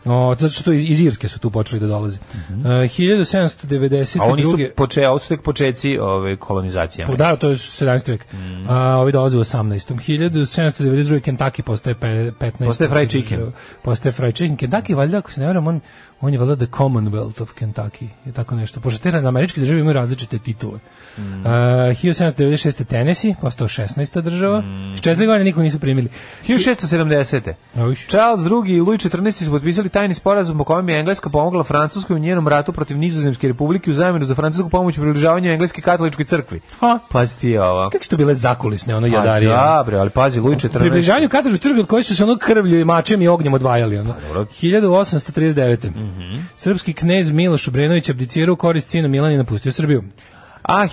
H: O, zato što to iz, iz Irske su tu počeli da dolaze. Uh, 1792.
G: Mhm. A oni su, poče, ovo su tek počeci ovaj, ove, kolonizacije.
H: Po, da, to je 17. vek.
G: Mhm.
H: A, ovi dolaze u 18. 1792. Kentucky postaje pe- 15.
G: Postaje fried chicken.
H: Postaje fried chicken. Kentucky, valjda, ako se ne varam, on, on je valjda the Commonwealth of Kentucky. Je tako nešto. Pošto te na američke države imaju različite titule.
G: Mhm.
H: A, 1796. Tennessee, postao 16. država.
G: Mhm.
H: Četiri godine niko nisu primili.
G: 1670.
H: Oviš.
G: Charles II i Louis XIV su potpisali tajni sporazum po kojem je Engleska pomogla Francuskoj u njenom ratu protiv Nizozemske republike u zamjenu za francusku pomoć u približavanju Engleske katoličkoj crkvi.
H: Ha?
G: Pazi ti ovo.
H: Kako su to bile zakulisne, ono,
G: Pa
H: jadarije?
G: dobro, ali pazi, Louis XIV.
H: Približavanju katoličkoj crkvi od koje su se ono krvlju i mačem i ognjem odvajali. Ono. 1839. Srpski knez Miloš Obrenović abdicirao u korist sinu Milan i napustio Srbiju.
G: A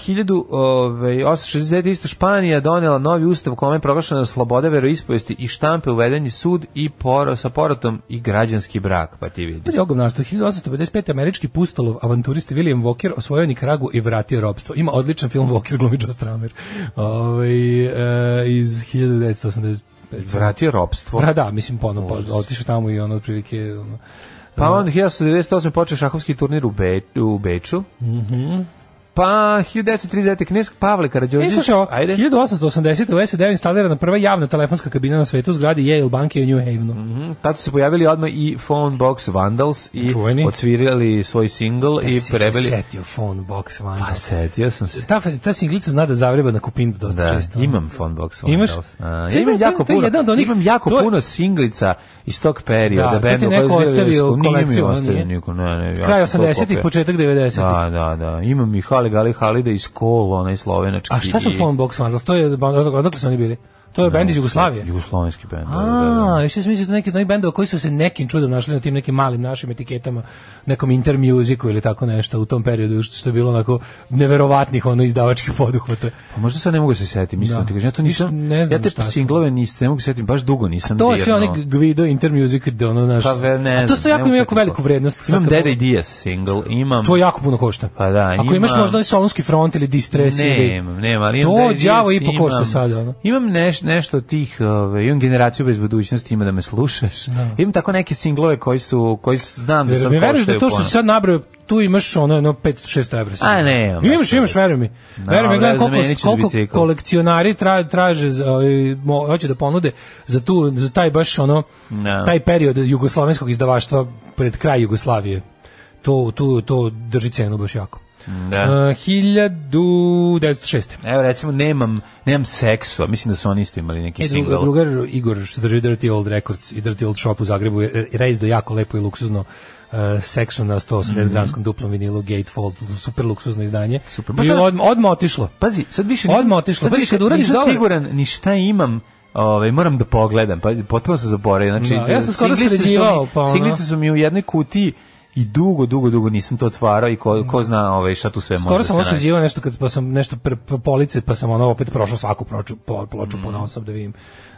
G: 1869. isto Španija donela novi ustav kome je proglašena sloboda veroispovesti i štampe uvedeni sud i poro, sa porotom i građanski brak, pa ti vidi.
H: Pazi ogomnaštvo, 1855. američki pustolov avanturista William Walker osvojio Nikaragu i vratio robstvo. Ima odličan film Walker glumi Joe Stramer. Ovaj, e, iz 1985.
G: Vratio ropstvo.
H: Bra, da, mislim ponovno, pa, otišao tamo i ono otprilike... Ono,
G: Pa onda 1998. počeo šahovski turnir u, Be u Beču. Pa 1939. knez Pavle
H: Mhm. E,
G: Karadžorđević.
H: slušaj, ovo,
G: Ajde.
H: 1880. u SED instalirana prva javna telefonska kabina na svetu u zgradi Yale banke u New Havenu.
G: Mhm. Tad su se pojavili odmah i Phone Box Vandals i
H: Čuveni. Da
G: odsvirali svoj single i
H: Si se
G: prebili.
H: Setio phone box van.
G: Pa setio sam se.
H: Ta, ta singlica zna da zavreba na kupindu dosta
G: Da,
H: često.
G: imam Phone Box
H: Imaš?
G: Vandals. A,
H: To
G: ja
H: je-
G: imam
H: to je-
G: jako
H: to je
G: puno,
H: jedan od onih-
G: imam jako
H: to je-
G: puno singlica iz tog perioda.
H: Da, to ti
G: benda
H: neko
G: koja je
H: ostavio
G: zirala- Nije mi
H: kolekciju, ono
G: ostavio
H: nije?
G: niko, ne, ne, ja
H: Kraj
G: sam to
H: 80-ih,
G: popio.
H: početak 90-ih.
G: Da, da, da. Imam i Hali Gali Halida iz Kola, onaj slovenački.
H: A šta su
G: i-
H: phone box vandals? To je, odakle su oni bili? To je bend iz Jugoslavije.
G: Jugoslovenski bend. da, da, da.
H: A, još ja sam mislio da neki od onih bendova koji su se nekim čudom našli na tim nekim malim našim etiketama, nekom inter musicu ili tako nešto u tom periodu što je bilo onako neverovatnih ono izdavačkih poduhvata.
G: Pa možda sad ne mogu se setiti, mislim
H: Da.
G: da. ti kažem, ja to nisam,
H: Mislim, ne znam
G: ja te
H: šta sam.
G: singlove nisam, ne mogu se setiti, baš dugo nisam
H: To
G: dirnuo.
H: je onaj Guido inter music da ono naš.
G: Pa ve- ne
H: a to
G: znam,
H: su
G: ne
H: jako
G: mogu
H: ima
G: se
H: jako
G: setiti.
H: veliku vrednost.
G: Imam
H: Sad kad
G: Dede i Dijas single, imam...
H: To jako puno košta.
G: Pa da,
H: Ako imaš
G: imam-
H: možda onaj Solonski front ili Distress ili...
G: Nemam, nemam, ali imam
H: To
G: Dede i Dijas,
H: đavo i po
G: imam- Da
H: košta sad, ono.
G: Imam neš, nešto od tih, ove, imam generaciju bez budućnosti, ima da me slušaš. Imam tako neke singlove koji su, koji s- znam da
H: Jer
G: sam
H: mi veruješ da
G: koštaju
H: to što
G: puno.
H: si sad nabrao, tu imaš ono, ono 500-600 evra. sigurno.
G: A, ne, da. baš
H: Imaš, imaš, veruj mi. Veruj mi,
G: Dobro,
H: gledam
G: zamenit
H: koliko,
G: ću za
H: koliko
G: bicikl.
H: kolekcionari tra, traže, za, ovaj, mo- hoće da ponude za, tu, za taj baš ono,
G: Da.
H: taj period jugoslovenskog izdavaštva pred kraj Jugoslavije. To, tu, to drži cenu baš jako.
G: Da.
H: Uh, 1906.
G: Evo recimo nemam, nemam seksu, a mislim da su oni isto imali neki
H: E,
G: single.
H: druga, drugar Igor što drži Dirty Old Records i Dirty Old Shop u Zagrebu je reizdo jako lepo i luksuzno uh, seksu na 180 gramskom duplom vinilu Gatefold, super luksuzno izdanje.
G: Mhm. Super. Pa
H: I
G: Baš ono-
H: odma, odma otišlo.
G: Pazi, sad više nisam,
H: Odmah otišlo.
G: sad
H: Pazi,
G: više
H: kad uradiš
G: nisam
H: dobro-
G: siguran ni šta imam, ovaj, moram da pogledam, pa potpuno sam zaboravio. Znači,
H: Da, ja sam skoro
G: singlice su mi-
H: sređivao, pa ono-
G: Singlice su mi u jednoj kutiji i dugo, dugo, dugo nisam to otvarao i ko, ko zna ovaj, šta tu sve
H: Skoro
G: može
H: sam
G: da se nađe.
H: osuđivao nešto kad pa sam nešto pre, pre police pa sam ono opet prošao svaku proču, po, ploču mm. ponosom da vidim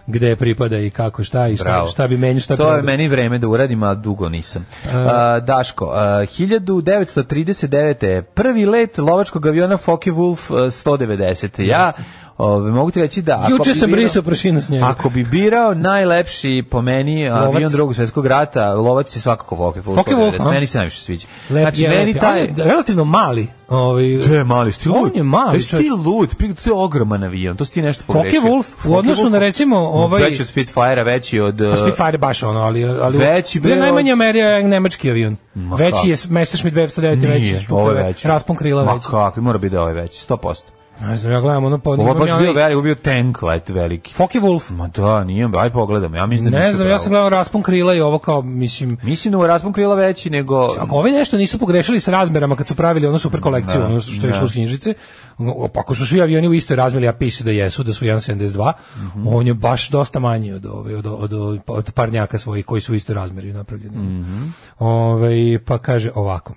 H: gde pripada i kako šta i šta,
G: Mhm. Bravo.
H: da šta bi meni šta bi E.
G: To je
H: radilo.
G: meni vreme da uradim, a dugo nisam. A, Daško, a, 1939. je prvi let lovačkog aviona Focke Wolf a, 190. Ja ove, mogu ti reći da... ako
H: Juče
G: bi
H: sam
G: bilo-
H: brisao prašinu s njega.
G: Ako bi birao najlepši po meni
H: Lovac.
G: avion drugog svetskog rata, lovac je svakako Focke Wolf.
H: Focke Wolf,
G: 190.
H: a?
G: da, meni se najviše sviđa.
H: Lep
G: znači,
H: je, lep
G: meni
H: je.
G: taj...
H: Ali je relativno mali. Ovaj
G: To je mali, sti
H: On
G: lud.
H: je mali,
G: Jesi ti lud, pri- to je ogroman avion, to si ti nešto pogrešio.
H: Wolf, u
G: Focke
H: odnosu
G: Wolf-
H: na, recimo, ovaj-
G: Veći od Spitfire-a, veći od...
H: Pa
G: uh,
H: Spitfire je baš ono, ali... ali
G: Veći, bre,
H: bio je najmanje
G: od-
H: Amerija nemački avion.
G: Ma
H: veći
G: kako?
H: je Messerschmitt 909
G: Nije,
H: veći, štuka,
G: ovo je
H: ve-
G: veći.
H: raspon krila
G: Ma
H: veći.
G: kakvi, mora biti da ovaj veći, 100%.
H: Ne znam, ja gledam ono pod...
G: Ovo je
H: imam
G: baš
H: ja
G: bio
H: onaj-
G: velik, ovo je bio tank let veliki.
H: Focke Wolf.
G: Ma da, nije, aj pogledam, ja mislim da
H: Ne
G: nisi
H: znam, ja
G: pravo.
H: sam gledao raspon krila i ovo kao, mislim...
G: Mislim da mu je raspon krila veći nego...
H: Ako ovi nešto nisu pogrešili sa razmerama kad su pravili ono super
G: Da,
H: kolekciju, ono što je išlo iz knjižice, ono, pa ako su svi avioni u istoj razmeri, a piše da jesu, da su 1.72,
G: Mhm.
H: on je baš dosta manji od, ove, od, od, od, od parnjaka svojih koji su u istoj razmeri napravljeni.
G: Mhm.
H: Ovaj, pa kaže ovako.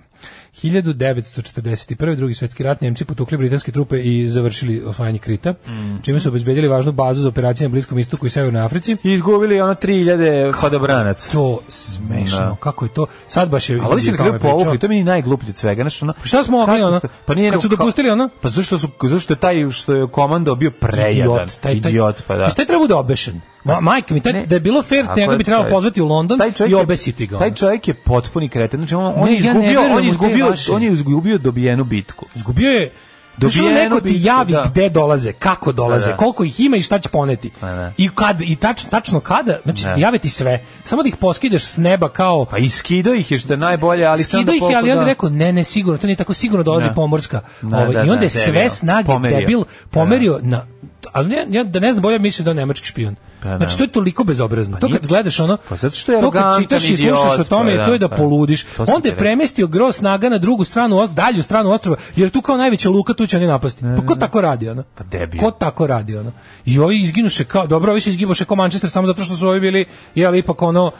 H: 1941. drugi svetski rat Nemci potukli britanske trupe i završili osvajanje Krita,
G: Mhm.
H: čime su obezbedili važnu bazu za operacije na Bliskom istoku i Severnoj Africi.
G: I izgubili ono 3000 padobranaca.
H: To smešno,
G: Da.
H: kako je to? Sad baš je...
G: Ali ovi se na
H: o tome
G: kraju povukli,
H: pričao.
G: to mi je najgluplje od svega, znaš, ono...
H: Pa Šta smo mogli,
G: kako
H: ono?
G: ste- Pa nije
H: Kad
G: nego
H: su
G: kao-
H: dopustili, ono?
G: Pa zašto su zašto je taj što je komando bio prejadan?
H: idiot, taj, taj,
G: E, idiot, pa da.
H: Šta je trebao da obešen? Ma, majke mi, taj,
G: Ne.
H: da je bilo fair,
G: Tako
H: njega
G: je,
H: bi trebalo
G: taj-
H: pozvati u London
G: taj čovjek
H: i
G: je-
H: obesiti ga.
G: Taj
H: ono.
G: čovjek je potpuni kreten. Znači, on, on
H: Ne,
G: je
H: ja ne
G: izgubio,
H: verujem u
G: on
H: te
G: je izgubio,
H: vaše.
G: on je izgubio dobijenu bitku.
H: Izgubio je Znači, ono,
G: Dobijeno
H: neko ti
G: bi-
H: javi
G: da.
H: gde dolaze, kako dolaze,
G: Da, da.
H: koliko ih ima i šta će poneti.
G: da.
H: I kad i tač, tačno kada, znači
G: Da.
H: jave ti sve. Samo da ih poskideš s neba kao
G: Pa iskido ih je što je najbolje, ali sam
H: Skido
G: da
H: ih je,
G: koliko
H: ali onda
G: da-
H: rekao, ne, ne, sigurno, to nije tako sigurno dolazi
G: Da.
H: pomorska.
G: Da,
H: ovaj,
G: da,
H: I
G: da,
H: onda je sve
G: devio.
H: snage,
G: Pomerio.
H: debil,
G: Da.
H: pomerio na ali ne, ja da ne znam bolje mislim da je nemački špijun.
G: Pa da.
H: Znači to je toliko bezobrazno. To
G: nije-
H: kad gledaš ono,
G: Pa zato što je
H: to kad
G: arogantan
H: čitaš i
G: idiot,
H: slušaš o tome,
G: pa da,
H: to je da
G: pa.
H: poludiš.
G: To sam
H: Onda
G: ti
H: je
G: rekao.
H: premestio gro snaga na drugu stranu, os- dalju stranu ostrva, jer tu kao najveća luka tu će oni napasti. Pa ko tako radi ono?
G: Pa debil.
H: Ko tako radi ono? I ovi izginuše kao, dobro, ovi su izgiboše kao Manchester samo zato što su ovi bili, jel, ipak ono,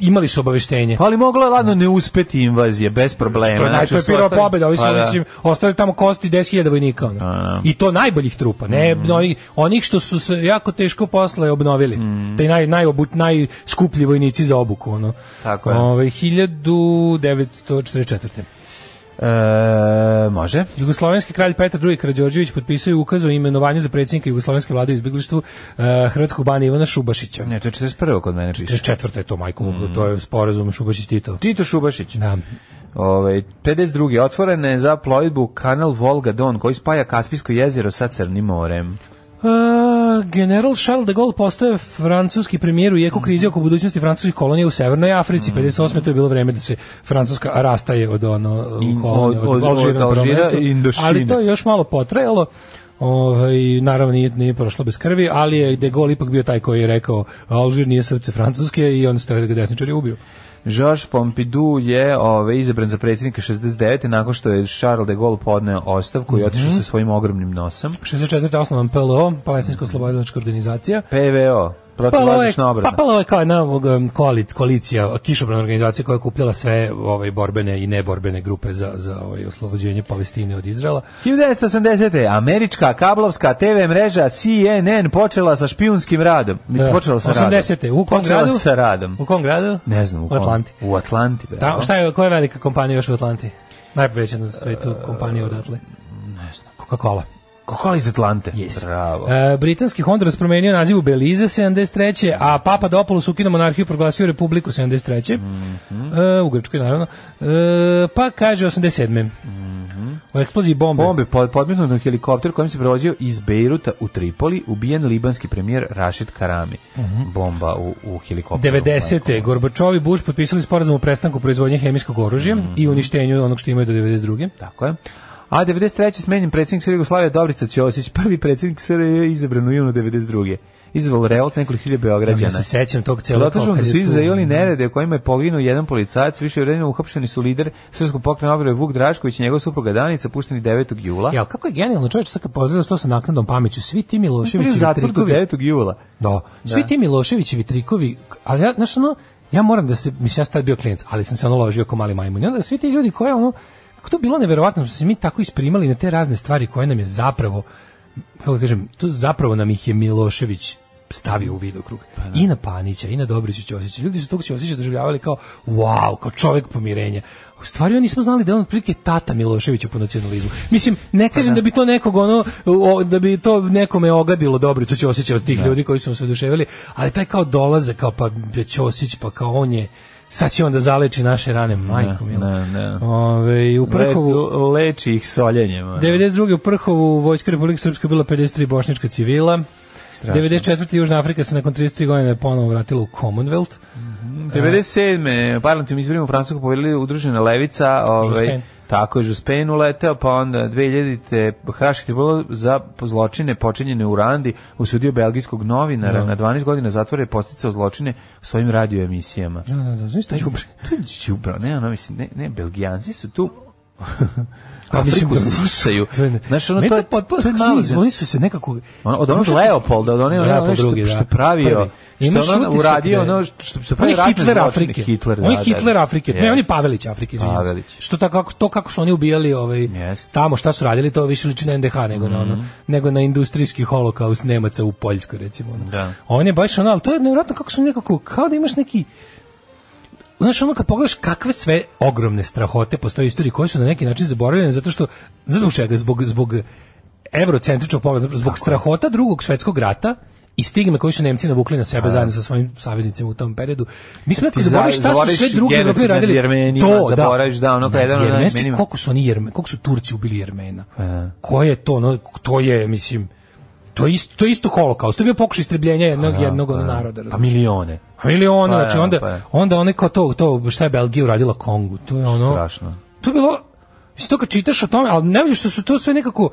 H: imali su obaveštenje.
G: Ali mogla je ladno ne uspeti invazije, bez problema.
H: To je
G: Znači,
H: najpre
G: su
H: prva
G: ostali-
H: pobeda, ovi su
G: Pa da.
H: mislim ostali tamo kosti 10.000 vojnika ono.
G: da. Mm.
H: I to najboljih trupa, ne onih, onih što su se jako teško posle obnovili.
G: Mm.
H: Taj naj najobut najskuplji vojnici za obuku ono.
G: Tako je.
H: Ovaj 1944.
G: E, može.
H: Jugoslovenski kralj Petar II Karađorđević potpisao je ukaz o imenovanju za predsjednika jugoslovenske vlade u izbeglištvu eh, hrvatskog bana Ivana Šubašića.
G: Ne, Mm. to je 41. kod mene piše.
H: 44. je to majkom, to je sporazum Šubašić Tito.
G: Tito Šubašić.
H: Da.
G: Ovaj 52. otvorena je za plovidbu kanal Volga-Don koji spaja Kaspijsko jezero sa Crnim morem.
H: A, General Charles de Gaulle postaje francuski premijer u jeku krize oko budućnosti francuskih kolonija u Severnoj Africi.
G: Mhm.
H: 58. to je bilo vreme da se Francuska rastaje od ono
G: I-
H: kolonije,
G: od- od- od
H: Alžira,
G: Alžira i
H: prvenstveno.
G: Indošine.
H: Ali to je još malo potrajalo. Ovaj naravno nije, nije prošlo bez krvi, ali je De Gaulle ipak bio taj koji je rekao Alžir nije srce Francuske i on se da ga desničar je ubio.
G: Georges Pompidou je ove, izabran za predsjednika 69. nakon što je Charles de Gaulle podneo ostavku
H: Mhm.
G: i otišao sa svojim ogromnim nosom.
H: 64. osnovan PLO, Palestinska oslobodilačka organizacija.
G: PVO,
H: PLO je,
G: protivlazična obrana.
H: pa PLO je kao jedna ovog, um, koalic, koalicija, kišobrana organizacija koja je kupljala sve ovaj, borbene i neborbene grupe za, za ovaj, oslobođenje Palestine od Izraela.
G: 1980. Američka kablovska TV mreža CNN počela sa špijunskim radom.
H: Da.
G: Počela sa
H: 80.
G: radom.
H: U kom
G: počela
H: gradu?
G: sa radom.
H: U kom gradu?
G: Ne znam, u kom.
H: Atlanti.
G: U Atlanti, bravo.
H: Da, šta je, koja je velika kompanija još u Atlanti? Najveća na svetu kompanija odatle. Ne znam. Coca-Cola.
G: Kokola iz Atlante.
H: Yes.
G: Bravo.
H: E, britanski Honduras promenio naziv u Belize 73. A Papa Dopoulos ukinuo monarhiju i proglasio republiku 73.
G: Mhm.
H: e, u Grčkoj, naravno. E, pa kaže 87. U eksploziji bombe.
G: Mhm. Bombe pod podmetnut na helikopter kojim se prevozio iz Bejruta u Tripoli, ubijen libanski premijer Rashid Karami.
H: Mhm.
G: Bomba u, u helikopteru.
H: 90. Gorbačov i Bush potpisali sporazum o prestanku proizvodnje hemijskog oružja
G: Mhm.
H: i uništenju onog što imaju do 92.
G: Tako je. A 93. smenjen predsjednik Srbije Jugoslavije Dobrica Ćosić, prvi predsjednik Srbije je izabran u junu 92. Izvalo revolt nekoliko hiljada
H: Ja
G: Beograđana.
H: se sećam tog celog.
G: Dotažemo
H: kao
G: da
H: kad
G: su
H: je tu-
G: izazeli nerede u kojima je poginuo jedan policajac, više vremena uhapšeni su lider Srpskog pokrena obrve Vuk Drašković i njegov supruga Danica, pušteni 9. jula.
H: Jel, kako je genijalno čovječ, sad kad pozdravio to sa naknadom pameću, svi ti
G: Bili u
H: Miloševićevi
G: zatvoru do
H: trikovi,
G: 9. jula.
H: da, svi ti Miloševićevi trikovi, ali ja, znaš, ono, ja moram da se, mislim, ja sam tad bio klijent, ali sam se ono ložio ko mali majmun, i onda svi ti ljudi koje, ono, kako to bilo neverovatno, što se mi tako isprimali na te razne stvari koje nam je zapravo, kako da kažem, to zapravo nam ih je Milošević stavio u vidokrug. I na Panića, i na Dobriću Ćosića. Ljudi su tog Ćosića doživljavali kao, wow, kao čovek pomirenja. U stvari oni nismo znali da je on prilike tata Miloševića po nacionalizmu. Mislim, ne kažem da bi to nekog ono, o, da bi to nekome ogadilo Dobricu Ćosića od tih ljudi koji su mu se oduševili, ali taj kao dolaze, kao pa Ćosić, pa kao on je, sad će on da E, zaleči naše rane, majko mila.
G: ne, ne.
H: Ove, u Prhovu,
G: Letu- leči ih soljenjem. ono.
H: 92. u Prhovu Vojska Republike Srpske bila 53 bošnička civila. 94. Južna Afrika se nakon 33 godine ponovo vratila u Commonwealth.
G: 97. parlamentarnim izborima u Francusku pobedili udružena levica, ovaj
H: Jospin.
G: tako je Žuspen uleteo, pa onda 2000-te Haški tribunal za zločine počinjene u Randi usudio belgijskog novinara
H: Da.
G: na 12 godina zatvora i posticao zločine u svojim radioemisijama.
H: Da, da, da, znaš šta je
G: To je đubravo, ne, ono, mislim, ne, ne, belgijanci su tu
H: Pa mislim
G: Afriku
H: da-
G: sisaju. Znaš, ono,
H: Meni
G: to je,
H: potpuno-
G: to je
H: kako
G: malo
H: su- Oni su se nekako...
G: Ono, od onog
H: Ono što su-
G: Leopolda, od one, ono,
H: Leopold
G: ono što,
H: drugi, da.
G: što je pravio,
H: Prvi. Imaš
G: što je ono
H: utisak
G: uradio,
H: da je-
G: ono, što, što
H: on
G: pravi
H: je
G: ratne
H: Hitler
G: zločine.
H: Afrike.
G: Hitler,
H: on je
G: da, da,
H: Hitler
G: da.
H: Afrike. Ne,
G: Jeste.
H: on je Pavelić Afrike, izvinjavam se.
G: Pavelić.
H: Što tako, kako- to kako su oni ubijali ovaj,
G: Jeste. Mhm.
H: tamo, šta su radili, to više liči na NDH nego, na, ono, nego na industrijski holokaust Nemaca u Poljskoj, recimo. Ono.
G: Da.
H: On je baš ono, ali to je nevjerojatno kako su nekako, kao da imaš neki... Znaš, ono kad pogledaš kakve sve ogromne strahote postoje u istoriji koje su na neki način zaboravljene, zato što, znaš zbog čega, zbog, zbog evrocentričnog pogleda, zbog strahota drugog svetskog rata i stigme koji su Nemci navukli na sebe zajedno sa svojim saveznicima u tom periodu. Mi smo nekako
G: Da. Ti
H: zaboravili šta su
G: zaboraviš
H: sve drugi
G: genocid
H: Evropi
G: nad
H: radili.
G: Jermenima, zaboraviš, da, ono,
H: Na
G: kao jedan od
H: Jermenski,
G: najmenima.
H: koliko su oni Jerme, koliko su Turci ubili Jermena?
G: E.
H: Ko je to, no, to je, mislim, to je isto, to je isto holokaust, to je bio pokušaj istrebljenja jednog, jednog ono naroda.
G: Pa
H: razumeš?
G: milione.
H: A ili ono,
G: Pa,
H: znači
G: ja,
H: onda,
G: pa, ja.
H: onda one kao to, to šta je Belgija uradila Kongu, to je ono...
G: Strašno.
H: To je bilo, mislim to kad čitaš o tome, ali najbolje što su to sve nekako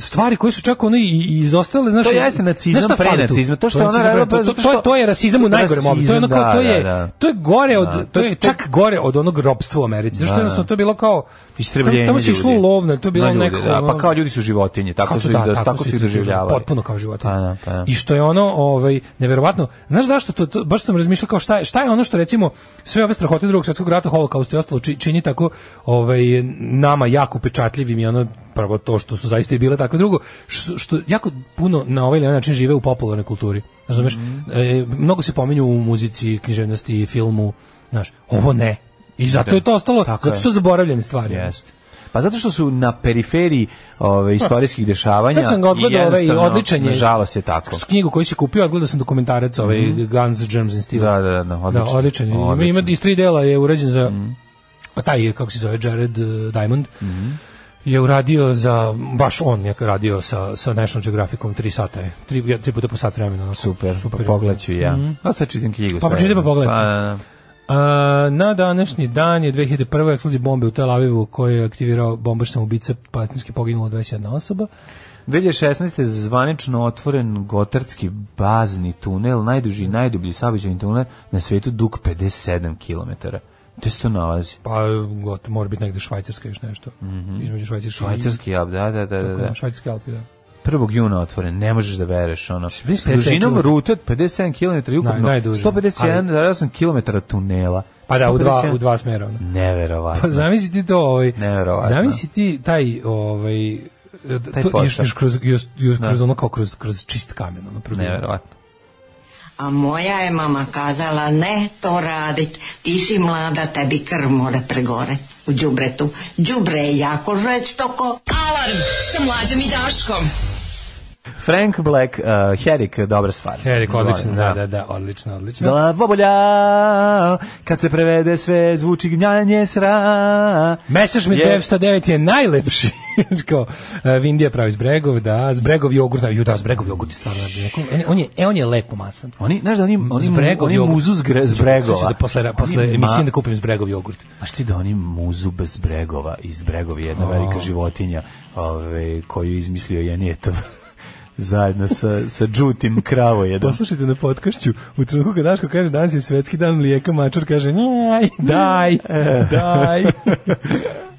H: stvari koje su čak ono i, i izostale, znaš,
G: To jeste nacizam,
H: znaš šta fali tu?
G: prenacizam, to što
H: je
G: ona
H: nacizam,
G: radila,
H: pre-
G: pa
H: to,
G: zato
H: to, je-
G: što-
H: to je rasizam u
G: to je
H: najgorem obliku, to je ono
G: rasizam,
H: kao, to
G: da,
H: je,
G: da, da.
H: to je gore od,
G: Da,
H: to
G: to
H: je
G: je-
H: čak gore od onog robstva u Americi, znaš,
G: Da,
H: što jednostavno to je bilo kao,
G: Istrebljenje
H: tamo se išlo
G: ljudi.
H: u lovno, to je bilo
G: Na ljude,
H: neko,
G: da,
H: ono-
G: pa kao ljudi su životinje, tako
H: kako
G: su, ih da, tako su ih doživljavali.
H: Potpuno kao životinje.
G: Pa da, pa da.
H: I što je ono, ovaj, neverovatno, znaš zašto to, to baš sam razmišljao kao šta je, šta je ono što recimo sve ove strahote drugog svetskog rata, holokaust i ostalo či- čini tako ovaj nama jako upečatljivim i ono prvo to što su zaista i bile tako drugo što, što jako puno na ovaj ili onaj način žive u popularnoj kulturi. Razumeš?
G: Mhm.
H: E, mnogo se pominju u muzici, književnosti, filmu, znaš. Ovo ne. I zato je to ostalo,
G: Da. Tako
H: zato
G: je.
H: su zaboravljene stvari.
G: Jeste. Pa zato što su na periferiji ove, istorijskih dešavanja.
H: Sad sam ga odgledao,
G: i
H: ovaj,
G: jednostavno,
H: odličan je.
G: Nažalost je tako.
H: S knjigu koju si kupio, odgledao sam dokumentarac ovaj Guns, Germs and Steel.
G: Mhm. Da, da, da, da, odličan.
H: Da, odličan. je. Ima- Ima
G: Odličan. Mhm.
H: iz tri dela je urađen za pa taj je, kako se zove Jared eh, Diamond. je uradio za baš on je radio sa sa National Geographicom 3 sata je. 3 tri puta po sat vremena. Super,
G: pa Mhm. Pogledat ću i ja. A sad čitam knjigu.
H: Pa
G: sve.
H: pročitaj pa pogledaj.
G: Pa, da, da.
H: A, na današnji dan je 2001. eksplozija bombe u Tel Avivu koju je aktivirao bombaš samoubica, patinski poginula 21 osoba.
G: 2016. zvanično otvoren Gotardski bazni tunel, najduži i najdublji saobraćajni tunel na svetu dug 57 km. Gde se to nalazi?
H: Pa gotovo, mora biti negde Švajcarska još nešto. Između Švajcarske
G: Mhm. Švajcarski jab, da, da, da,
H: i,
G: da. da.
H: da. Švajcarske Alpi, da.
G: 1. juna otvoren, ne možeš da vereš ono. S
H: 57
G: dužinom
H: km.
G: rute od 57 km i ukupno
H: najduže.
G: 151,8 km tunela.
H: Pa da, u dva,
G: 151.
H: u dva smera. Ono. Pa
G: Neverovatno.
H: zamisli ti to, ovaj,
G: Neverovatno.
H: zamisli ti taj, ovaj, e,
G: Taj
H: to, još,
G: posao.
H: još kroz, još, još
G: Da.
H: kroz ono kao kroz, kroz čist kamen. Ono, probijeno.
G: Neverovatno.
J: A moja je mama kazala ne to radit, ti si mlada, tebi krv more pregore u đubretu. Đubre je jako žestoko.
E: Alarm sa mlađom i Daškom.
G: Frank Black, uh, Herik, dobra stvar.
H: Erik, odlično,
G: Volim,
H: da, da, da, odlično, odlično.
G: Glavobolja, kad se prevede sve zvuči gnjanje sra.
H: Messerschmitt
G: Je.
H: yeah. 909 je najlepši. Kao, uh, Vindija pravi zbregov, da, zbregov jogurt, da, ju, da, zbregov jogurt je stvarno neko, on, je- on, je, e, on je lepo masan.
G: Oni, znaš da oni, oni,
H: Zbregov
G: oni
H: jogurt.
G: muzu zgre,
H: Sad ću- sad ću
G: zbregova.
H: Da posle, posle
G: Oni ma-
H: emisije da kupim zbregov jogurt.
G: A šti da oni muzu bez bregova i zbregovi jedna velika životinja ove, koju je izmislio Janjetov zajedno sa, sa Džutim kravojedom.
H: Poslušajte na podkašću, u trenutku kad Daško kaže danas je svetski dan mlijeka, mačar kaže njaj, daj,
G: E.
H: daj.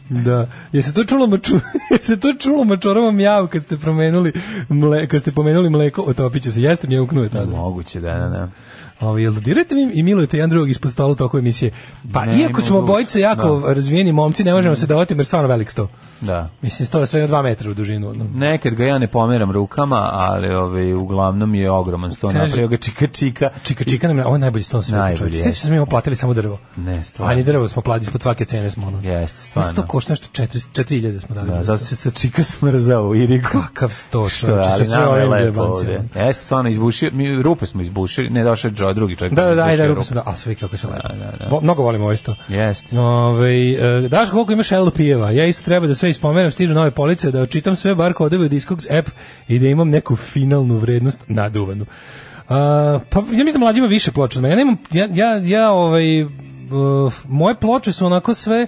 H: Da. Je se to čulo maču, je se to čulo mačorama mjav kad ste promenuli mle, kad ste pomenuli mleko, otopiće se. Jeste mjevknuo tada.
G: Moguće, da, da, da.
H: Ovaj jel dodirate vi i milujete jedan drugog ispod stola u toku emisije. Pa
G: Ne,
H: iako smo
G: mogu. Mm.
H: bojice jako razvijeni momci, ne možemo se da otimo jer stvarno velik sto.
G: da.
H: Mislim sto je sve na 2 metra u dužinu. ono.
G: Nekad ga ja ne pomeram rukama, ali ove, uglavnom je ogroman sto.
H: Kaže-
G: Napravio ga čika čika.
H: Čika, čika nam, je- ovo je najbolji sto na
G: Najbolji, Da.
H: svijetu. čovječe.
G: jeste.
H: Sjećaš se da smo imamo platili samo drvo.
G: Ne, stvarno.
H: A ni drvo smo platili, ispod svake cene smo ono.
G: Jeste,
H: Mislim, to
G: stvarno.
H: košta nešto 4, 4000 smo dali.
G: Da, zato se sa čika smrzao u Iriku.
H: Kakav sto,
G: Što je,
H: čovječe, Znači, sa
G: ali
H: sve
G: nama je
H: ovim
G: lepo
H: zajebancijama.
G: ovdje. Jeste, stvarno izbušio, mi rupe smo izbušili, ne došao je Joe, drugi čovjek.
H: Da, da, da,
G: izbušio
H: ajde, rupe
G: rupe.
H: smo da, a sve kako se lepo.
G: Da, da, da.
H: Vo- Mnogo volim ovo isto.
G: Jeste.
H: Ove, e, daš koliko imaš LP-eva? Ja isto treba da sve ispomenem, stižu nove police, da očitam sve bar kodove u Discogs app i da imam neku finalnu vrednost naduvanu. A, pa ja mislim da mlađi ima više ploča od mene. Ja nemam, ja, ja, ja ovaj, e, moje ploče su onako sve,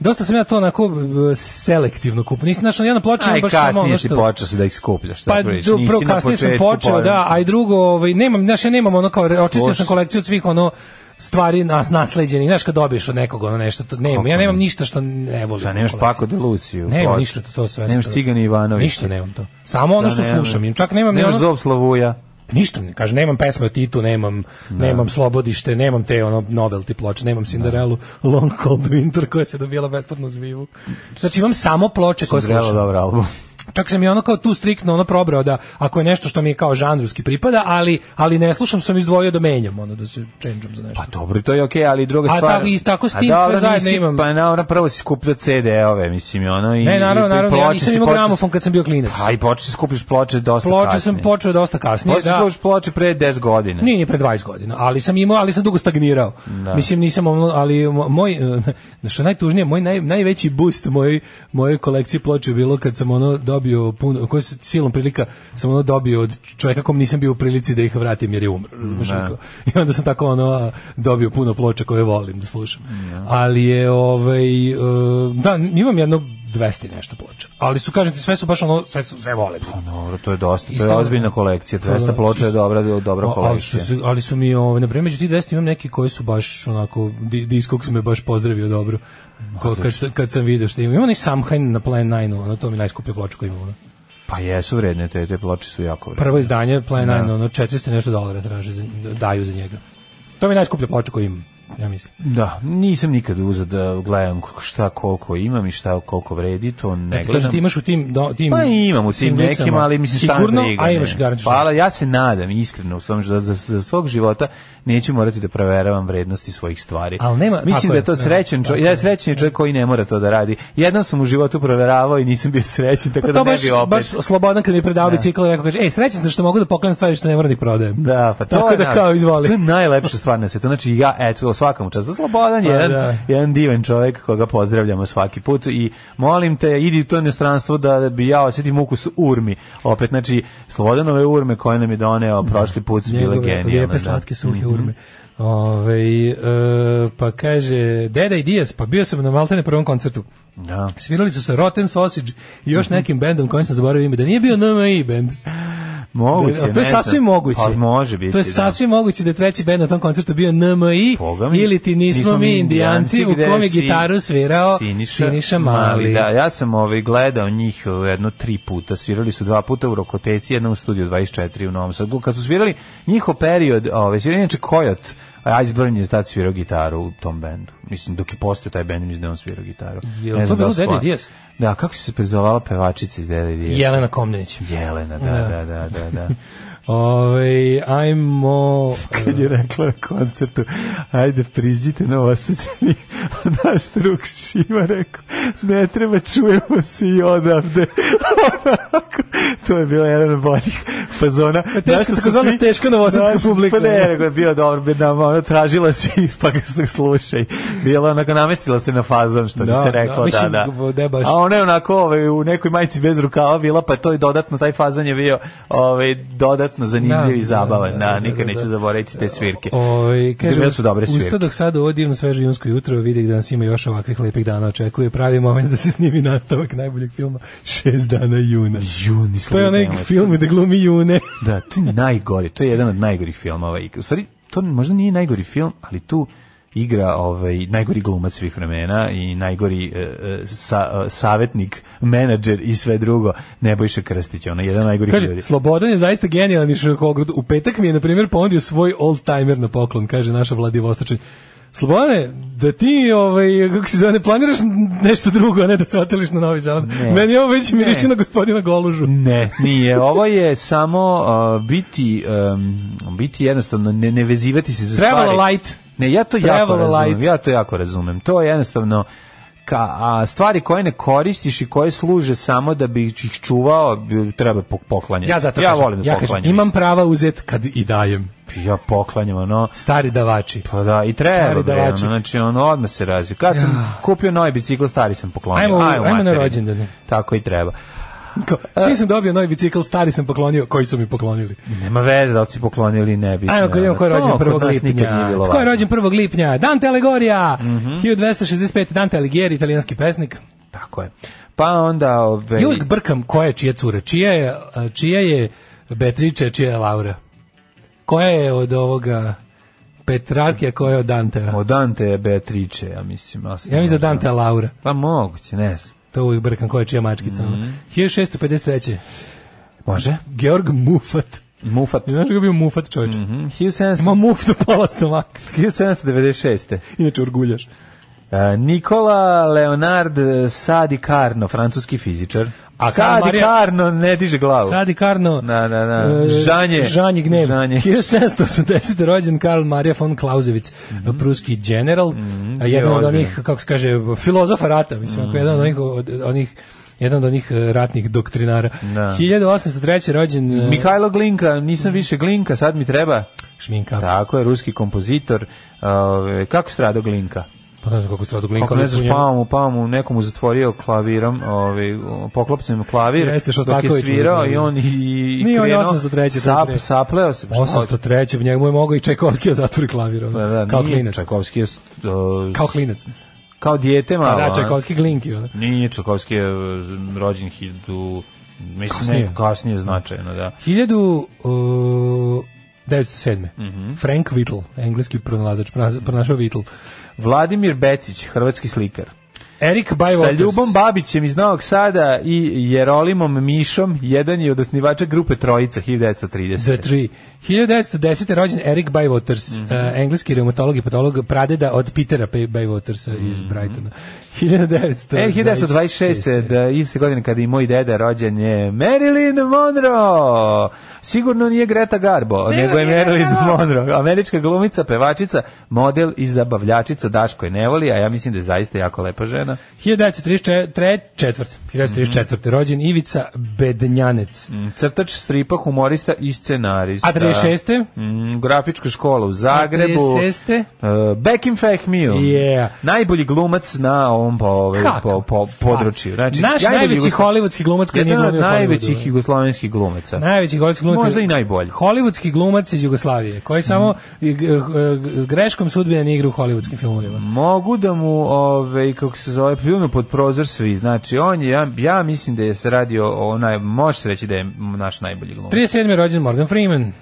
H: dosta sam ja to onako e, selektivno kupio. Nisam našao jedna ploča, ima
G: Aj,
H: Znači, baš samo
G: kasnije
H: ono
G: si
H: što...
G: počeo si da ih skupljaš. šta
H: Pa
G: pričaš,
H: do,
G: nisi
H: prvo
G: na
H: kasnije sam
G: početku pa-
H: počeo,
G: pojavio.
H: da, a i drugo, ovaj, nemam, znaš, ja nemam ono kao, očistio sam
G: Slušaj.
H: kolekciju od svih ono stvari nas nasleđenih, znaš kad dobiješ od nekog ono nešto, to nemam, ja nemam ništa što ne volim.
G: Šta, nemaš
H: u kolekciji.
G: Paco de Luciju?
H: Nemam
G: Hoće.
H: ništa, to, to sve. sam
G: Nemaš
H: to-
G: Cigani Ivanović?
H: Ništa nemam to. Samo ono
G: Da,
H: što
G: nemam.
H: slušam, čak nemam ni
G: Nemaš
H: ono-
G: Zob Slavuja?
H: ništa ne kaže nemam pesme o Titu nemam
G: Da.
H: nemam slobodište nemam te ono novelty ploče nemam Cinderelu Long Cold Winter koja se dobila besplatno u Zvivu znači imam samo ploče koje
G: Zrelo
H: slušam
G: dobar album.
H: Čak sam i ono kao tu striktno ono probrao da ako je nešto što mi je kao žanrovski pripada, ali, ali ne slušam sam izdvojio da menjam, ono da se changeom za nešto.
G: Pa dobro, to je okej, ali druga
H: A
G: stvar...
H: tako i tako s
G: A
H: tim
G: dobro,
H: sve zajedno
G: nisi-
H: imam.
G: Pa na, prvo si skupljao CD-ove, mislim, i ono... I,
H: ne, E, naravno,
G: i
H: naravno, ja
G: ploče
H: nisam
G: si
H: imao
G: počeo-
H: gramofon kad sam bio klinac.
G: Pa i počeo si skupljaš ploče dosta
H: Ploče
G: kasnije.
H: sam počeo dosta kasnije,
G: Počeo si
H: da.
G: skupljaš ploče pre 10 godina.
H: Nije, nije pre 20 godina, ali sam imao, ali sam dugo stagnirao. Mislim nisam ono, ali mo- moj eh, što je najtužnije, moj naj, najveći boost moj moje kolekcije ploče je bilo kad sam ono dobio puno koji se silom prilika sam ono dobio od čovjeka kom nisam bio u prilici da ih vratim jer je umro. razumeš, onako. I onda sam tako ono a, dobio puno ploča koje volim da slušam. Ali je ovaj eh, da imam jedno 200 i nešto ploča. Ali su kažete sve su baš ono sve su sve volim.
G: Dobro, to je dosta, to je
H: Isto-
G: ozbiljna kolekcija.
H: Pa,
G: 200 ploča je dobra, dobra
H: A- ali, su,
G: kolekcija.
H: se- ali su mi, ovaj, na primjer, među tih 10 imam neki koji su baš onako, di, Discogs me baš pozdravio dobro. Ko, kad, sam- kad sam vidio što imam. Imam onaj Samhain na Plan 9, ono, to mi je najskuplja ploča koju imam. Ono.
G: Pa jesu vredne, te, te ploče su jako vredne.
H: Prvo izdanje, Plan
G: Da.
H: 9, ono, 400 i nešto dolara traže, za, daju za njega. To mi je najskuplja ploča koju imam, ja mislim.
G: Da, nisam nikad uzeo da gledam k- šta koliko imam i šta koliko vredi, to ne
H: Ne Kaže,
G: gledam.
H: ti imaš u tim, do, tim
G: Pa imam u tim
H: singlicama.
G: nekim, ali mislim stan
H: Sigurno,
G: briga,
H: a
G: ne.
H: imaš garantično.
G: Pa ali ja se nadam iskreno u svom za, za, za svog života neću morati da proveravam vrednosti svojih stvari.
H: Al nema-
G: mislim
H: tako
G: da
H: je,
G: je to
H: nema,
G: srećan
H: tako
G: čovjek, ja srećan je čovjek koji ne mora to da radi. Jednom sam u životu proveravao i nisam bio srećan, tako
H: Pa
G: da
H: to
G: ne
H: baš,
G: bi opet.
H: baš Slobodan kad mi je predao bicikl, rekao kaže, ej, srećan sam što mogu da poklonim stvari što ne moram da ih prodajem.
G: Da, pa to
H: Tako
G: je
H: da
G: naj-
H: kao izvoli.
G: To je najlepša stvar na svetu. Znači ja eto o svakom čast. Slobodan
H: Pa
G: je jedan,
H: da.
G: jedan divan čovjek koga pozdravljamo svaki put i molim te idi u to inostranstvo da bi ja osjetim ukus urmi. Opet znači Slobodanove urme koje nam je doneo prošli put su bile
H: Mm. Njegove
G: genijalne.
H: Lijepe,
G: da.
H: slatke, suhe urme. Ove, e, pa kaže, Deda i Dijas, pa bio sam na Maltene prvom koncertu.
G: Da.
H: Svirali su sa Rotten Sausage i
G: Mhm.
H: još nekim bendom kojim sam zaboravio ime, da nije bio NMI bend.
G: Moguće,
H: Da, to je
G: ne znam.
H: sasvim moguće.
G: Pa može biti.
H: To je
G: da.
H: sasvim moguće da je treći bend na tom koncertu bio NMI
G: Boga mi,
H: ili ti nismo, mi indijanci u
G: gde
H: kom je
G: si
H: gitaru svirao Siniša, Mali.
G: Da, ja sam ovaj, gledao njih eh, jedno tri puta, svirali su dva puta u Rokoteci, jednom u studiju 24 u Novom Sadu. Kad su svirali njihov period, ovaj, svirali inače Kojot, a Iceburn je tad svirao gitaru u tom bendu. Mislim, dok je postao taj bend, mislim da je on svirao gitaru.
H: Jel
G: Ne
H: to
G: znam da
H: bilo
G: li
H: Dede i
G: sklon-
H: Dijes?
G: Da, kako se prezovala pevačica iz Dede i Dijes?
H: Jelena Komnenić.
G: Jelena, da, da, da, da, da.
H: Ove, Ovaj, ajmo...
G: kad je rekla na koncertu ajde priđite na osjećani a naš drug Šima rekao ne treba čujemo se i odavde Onako, to je bilo jedan od boljih fazona
H: Pa teška,
G: Znaš što su
H: takozvana
G: svi-
H: teška novosadska
G: Znaš,
H: publika. da.
G: pa ne, nego je bio dobro bi nam ono tražila si pa ga se slušaj bila onako namestila se na fazon što bi
H: Da,
G: se
H: da,
G: reklo da,
H: mislim,
G: da,
H: da je baš-
G: a ona je onako ovaj, u nekoj majici bez rukava bila pa to i dodatno taj fazon je bio ovaj, dodatno zanimljiv
H: Da,
G: i zabavan da,
H: da, da,
G: nikad
H: da, da.
G: neću zaboraviti te svirke
H: Ove, kaže,
G: Bile su dobre svirke.
H: ovaj, Usta dok sad u ovo divno sveže junsko jutro vidi da nas ima još ovakvih lepih dana očekuje pravi moment da se snimi nastavak najboljeg filma Šest dana juna.
G: Juni,
H: To je onaj
G: nemoj.
H: film gde glumi june.
G: Da, to je najgori, to je jedan od najgorih filmova. I, u stvari, to možda nije najgori film, ali tu igra ovaj najgori glumac svih vremena i najgori e, e, sa, e, savetnik, menadžer i sve drugo Nebojša Krstić, ona je jedan od najgorih ljudi.
H: Kaže, Slobodan je zaista genijalan i širokogrud. U petak mi je, na primjer, ponudio svoj all-timer na poklon, kaže naša Vladivostočan. Slobodane, da ti, ovaj, kako se zove, ne planiraš nešto drugo, a ne da se oteliš na Novi Zeland.
G: Ne.
H: Meni ovo već
G: Ne.
H: miriči na gospodina Golužu.
G: Ne, nije. Ovo je samo uh, biti um, biti jednostavno ne, ne vezivati se za
H: Travel
G: stvari.
H: light.
G: Ne, ja to jako
H: Travel
G: razumem.
H: light.
G: Ja to jako razumem. To je jednostavno ka, a stvari koje ne koristiš i koje služe samo da bi ih čuvao, bi- treba pok- poklanjati.
H: E, Ja zato
G: ja
H: kažem,
G: volim da
H: ja kažem,
G: poklanjam.
H: imam prava uzet kad i dajem.
G: ja poklanjam ono.
H: Stari davači.
G: Pa da, i treba,
H: Stari
G: bre, ono,
H: davači.
G: znači ono odmah se razvio. Kad sam kupio novi bicikl, stari sam poklonio.
H: Ajmo u- ajmo na
G: materinu.
H: rođendane.
G: Tako i treba.
H: Čim sam dobio novi bicikl, stari sam poklonio, koji su mi poklonili.
G: Nema veze da li si poklonili ili ne bi.
H: Ajmo, ko idemo, ko je rođen 1. lipnja? Ko je rođen 1. lipnja? Dante Aligorija! 1265, Dante Alighieri, italijanski pesnik.
G: Tako je. Pa onda... Ove,
H: Ja uvijek brkam koja je čija cura, čija je, a, čija je Beatrice, a čija je Laura. Koja je od ovoga Petrarkija, koja je od Dantea?
G: Od Dante je Beatrice, ja mislim. ali sam
H: Ja mislim da
G: ne znam.
H: Dante je Laura.
G: Pa moguće, ne znam.
H: To uvijek brkam koja je čija mačkica. 1653.
G: Može?
H: Georg Mufat.
G: Mufat.
H: Znaš kako je bio Mufat čovječ?
G: Mhm, 1700
H: Ima muf do pola stomaka.
G: 1796.
H: Inače, orguljaš.
G: E, Nikola Leonard Sadi Carno, francuski fizičar.
H: A
G: Sadi
H: Karl Marija-
G: Carno ne diže glavu.
H: Sadi Karno.
G: Da, da, da.
H: e,
G: Žanje.
H: Žanje gnev.
G: Žanje.
H: 1780. rođen Karl Marija von Clausewitz, pruski general, a jedan
G: Mhm. bio ozbiljan.
H: od
G: Mhm.
H: onih, kako se kaže, filozofa rata, mislim, ako je jedan od onih, od onih jedan od onih e, ratnih doktrinara.
G: Da.
H: 1803. rođen e, Mm.
G: Mihajlo Glinka, nisam više Glinka, sad mi treba.
H: Šminka.
G: Tako je, ruski kompozitor. Ove, kako strado Glinka?
H: Pa ne znam kako se to
G: Kako
H: Glinka.
G: ne pa znaš, pao mu, pao mu, nekomu zatvorio klavirom, ovaj, poklopcem mu klavir,
H: Jeste,
G: dok je
H: Šostaković mu
G: svirao i
H: zatvorio.
G: on i, i
H: Nije, on je
G: krenuo,
H: 803., to je
G: sap,
H: pre.
G: sapleo se. pa šta-
H: 803. Njemu je mogao i Čajkovski da zatvori klavir. ono,
G: Pa da,
H: kao
G: nije
H: klinac.
G: Čajkovski je, uh,
H: Kao klinac.
G: kao dijete
H: Pa
G: malo.
H: da,
G: a?
H: Čajkovski glinki. ono.
G: Nije, Čajkovski je uh, rođen hiljadu, mislim, kasnije.
H: Kasnije.
G: Ne, kasnije značajno, da.
H: 1907. uh,
G: Mhm.
H: Frank Whittle, engleski pronalazač, pronaz- pronašao Whittle.
G: Vladimir Becić, hrvatski slikar.
H: Erik Bywaters.
G: Sa Ljubom Babićem iz Novog Sada i Jerolimom Mišom, jedan je od osnivača grupe Trojica, 1930.
H: The Tree. 1910. rođen Eric
G: Mhm.
H: Bywaters, eh, engleski reumatolog i patolog pradeda od Petera P. Bywatersa iz Brightona. 1926.
G: Mhm. E, 1926. Da, iste godine kada i moj deda rođen je Marilyn Monroe. Sigurno nije Greta Garbo, nego je Marilyn Monroe. Američka glumica, pevačica, model i zabavljačica. Daško je ne voli, a ja mislim da je zaista jako lepa žena. dana.
H: 1934. 1934. Rođen Ivica Bednjanec.
G: Da. Mm, Crtač, stripa, humorista i scenarista.
H: A 36.
G: Mm, grafička škola u Zagrebu.
H: A 36.
G: Uh, back in Fact Meal.
H: Yeah.
G: Najbolji glumac na ovom po, ovaj,
H: Kako?
G: po, po, području. Znači,
H: Naš
G: najbolji
H: najveći
G: Jugosla-
H: hollywoodski glumac koji nije
G: Jedan od
H: glumio u Hollywoodu,
G: najvećih
H: da.
G: jugoslovenskih glumaca.
H: Najveći hollywoodski glumac.
G: Možda i najbolji. Mm.
H: Hollywoodski glumac iz Jugoslavije, koji samo i, g- g- greškom sudbine ne igra u hollywoodskim filmovima.
G: Mogu da mu, ove, kako se zove, pljunu pod prozor svi. Znači, on je, ja, ja mislim da je se radi o, o naj, može se reći da je naš najbolji glumac.
H: 37. je rođen Morgan Freeman.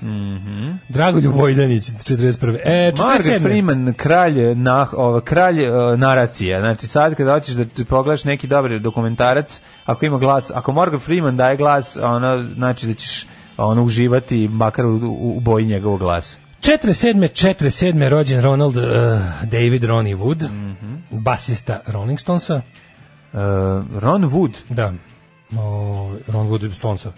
H: Dragoljub Vojdanić, 41. E, 47.
G: Mhm. Morgan Freeman, kralj, na, ova, kralj e, naracija. Znači, sad kada hoćeš da ti pogledaš neki dobar dokumentarac, ako ima glas, ako Morgan Freeman daje glas, ono, znači da ćeš ono, uživati makar u, u, u boji njegovog glasa.
H: 47. 47. je rođen Ronald uh, David Ronnie Wood,
G: Mhm.
H: basista Rolling Stonesa.
G: E, Ron Wood
H: Da. O, Ron Wood Stonesa.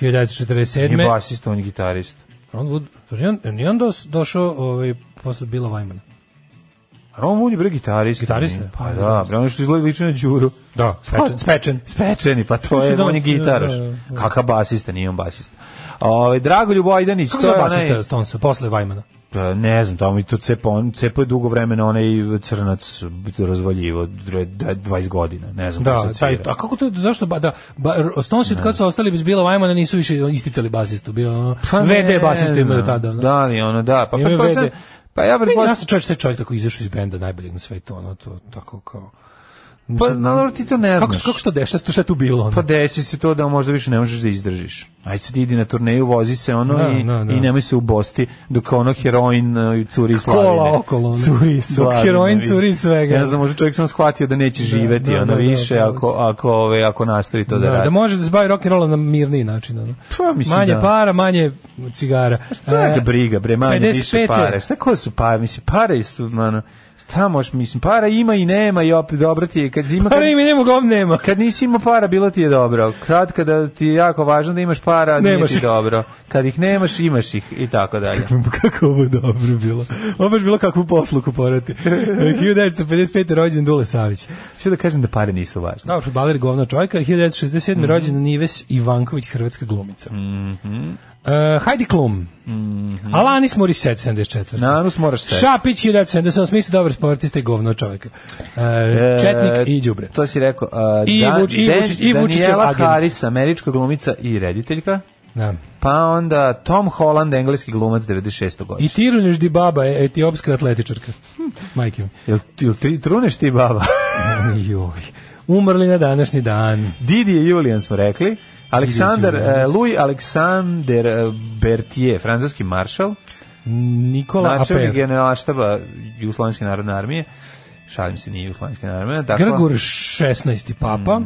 G: je
H: 1947.
G: basista, on je gitarista.
H: Ron Wood, zar on, nije on dos- došao ovaj, posle Billa Wymana?
G: Ron Wood je bre gitarista.
H: Gitarista?
G: nije? Pa da, bre, ono što izgleda lično na Đuru.
H: Da, spečen.
G: Pa-
H: spečen.
G: Spečeni, pa to
H: Mislim
G: je,
H: da
G: on je
H: on-
G: gitaroš.
H: da, da, da.
G: Kakav basista, nije on basista. Ove, Dragoljub Ajdanić,
H: Kako
G: to
H: se
G: je
H: basista
G: onaj...
H: Stonesa, posle Wymana?
G: Pa, Ne znam, tamo i to cepo, on, cepo je dugo vremena onaj crnac razvaljivo, dre- da- 20 godina, ne znam. kako
H: Da,
G: se
H: taj,
G: svira.
H: a kako to, zašto, ba, da, ba, Stonesi od kad su ostali bez Billa Wymana nisu više isticali basistu, bio ono,
G: Pa ne
H: VD basistu imaju
G: znam.
H: tada. ono.
G: Da, ali ono, da, pa
H: Imaju
G: pretpostavljam-
H: VD.
G: Pa ja
H: Meni je
G: pretpostavljam-
H: jasno čovječ, taj čovjek tako izašao iz benda najboljeg na svetu, ono, to tako kao...
G: Pa, na, dobro, ti to ne
H: Kako,
G: znaš.
H: kako što dešava, što je tu bilo? Ono?
G: Pa desi se to da možda više ne možeš da izdržiš. Ajde sad idi na turneju, vozi se ono
H: Da,
G: i,
H: da, da.
G: i nemoj se ubosti dok ono heroin e, curi iz
H: Kola
G: slavine.
H: okolo, ono.
G: Curi iz
H: Dok
G: slavine,
H: heroin
G: vidiš.
H: curi iz svega.
G: Ja znam, možda čovjek sam shvatio da neće živeti
H: da,
G: ono
H: da, da,
G: više
H: da.
G: ako, ako, ove, ako nastavi to da,
H: da,
G: radi.
H: da može da se bavi rock'n'rollom na mirniji način. Ono.
G: Pa, mislim
H: manje
G: da.
H: para, manje cigara.
G: Šta
H: E,
G: ga briga, bre, manje više
H: 55.
G: pare. Šta ko su pare? Mislim, pare su, mano, šta moš, mislim, para ima i nema i opet dobro ti je. Kad, ima, kad,
H: Para ima, nema gov, nema.
G: kad nisi imao para, bilo ti je dobro. Kad kada ti je jako važno da imaš para, nije
H: Nemaš
G: ti
H: ih.
G: dobro. Kad ih nemaš, imaš ih i tako dalje.
H: kako ovo dobro bilo. Ovo baš bilo kakvu posluku porati. 1955. rođen Dule Savić.
G: Što da kažem da pare nisu važne.
H: Da, futbaler govno čovjeka. 1967.
G: Mhm.
H: rođen Nives Ivanković, hrvatska glumica. E, Heidi Klum. Alanis Morissette, 74.
G: Mhm. Na anus moraš se.
H: Šapić 1978, misli dobar sportista i govno čovjeka. E, Četnik i đubre.
G: To si rekao. Uh,
H: I Vuč- i Vučić- i Vučićev
G: Daniela
H: agent.
G: Harris, američka glumica i rediteljka.
H: Da.
G: Pa onda Tom Holland, engleski glumac 96.
H: I
G: godine.
H: Tiruneš Dibaba, e- etiopska atletičarka. Majke mi.
G: Jel, jel tri, truneš ti, baba?
H: Joj. Umrli na današnji dan.
G: Didi i Julian smo rekli. Aleksandar,
H: Didije Julian.
G: eh, Louis Alexander eh, Berthier, francuski maršal,
H: Nikola
G: načelnik
H: Aper.
G: generalštaba Jugoslovenske narodne armije. Šalim se, nije Jugoslovenske narodne armije. Tako, Mhm.
H: Grgur 16. papa.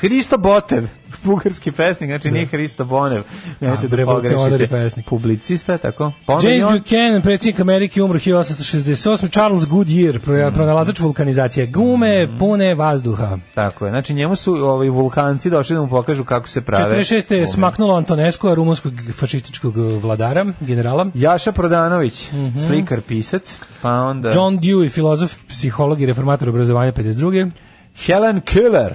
G: Hristo Botev, bugarski pesnik, znači nije Hristo Bonev. Nemojte
H: Da. A,
G: da
H: revolucionarni
G: pogrešite.
H: pesnik.
G: Publicista, tako. Pa onda i
H: James
G: on-
H: Buchanan, predsjednik Amerike, umro 1868. Charles Goodyear,
G: Mhm.
H: pro- pronalazač vulkanizacije gume, pune vazduha.
G: Tako je. Znači njemu su ovaj vulkanci došli da mu pokažu kako se prave.
H: 46. je
G: gume.
H: smaknulo Antonescu, rumunskog fašističkog eh, vladara, generala.
G: Jaša Prodanović, slikar, pisac, pa onda
H: Mhm. John Dewey, filozof, psiholog i reformator obrazovanja 52.
G: Helen Keller,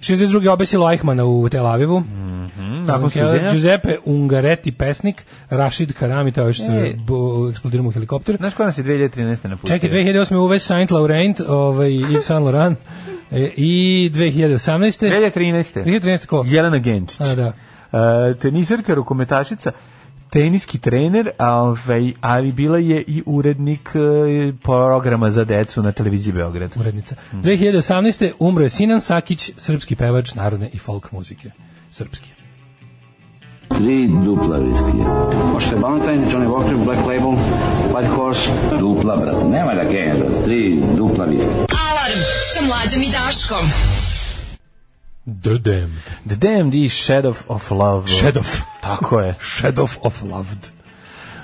H: 62. obesilo Eichmana u Tel Avivu.
G: Mhm.
H: Mm,
G: nakon suđenja.
H: Giuseppe Ungaretti, pesnik, Rashid Karami, to je što
G: Ej.
H: se bo- eksplodiramo u helikopter.
G: Znaš ko nas je 2013. napustio?
H: Čekaj, 2008. UV E Saint Laurent, ovaj, Yves Saint Laurent, e, i 2018.
G: 2013.
H: 2013. ko?
G: Jelena Genčić.
H: A, da.
G: E, tenisarka, rukometašica, teniski trener, a, ovaj, ali bila je i urednik e, programa za decu na televiziji Beograd.
H: Urednica.
G: Mhm.
H: 2018. umro je Sinan Sakić, srpski pevač narodne i folk muzike. Srpski.
B: Tri dupla viskija. Možete Valentine, Johnny Walker, Black Label, White Horse. Dupla, brate. Nema da genja, brate. Tri dupla viskija.
E: Alarm sa mlađom i Daškom.
H: The Damned.
G: The DMD Shadow of Love.
H: Shadow.
G: Tako je.
H: Shadow of Loved.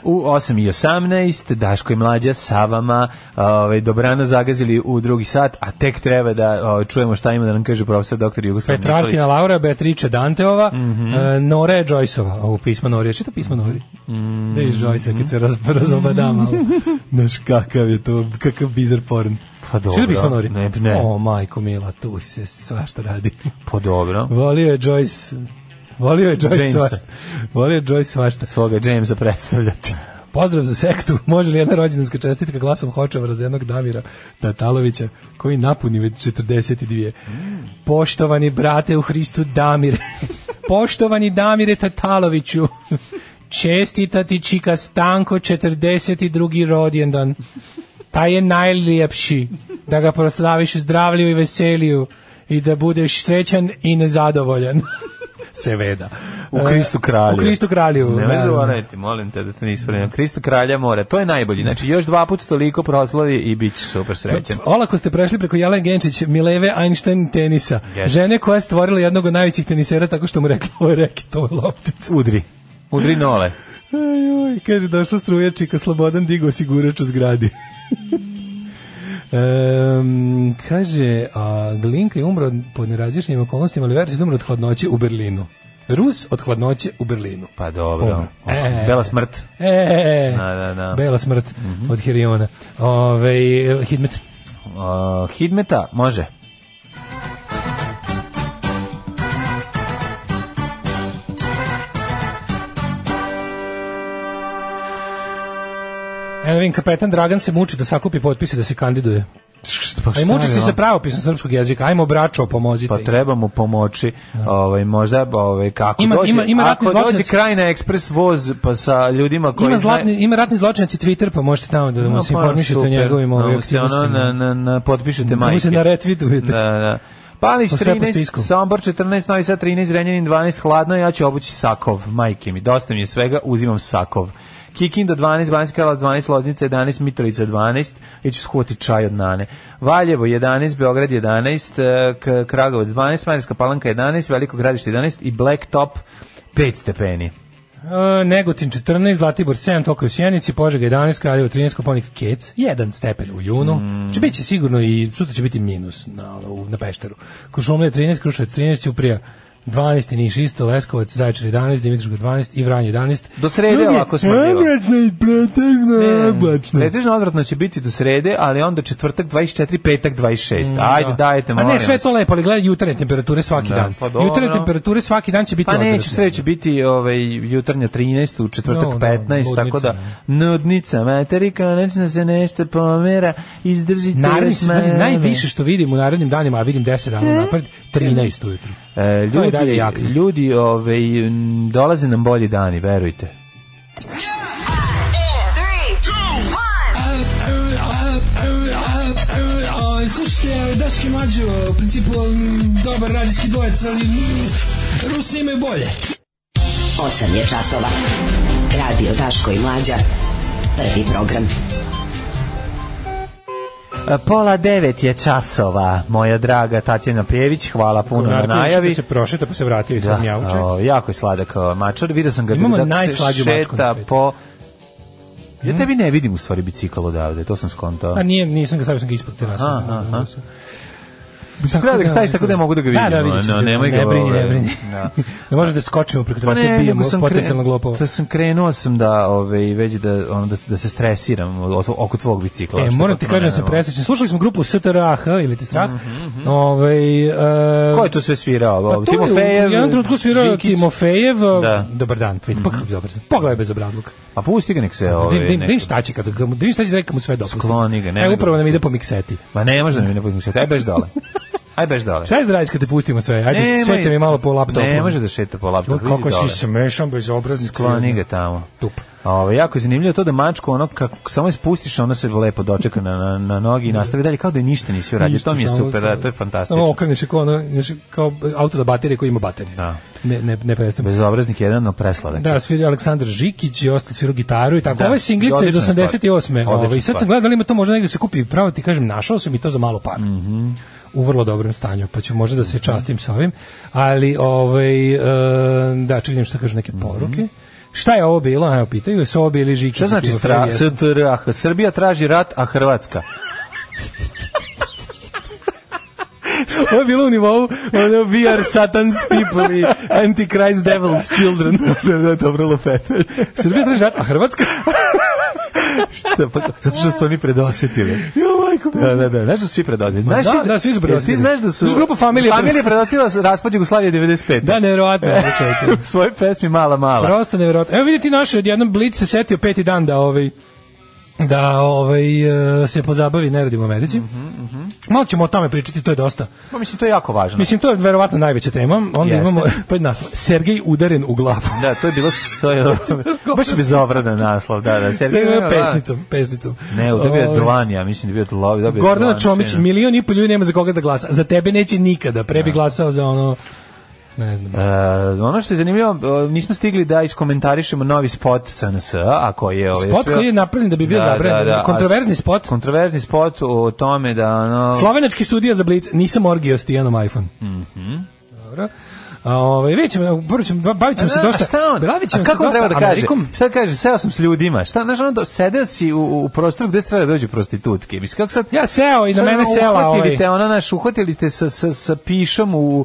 G: u 8 i 18, Daško i Mlađa sa vama, ovaj, dobrano zagazili u drugi sat, a tek treba da ovaj, čujemo šta ima da nam kaže profesor doktor Jugoslav Mišović.
H: Petrarkina Laura, Beatrice Danteova, e, Nora je Joyceova. Ovo pismo Nori, ja čita pismo Nori. Mm. Da je iz Joyce-a kad se raz, razobada malo. Znaš kakav je to, kakav bizar porn.
G: Pa dobro,
H: Čita pismo Nori?
G: ne, ne.
H: O, majko mila, tu se svašta radi.
G: Pa dobro.
H: Volio je Joyce... Volio je Joyce
G: Jamesa.
H: svašta. Volio je Joyce svašta.
G: Svoga Jamesa predstavljati.
H: Pozdrav za sektu. Može li jedna rođendanska čestitka glasom Hočevara za jednog Damira Tatalovića, koji napuni već 42. Poštovani brate u Hristu Damire. Poštovani Damire Tataloviću. Čestita ti Čika Stanko 42. rođendan. Taj je najljepši. Da ga proslaviš u zdravlju i veseliju i da budeš srećan i nezadovoljan. Seveda.
G: U Kristu kralju.
H: E, U Kristu kralju. da,
G: Ne
H: naravno.
G: zaboravite, molim te da to nisi spremio. Krista kralja mora, to je najbolji. Znači, još dva puta toliko proslavi i bit ćeš super srećan.
H: Olako ste prešli preko Jelen Genčić, Mileve Einstein tenisa.
G: Jeste.
H: Žene koja je stvorila jednog od najvećih tenisera tako što mu rekla ovo je reket, ovo je loptica.
G: Udri. Udri nole.
H: Ajoj, kaže, došla struja čika, Slobodan digo osigurač u zgradi. Em, kaže, a Glinka je umro pod nerazjašnjenim okolnostima, ali Verčić je umro od hladnoće u Berlinu. Rus od hladnoće u Berlinu.
G: Pa dobro.
H: Umro. E.
G: Bela smrt.
H: E,
G: Da, da, da.
H: bela smrt od Hiriona. Ove, Hidmet.
G: Uh, Hidmeta, može.
H: Evo vidim, kapetan Dragan se muči da sakupi potpise da se kandiduje.
G: Pa
H: Aj muči se sa pravopisom srpskog jezika. Ajmo braćo, pomozite.
G: Pa treba mu pomoći, ovaj, možda ovaj, kako
H: Da. Ima-
G: dođe.
H: ima- ima ratni
G: Ako dođe
H: zločinac.
G: kraj na ekspres voz pa sa ljudima koji
H: ima,
G: zna-
H: zlatni, ima ratni zločinac i Twitter, pa možete tamo da mu se
G: pa,
H: informišete o
G: super.
H: njegovim
G: Da
H: ovim
G: mu se ono
H: aktivnostima.
G: na, na, na, potpišete
H: Da mu
G: majke.
H: se naretvitujete.
G: Da, da. Palić
H: Po sve po
G: 13,
H: spisku.
G: Sombor 14, Novi Sad 13, Renjanin 12, hladno, ja ću obući sakov, majke mi, dosta mi je svega, uzimam sakov. Kikinda 12, Banjska Karlovac 12, Loznica 11, Mitrovica 12, ja ću skuhati čaj od nane. Valjevo 11, Beograd 11, eh, K- Kragovac 12, Marijska Palanka 11, Veliko gradište 11 i Blacktop 5 stepeni.
H: E, Negotin 14, Zlatibor 7, Tokaj u Sjenici, Požega 11, Kraljevo 13, Koponik Kec, 1 stepen u junu.
G: Mm.
H: Znači, bit će sigurno i sutra će biti minus na, ono, u- na Pešteru. Košumlija 13, Kruševac 13, Uprija 12, Niš isto, Leskovac, Zaječar 11, Dimitrovgrad 12 i Vranje 11.
G: Do srede
H: Drug je
G: ovako smrdljivo.
H: Oblačno i pretegno oblačno.
G: Mm. Pretežno odvratno će biti do srede, ali onda četvrtak 24, petak 26. Ajde, dajte,
H: Mm, da. A
G: molim
H: Pa ne, sve je
G: vas.
H: to lepo, ali gledaj jutarnje temperature svaki
G: Da,
H: dan.
G: pa dobro.
H: jutarnje temperature svaki dan će biti
G: Pa neće,
H: odvratne.
G: sve će biti ovaj, jutarnja 13, u četvrtak
H: No, no,
G: 15, tako da
H: ludnica,
G: nudnica, materi, konačno se nešto pomera, izdržite.
H: Naredni,
G: još
H: se- pazi,
G: malo.
H: najviše što vidim u narednim danima, a vidim 10 dana napred, 13 ujutru.
G: E,
H: To je dalje
G: ljudi,
H: jako.
G: ljudi ovaj, m, dolaze nam bolji dani, verujte.
H: Slušajte, Daški Mađo, u principu dobar radijski dvojec, ali Rusi imaju bolje.
I: 8 je časova. Radio Daško i Mlađa. Prvi program.
G: E, Pola devet je časova, moja draga Tatjana Pjević, hvala puno na najavi.
H: Da se prošeta pa se vratio i
G: Da,
H: sam jauče.
G: o, jako je sladak o, mačar. Vidio sam ga
H: Imamo
G: da se
H: najslađu mačku na
G: šeta
H: svetu. Hmm?
G: po... Ja tebi ne vidim u stvari bicikl odavde, to sam skontao.
H: A nije, nisam ga stavio, sam ga ispod terasa.
G: Aha, aha. Mislim,
H: Tako
G: treba da ga
H: da,
G: staviš tako da ja mogu da ga vidim.
H: Da, da, vidit ćete,
G: ono, nemoj
H: ne
G: ga,
H: brini, ne
G: ovaj,
H: brini.
G: da.
H: Ne možemo da skočimo preko
G: Pa
H: terasa
G: ne,
H: i
G: nego
H: bijemo
G: sam
H: potencijalno
G: krenuo,
H: glopova.
G: da sam krenuo sam da, ovaj, već da, ono, da, da se stresiram o- oko tvog bicikla.
H: E,
G: što
H: moram ti
G: potpuno
H: kažem da sam
G: ne mogu.
H: presrećen. Slušali smo grupu STRAH ili ti strah. Ovaj e,
G: Ko je tu sve svirao?
H: Pa
G: Ovaj,
H: to je u-
G: Timofejev,
H: U jednom trenutku svirao
G: Žinkić?
H: Timofejev.
G: Da.
H: Dobar dan. vidi, Pa kako bezobrazno. Pogledaj bez obrazluka.
G: A pusti ga nek se...
H: Da
G: Ovaj,
H: im- da im- da
G: nek-
H: im šta će, kad, kad mu- da im šta će da rekamo sve dopusti.
G: Skloni ga, ne
H: E,
G: nego-
H: upravo nam ide po mikseti.
G: Ma ne može da mi ne budem se. Aj bež dole. Aj bež dole.
H: Šta je da radiš kad te pustimo sve? Ajde,
G: Nemoj.
H: šetaj mi malo po laptopu.
G: Ne može da šeta po laptopu.
H: Joj,
G: vidi
H: Kako
G: dole.
H: si smešan, bezobrazni.
G: Skloni ga tamo.
H: Tup.
G: Ovo, jako je zanimljivo to da mačku, ono, kako samo je spustiš, ona se lepo dočeka na, na, na nogi i nastavi dalje, kao da je ništa nisi uradio. To mi je
H: Ništa, samo-
G: super, da, to je
H: Samo
G: fantastično.
H: okreneš je kao, ono, znaš, kao auto da baterije koji ima baterije.
G: Da.
H: Ne, ne, ne prestane.
G: Bezobraznik jedan, no presladak.
H: Da, svira Aleksandar Žikić i ostali sviru gitaru i tako.
G: Da.
H: Ova je singlica iz
G: Odlična stvar.
H: 88.
G: Odlična
H: Ovaj sad
G: stvar.
H: sam gledao da li ima to možda negde se kupi. Pravo ti kažem, našao sam i to za malo par. Mhm. u vrlo dobrom stanju, pa ću možda da se častim sa ovim, ali ovaj, e, da, čekaj, vidim šta kažu
G: Mhm.
H: neke poruke. Šta je ovo bilo? Evo, pitaju, jesu ovo bili Žikić?
G: Šta znači stra, STR, a H- Srbija traži rat, a Hrvatska?
H: Ovo je bilo u nivou ono, we are Satan's people i Antichrist devil's children.
G: da, da, dobro lopete.
H: Srbija traži rat, a Hrvatska?
G: Šta, pa, zato što su oni predosetili. Da, da, da, znaš da su svi predosjetili. Znaš
H: da,
G: ti-
H: da, svi su predosjetili.
G: Ti znaš da su...
H: Znaš, grupa Familija
G: Familija predosjetila raspad Jugoslavije 95.
H: Da, nevjerovatno.
G: E.
H: ovo čoveče.
G: u svojoj pesmi Mala Mala.
H: Prosto nevjerojatno. Evo vidite naš odjedan Blic se setio peti dan da ovaj da ovaj e, se pozabavi neradim u Americi.
G: Mhm,
H: Malo ćemo o tome pričati, to je dosta.
G: Pa mislim, to je jako važno.
H: Mislim to je verovatno najveća tema. Onda
G: Jeste.
H: imamo pa naslov Sergej udaren u glavu.
G: Da, to je bilo, to je baš je bezobradan naslov, da, da. Sergej
H: Sergej
G: Milan-
H: pesnicom, pesnicom.
G: Ne, dobio je
H: Ovaj,
G: Dlani, ja mislim da je bio Dlani. Dobio je
H: Gordana
G: Dlani,
H: Čomić,
G: sigurno.
H: milion i pol ljudi nema za koga da glasa. Za tebe neće nikada. Pre
G: Da.
H: bi glasao za ono ne znam.
G: E, ono što je zanimljivo, e, nismo stigli da iskomentarišemo novi spot SNS, a koji je... Ovaj,
H: Spot koji je napravljen da bi bio zabranjen. Kontroverzni
G: a s-
H: spot.
G: Kontroverzni spot o tome da... Ono,
H: Slovenački sudija za Blic, nisam orgio s Tijanom iPhone. Mhm. Dobro. A, ovaj, vidjet ćemo, prvo ćemo, ba- bavit ćemo se
G: A,
H: dosta.
G: a Šta on?
H: Bavit ćemo
G: A
H: se
G: kako on
H: dosta
G: treba da kaže?
H: Amerikom.
G: Šta da kaže? Seo sam s ljudima. Šta, znaš, ono, do- sedeo si u, u prostoru gde se treba da dođu prostitutke. Mislim, kako sad...
H: Ja seo i na
G: sad,
H: mene
G: ono,
H: sela
G: Uhvatili
H: ovaj.
G: te, ono, naš, uhvatili te sa, sa, sa pišom u, u,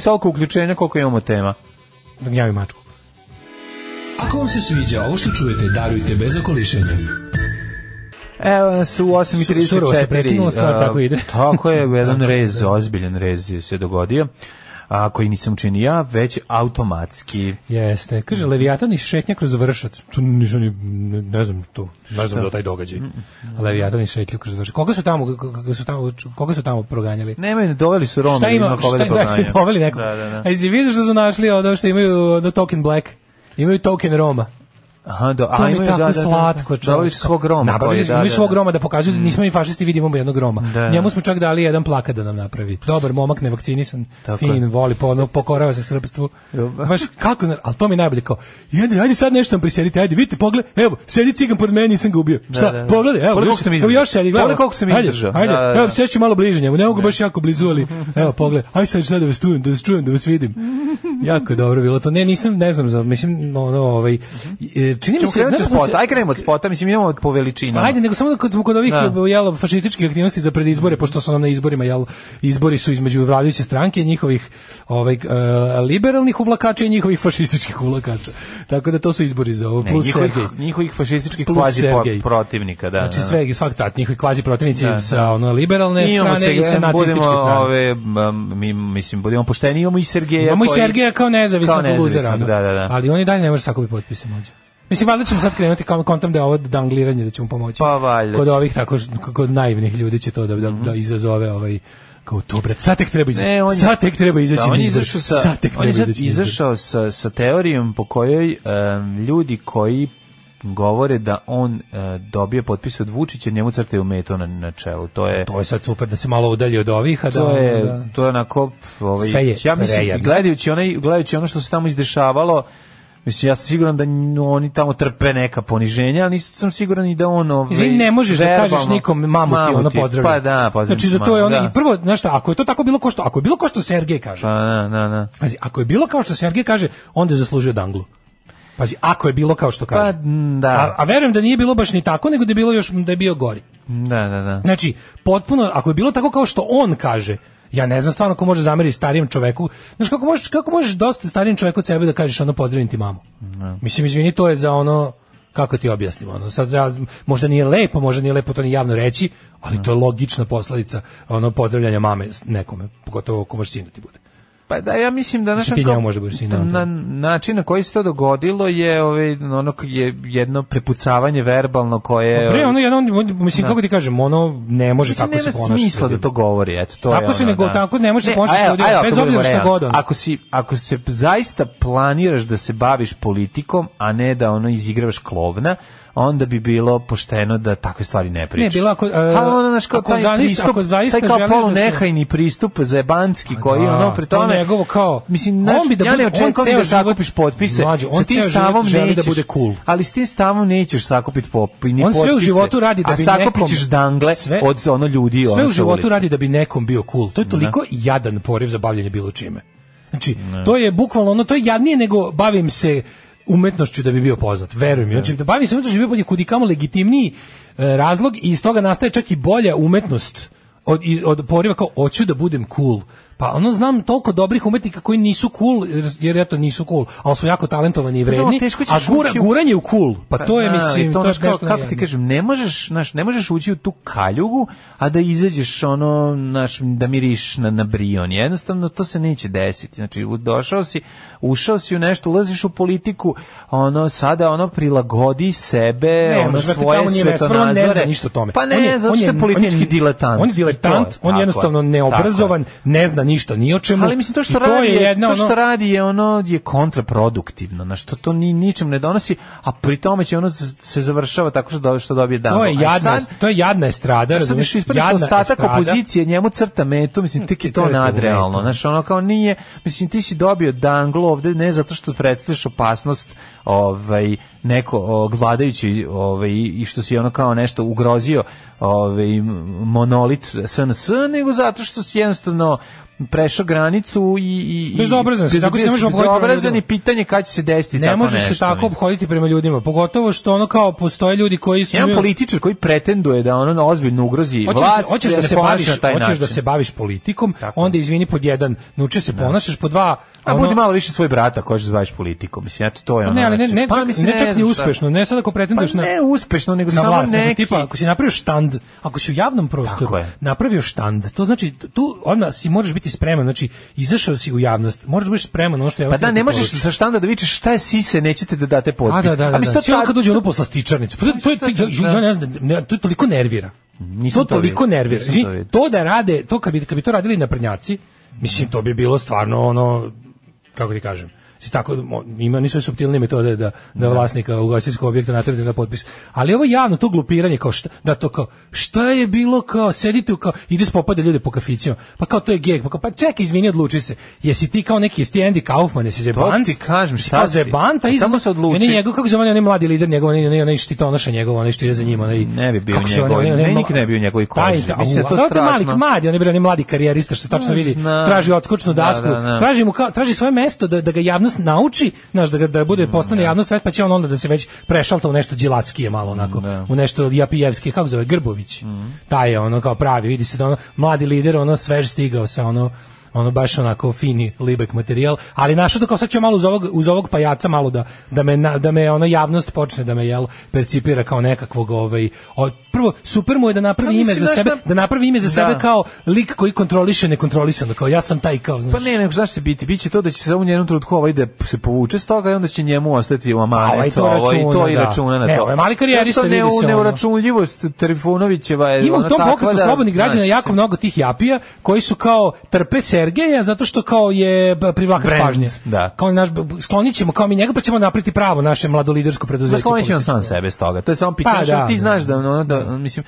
G: toliko uključenja koliko imamo tema.
H: Da gnjavi mačku.
K: Ako vam se sviđa ovo što čujete, darujte bez okolišenja.
G: Evo nas u
H: Su- surovo se
G: 8.34.
H: prekinula stvar,
G: a,
H: tako ide.
G: tako je, jedan rez, ozbiljen rez se dogodio, a koji nisam učinio ja, već automatski.
H: Jeste, kaže Leviatan i šetnja kroz vršac. To nisam ni, ne, ne znam to, ne znam da taj događaj. Leviatan i šetnja kroz vršac. Koga su tamo, koga su tamo, koga su tamo proganjali?
G: Nemaju, doveli su Roma,
H: šta ima, šta
G: da
H: da,
G: poznaju.
H: su doveli nekog.
G: Da, da, da.
H: A jesi vidiš da su našli ono što imaju do token black? Imaju token Roma.
G: Aha, do,
H: To mi je
G: imaju,
H: tako
G: da, da, da.
H: slatko, čovječe.
G: Doveli su svog Roma. pa
H: Nabavili
G: koji-
H: smo mi svog Roma da pokazuju da nismo mi fašisti, vidimo jednog Roma.
G: Mm. Da.
H: Njemu smo čak dali jedan plakat da nam napravi. Dobar momak, nevakcinisan,
G: Tako
H: fin,
G: je.
H: voli, po, ono, pokorava se srpstvu.
G: Jel da?
H: Baš kako, zna- ali to mi je najbolje kao, ajde, ajde sad nešto nam prisjedite, ajde, vidite, pogled, evo, sedi cigan pored mene, nisam ga ubio. Šta,
G: da, da.
H: pogledaj, evo,
G: Pogledaj
H: još,
G: koliko sam
H: evo, još
G: izdržao.
H: sedi, gledaj.
G: Pogledaj koliko sam
H: Ajde,
G: izdržao.
H: Ajde,
G: Da, da,
H: evo,
G: da.
H: seću malo bliže njemu, ne mogu baš jako blizu, ali evo, pogledaj, ajde sad šta da vas čujem, da vas čujem, da vas vidim. jako je dobro bilo to. Ne, nisam, ne znam, za- mislim, ono, ovaj, e, čini mi
G: Ćemo
H: se,
G: krenuti od
H: znaš da smo se-
G: spota, aj krenemo od spota, mislim imamo po veličinama.
H: Ajde, nego samo da kad smo kod ovih
G: Da.
H: jel, fašističkih aktivnosti za predizbore, pošto su nam na izborima, jel, izbori su između vladajuće stranke i njihovih ovaj, e, liberalnih uvlakača i njihovih fašističkih uvlakača. Tako da to su izbori za ovo,
G: Ne,
H: plus
G: njihovih,
H: Sergej.
G: njihovih fašističkih
H: Plus
G: kvazi po-
H: Sergej.
G: protivnika, da. da,
H: Znači
G: da.
H: sve, i svak tat, njihovi kvazi protivnici
G: Da,
H: sa ono, liberalne
G: Imamo
H: strane i sa
G: Sergeja,
H: nacističke
G: budemo
H: strane.
G: ove, m, mi, mislim, budemo pošteni, imamo i Sergeja.
H: Imamo i
G: koji-
H: Sergeja kao nezavisnog
G: Kao nezavisnog,
H: luzera. ono.
G: da, da, da.
H: Ali oni dalje ne može sakupiti potpise mlađe. Mislim, valjda ćemo sad krenuti kao kontam da je ovo dangliranje, da ćemo pomoći.
G: Pa valjda
H: Kod
G: će. Mhm.
H: ovih tako, š- kod naivnih ljudi će to da, da, da izazove ovaj kao to brat, sad tek treba izaći,
G: Ne, on je-
H: sad tek treba izaći
G: Da,
H: na
G: on je
H: izbore,
G: izašao sa,
H: sad tek da
G: on
H: treba
G: je sad
H: izaći na izbore.
G: izašao sa, sa teorijom po kojoj em, ljudi koji govore da on e, dobije potpis od Vučića, njemu crtaju meto na, na čelu. To je...
H: To je sad super da se malo udalji od ovih, a da...
G: To je,
H: da-
G: to je onako, pf, ovaj,
H: Sve je
G: ja mislim,
H: prejedno.
G: gledajući, onaj, gledajući ono što se tamo izdešavalo, mislim, ja sam siguran da n- oni tamo trpe neka poniženja, ali nisam siguran i da on... Ovaj,
H: Izvini, ne možeš da
G: verbalno-
H: kažeš nikom mamu ti ono pozdravlja.
G: Pa da, pozdravlja.
H: Znači, za to je
G: mamu,
H: ono,
G: da.
H: i prvo, znaš šta, ako je to tako bilo ko što, ako je bilo ko što Sergej kaže,
G: Pa da, da, da.
H: Pazi, ako je bilo kao što Sergej kaže, onda je zaslužio danglu. Pazi, ako je bilo kao što
G: Pa,
H: kaže.
G: m,
H: A,
G: da,
H: a verujem da nije bilo baš ni tako, nego da je bilo još da je bio gori.
G: da, da, da.
H: Znači, potpuno, ako je bilo tako kao što on kaže, ja ne znam stvarno ko može zameriti starijem čoveku. Znaš, kako možeš, kako možeš dosta starijem čoveku od sebe da kažeš ono pozdravim ti mamu?
G: Da.
H: Mislim, izvini, to je za ono, kako ti objasnim, ono, sad ja, možda nije lepo, možda nije lepo to ni javno reći, ali to je logična posledica ono pozdravljanja mame s- nekome, pogotovo ako možeš sinu ti bude.
G: Pa da, ja mislim da...
H: Mislim,
G: znaš,
H: ti
G: kao-
H: njemu možda budeš da. sinan,
G: Na, način na koji se to dogodilo je ovaj, ono, je jedno prepucavanje verbalno koje...
H: Pre,
G: ovaj,
H: ono, jedan, mislim,
G: Da.
H: kako ti kažem, ono, ne može
G: Mislim,
H: tako se
G: nema
H: ponašati.
G: smisla da to govori, eto, to
H: Tako
G: je
H: se
G: ono,
H: ne go-
G: da.
H: tako ne može se ponašati
G: a evo-
H: s ljudima,
G: a evo,
H: bez
G: ako
H: obzira
G: budemo
H: šta god
G: realni,
H: ono.
G: Ako, si, ako se zaista planiraš da se baviš politikom, a ne da ono izigravaš klovna, onda bi bilo pošteno da takve stvari ne pričaš.
H: Ne, bilo ako, e,
G: a ono, znaš, kao
H: ako
G: taj
H: zaista-
G: pristup,
H: ako zaista
G: taj kao
H: želiš da se-
G: polunehajni pristup zajebanski koji
H: Da,
G: ono, pri
H: to
G: tome...
H: njegovo kao-
G: Mislim,
H: On
G: znaš,
H: bi da
G: ja
H: bude-
G: ne
H: on
G: očekujem
H: ceo
G: da
H: život-
G: sakupiš potpise.
H: Mlađo, on
G: Sa tim
H: ceo život
G: stavom
H: želi da
G: nećeš.
H: bude cool.
G: Ali s tim stavom nećeš sakupiti pop, ni
H: On sve u
G: potpise,
H: životu radi da
G: a
H: bi
G: sakupit
H: nekom-
G: ćeš dangle
H: Sve-
G: od ono ljudi
H: Sve
G: ono
H: u
G: sa
H: životu
G: ulice.
H: radi da bi nekom bio cool. To je toliko jadan poriv za bavljanje bilo čime. Znači, to je bukvalno ono, to je jadnije nego bavim se umetnošću da bi bio poznat. Verujem mi. Znači, da bavim se umetnošću da bi bio kudi kamo legitimniji e, razlog i iz toga nastaje čak i bolja umetnost od, i- od poriva kao hoću da budem cool. Pa ono znam toliko dobrih umetnika koji nisu cool jer, jer eto nisu cool, ali su jako talentovani i
G: Znam,
H: vredni.
G: Pa da, teško ćeš
H: a gura,
G: ući u-
H: guranje u cool, pa to je
G: da,
H: mislim
G: i
H: to, je
G: znaš, kao-
H: nešto
G: kako ti
H: najjadnije.
G: kažem, ne možeš, znaš, ne možeš ući u tu kaljugu, a da izađeš ono, znaš, da miriš na, na brion. Jednostavno, to se neće desiti. Znači, u- došao si, ušao si u nešto, ulaziš u politiku, ono, sada ono, prilagodi sebe,
H: Ne,
G: ono,
H: možeš da ti
G: svoje
H: tamo nije mesto. Prvo, on ne zna
G: svetonazore.
H: ništa o tome.
G: Pa ne,
H: On je-
G: zato
H: on
G: što
H: je-
G: je politički
H: on je-
G: diletant.
H: On
G: I
H: je
G: to
H: diletant,
G: je,
H: on
G: tako
H: jednostavno
G: je.
H: neobrazovan, ne zna ništa ni o čemu.
G: Ali mislim to što
H: I
G: radi,
H: je jedna
G: to što
H: ono-
G: radi je ono je kontraproduktivno, na što to ni ničem ne donosi, a pri tome će ono z- se završava tako što do, što dobije dan.
H: To je jadna, to je jadna estrada,
G: Sad
H: razumeš?
G: više ispadne što
H: Jadna
G: ostatak
H: estrada.
G: opozicije njemu crta metu, mislim, tek je to
H: crta mu
G: nadrealno.
H: metu.
G: Znaš, ono kao nije, mislim, ti si dobio danglo ovde ne zato što predstavljaš opasnost ovaj, neko o, vladajući ovaj, i što si ono kao nešto ugrozio ovaj, monolit SNS, nego zato što si jednostavno prešao granicu i... i i-
H: Bezobrazan si, tako se ne možeš ophoditi prema
G: bezobrazan
H: ljudima.
G: i pitanje kada će se desiti
H: Ne
G: tako
H: može
G: nešto.
H: se tako
G: mislim.
H: obhoditi prema ljudima, pogotovo što ono kao postoje ljudi koji su
G: Jedan političar koji pretenduje da ono ozbiljno ugrozi
H: Hoćeš,
G: vlast,
H: hoćeš da,
G: da
H: se
G: ponaša
H: baviš,
G: na taj
H: hoćeš da
G: način. Da.
H: se baviš politikom, onda izvini pod jedan, nuče se ponašaš pod dva,
G: A
H: ono-
G: budi malo više svoj brat ako hoćeš da se baviš politikom. Mislim, eto to je
H: Pa
G: ono.
H: ne, ali ne,
G: znači,
H: ne, čak,
G: mislim,
H: ne, čak ni
G: znam šta.
H: uspešno, ne sad ako pretenduješ
G: Pa
H: na...
G: ne uspešno, nego
H: na
G: samo
H: vlast, nego
G: neki- Pa da,
H: tipa, ako si napravio štand, ako si u javnom prostoru
G: Tako je.
H: napravio štand, to znači tu odmah si moraš biti spreman, znači izašao si u javnost, moraš da budeš spreman na ono što je
G: Pa da, ne možeš sa štanda da vičeš šta je sise, nećete da date potpis.
H: A da, da, da.
G: A mislim,
H: da.
G: to
H: Cijelo
G: tad-
H: kad dođe ono poslastičarnicu. Pa to, to, je,
G: Šta to-
H: ja ne znam, ne, to je toliko nervira.
G: Nisam
H: to
G: to
H: toliko
G: vidio,
H: nervira.
G: nisam
H: Znači,
G: to vidio.
H: to da rade, to kad bi, kad bi to radili na prnjaci, mislim, to bi bilo stvarno ono, kako ti kažem, Mislim, tako, mo- ima nisu ove suptilne metode da, da vlasnika ugostiteljskog objekta natrati na potpis. Ali ovo javno, to glupiranje, kao šta, da to kao, šta je bilo kao, sedite u kao, ide spopade ljude po kafićima, pa kao to je geg, pa kao, pa čekaj, izvini, odluči se, jesi ti kao neki, jesi ti Andy Kaufman, jesi zebanc?
G: ti kažem,
H: Jesi
G: šta
H: kao
G: si? Pa
H: Zebanta,
G: Samo
H: izma-
G: se odluči.
H: Oni njegov, kako se zove, onaj mladi lider njegov, onaj, onaj, onaj štitonoša njegov, onaj što ide za njim, onaj...
G: Ne bi bio
H: kako se zove,
G: njegov,
H: onaj- onaj
G: ne,
H: mla-
G: nikad ne bi bio njegovoj koži.
H: Taj, ta-
G: Mislim da je to
H: a, dobro, mali
G: strašno.
H: mladi, on je bio onaj mladi karijerista što se tačno vidi,
G: Znam.
H: traži odskočnu
G: Da,
H: dasku,
G: da, da.
H: traži mu kao, traži svoje mesto da, da ga javnost nauči, znaš, da, ga, da bude
G: Mm,
H: postane javnost svet, pa će on onda da se već prešalta u nešto džilaskije malo onako,
G: Mm, da.
H: u nešto japijevskije, kako se zove, Grbović. Taj je ono kao pravi, vidi se da ono, mladi lider, ono svež stigao sa ono, ono baš onako fini libek materijal, ali našao da kao sad ću malo uz ovog, uz ovog pajaca malo da, da me, na- da me ono javnost počne da me jel percipira kao nekakvog ovaj, od, prvo super mu je da napravi
G: Pa
H: ime
G: mislim,
H: za
G: znaš
H: sebe,
G: šta-
H: da napravi ime za
G: Da.
H: sebe kao lik koji kontroliše nekontrolisano, kao ja sam taj kao, znaš.
G: Pa ne, nego znaš se biti, biće to da će se u jednom trenutku ovaj da se povuče s toga i onda će njemu ostati u amanet,
H: Ovaj to
G: ovaj, i to i
H: računa, da.
G: računa na to.
H: Ne, ovaj mali karijerista
G: Prosto
H: vidi se ono.
G: Neuračunljivost Trifunovićeva je
H: Ima u
G: ona
H: tom
G: takva
H: pokretu
G: da-
H: slobodnih građana
G: znaš,
H: jako mnogo tih japija koji su kao trpe Sergeja zato što kao je b- privlačač
G: Brand,
H: pažnje.
G: da.
H: Kao naš b- b- sklonit ćemo kao mi njega pa ćemo napriti pravo naše mladolidersko preduzeće.
G: Da sklonit će on sam
H: političko.
G: sebe s toga. To je samo pitanje.
H: Pa
G: što
H: da,
G: ti
H: da.
G: znaš da, ono, da mislim, k-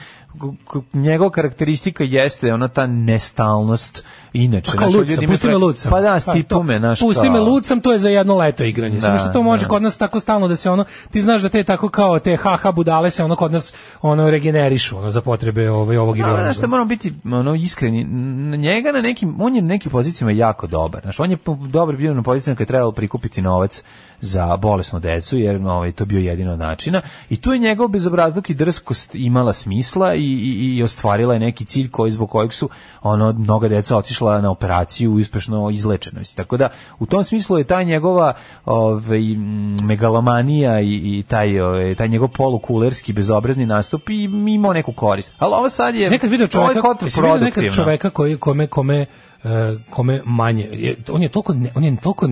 G: k- njegova karakteristika jeste ona ta nestalnost inače.
H: Pa kao
G: znaš,
H: Luca,
G: ljudi imaju
H: pusti me
G: pre-
H: lucam.
G: Pa da,
H: to,
G: stipu me, znaš.
H: Pusti
G: kao-
H: me lucam, to je za jedno leto igranje. Samo
G: Da,
H: što to može
G: da.
H: kod nas tako stalno da se ono, ti znaš da te tako kao te haha budale se ono kod nas ono regenerišu ono za potrebe ovaj, ovog ili
G: Da,
H: onog.
G: znaš, da moramo biti ono, iskreni. N- Njega na nekim, on je na nekim pozicijama jako dobar. Znaš, on je po- dobar bio na pozicijama kad je trebalo prikupiti novac za bolesnu decu, jer ovaj, to je bio jedino od načina. I tu je njegov bezobrazluk i drskost imala smisla i, i, i ostvarila je neki cilj koji zbog kojeg su ono, mnoga deca otišla na operaciju i uspešno izlečena. Mislim. Tako da, u tom smislu je ta njegova ovaj, mm, megalomanija i, i taj, ovaj, taj njegov polukulerski bezobrazni nastup i imao neku korist. Ali ovo sad je ovaj
H: Jesi nekad video
G: to je
H: čoveka, jesi video nekad
G: kontraproduktivno.
H: čoveka koji kome kome e, kome manje. Je- on je toliko, ne- on je toliko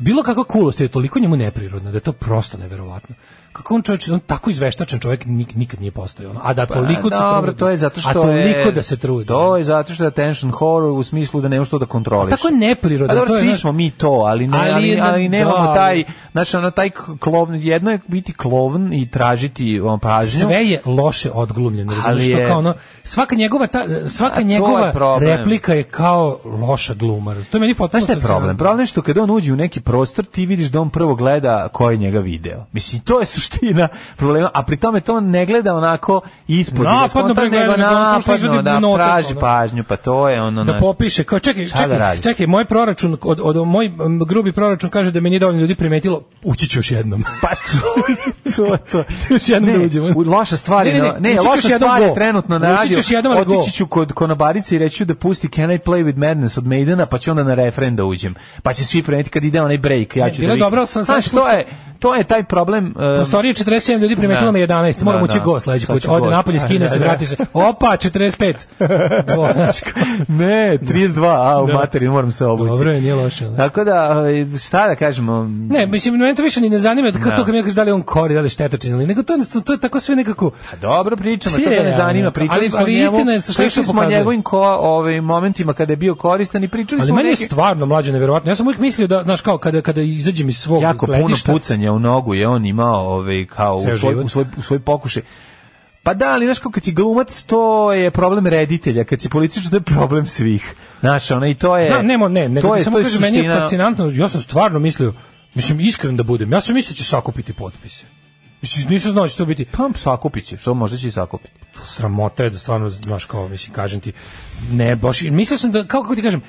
H: bilo kakva kulost je toliko njemu neprirodno da je to prosto neverovatno. Kako on čovjek, on tako izveštačan čovjek nik, nikad nije postao. Ono. A da toliko
G: pa,
H: se
G: dobro,
H: trudi.
G: to je zato što
H: a toliko
G: je,
H: da se trudi.
G: To je zato što je attention horror u smislu da nemaš što da kontroliš.
H: A Pa tako je neprirodno,
G: A dobro,
H: to je,
G: svi
H: znaš-
G: smo mi to, ali ne,
H: Ali
G: ali, ali,
H: jedna- da,
G: nemamo
H: ali-
G: taj, znači ono taj klovn, jedno je biti klovn i tražiti on pažnju.
H: sve je loše odglumljeno razumiješ
G: Ali
H: što
G: je-
H: kao ono svaka njegova ta,
G: A to
H: svaka
G: je
H: njegova
G: problem.
H: replika je kao loša gluma to je meni potpuno
G: Znaš šta je problem? Problem je što kada on uđe u neki prostor, ti vidiš da on prvo gleda ko je njega video. Mislim, to je suština problema, a pri tome to on ne gleda onako ispod.
H: Napadno
G: iz konta,
H: bre gleda,
G: nego
H: nego ono što
G: napadno,
H: izvodi
G: da
H: notes,
G: traži
H: ono.
G: pažnju, pa to je ono...
H: da
G: znaš.
H: popiše kao čekaj
G: Šta da
H: čekaj
G: radi?
H: čekaj moj proračun od, od, moj m, grubi proračun kaže da me nije dovoljno ljudi primetilo ući ću još jednom
G: Pa to, to, to.
H: još jednom da uđemo
G: u- loša stvar je,
H: Ne, ne,
G: na-
H: ne,
G: ne,
H: ući ću
G: loša
H: još jednom
G: stvar je
H: go.
G: trenutno na
H: Ući ću
G: radiju.
H: još jednom, da ali go.
G: Otići ću kod konobarice i reći ću da pusti Can I Play With Madness od Maidena, pa ću onda na refren da uđem. Pa će svi preneti kad ide onaj break, ja
H: Ne,
G: ću
H: bilo
G: da
H: je
G: viknem.
H: dobro, ali sam-
G: Znaš,
H: sam-
G: to je, to je taj problem... e, em,
H: Prostorije 47 ljudi primetilo
G: Da.
H: me 11. Moram
G: Da,
H: ući
G: da.
H: go sledeći
G: Sad
H: put.
G: ću
H: Ode
G: go.
H: napolje, skine
G: Da,
H: se,
G: da.
H: vrati se. Opa, 45. Bo, znaš, kao-
G: ne, 32, a u materiju moram se obući.
H: Da. Dobro je, nije loše. ali.
G: Tako da, ovaj, šta da kažemo,
H: Ne, mislim, mene to više ni ne zanima da.
G: Da.
H: to kad mi neko kaže da li je on kori, da li je štetočin, ali nego to, jednostavno, to je tako sve nekako...
G: Pa dobro pričamo, to
H: Je,
G: se ne zanima,
H: ali-
G: pričamo
H: ali-
G: smo
H: ali
G: o njemu,
H: istina je što
G: pričali
H: što
G: smo o
H: pokazuje.
G: njegovim ko, ovaj, momentima kada je bio koristan i pričali
H: Ali
G: smo o
H: meni je
G: nekim...
H: stvarno mlađe neverovatno. Ja sam uvijek mislio da, znaš, kao kada, kada izađem iz svog
G: jako puno
H: gledišta,
G: pucanja u nogu je on imao ovaj kao u
H: Ceo
G: svoj,
H: život.
G: u svoj u svoj pokušaj. Pa da, ali znaš kao kad si glumac, to je problem reditelja, kad si političar, to je problem svih. Znaš, ona i to je...
H: Da, ne, mo- ne, nego
G: to
H: ti
G: je,
H: samo
G: to je
H: kažem, meni je
G: suština.
H: fascinantno, ja sam stvarno mislio, mislim, iskren da budem, ja sam mislio da će sakupiti potpise. Mislim, nisam znao da će to biti.
G: Pa sakupit će, što možda će i sakupiti.
H: sramota je da stvarno znaš kao mislim kažem ti ne baš mislio sam da kako ti kažem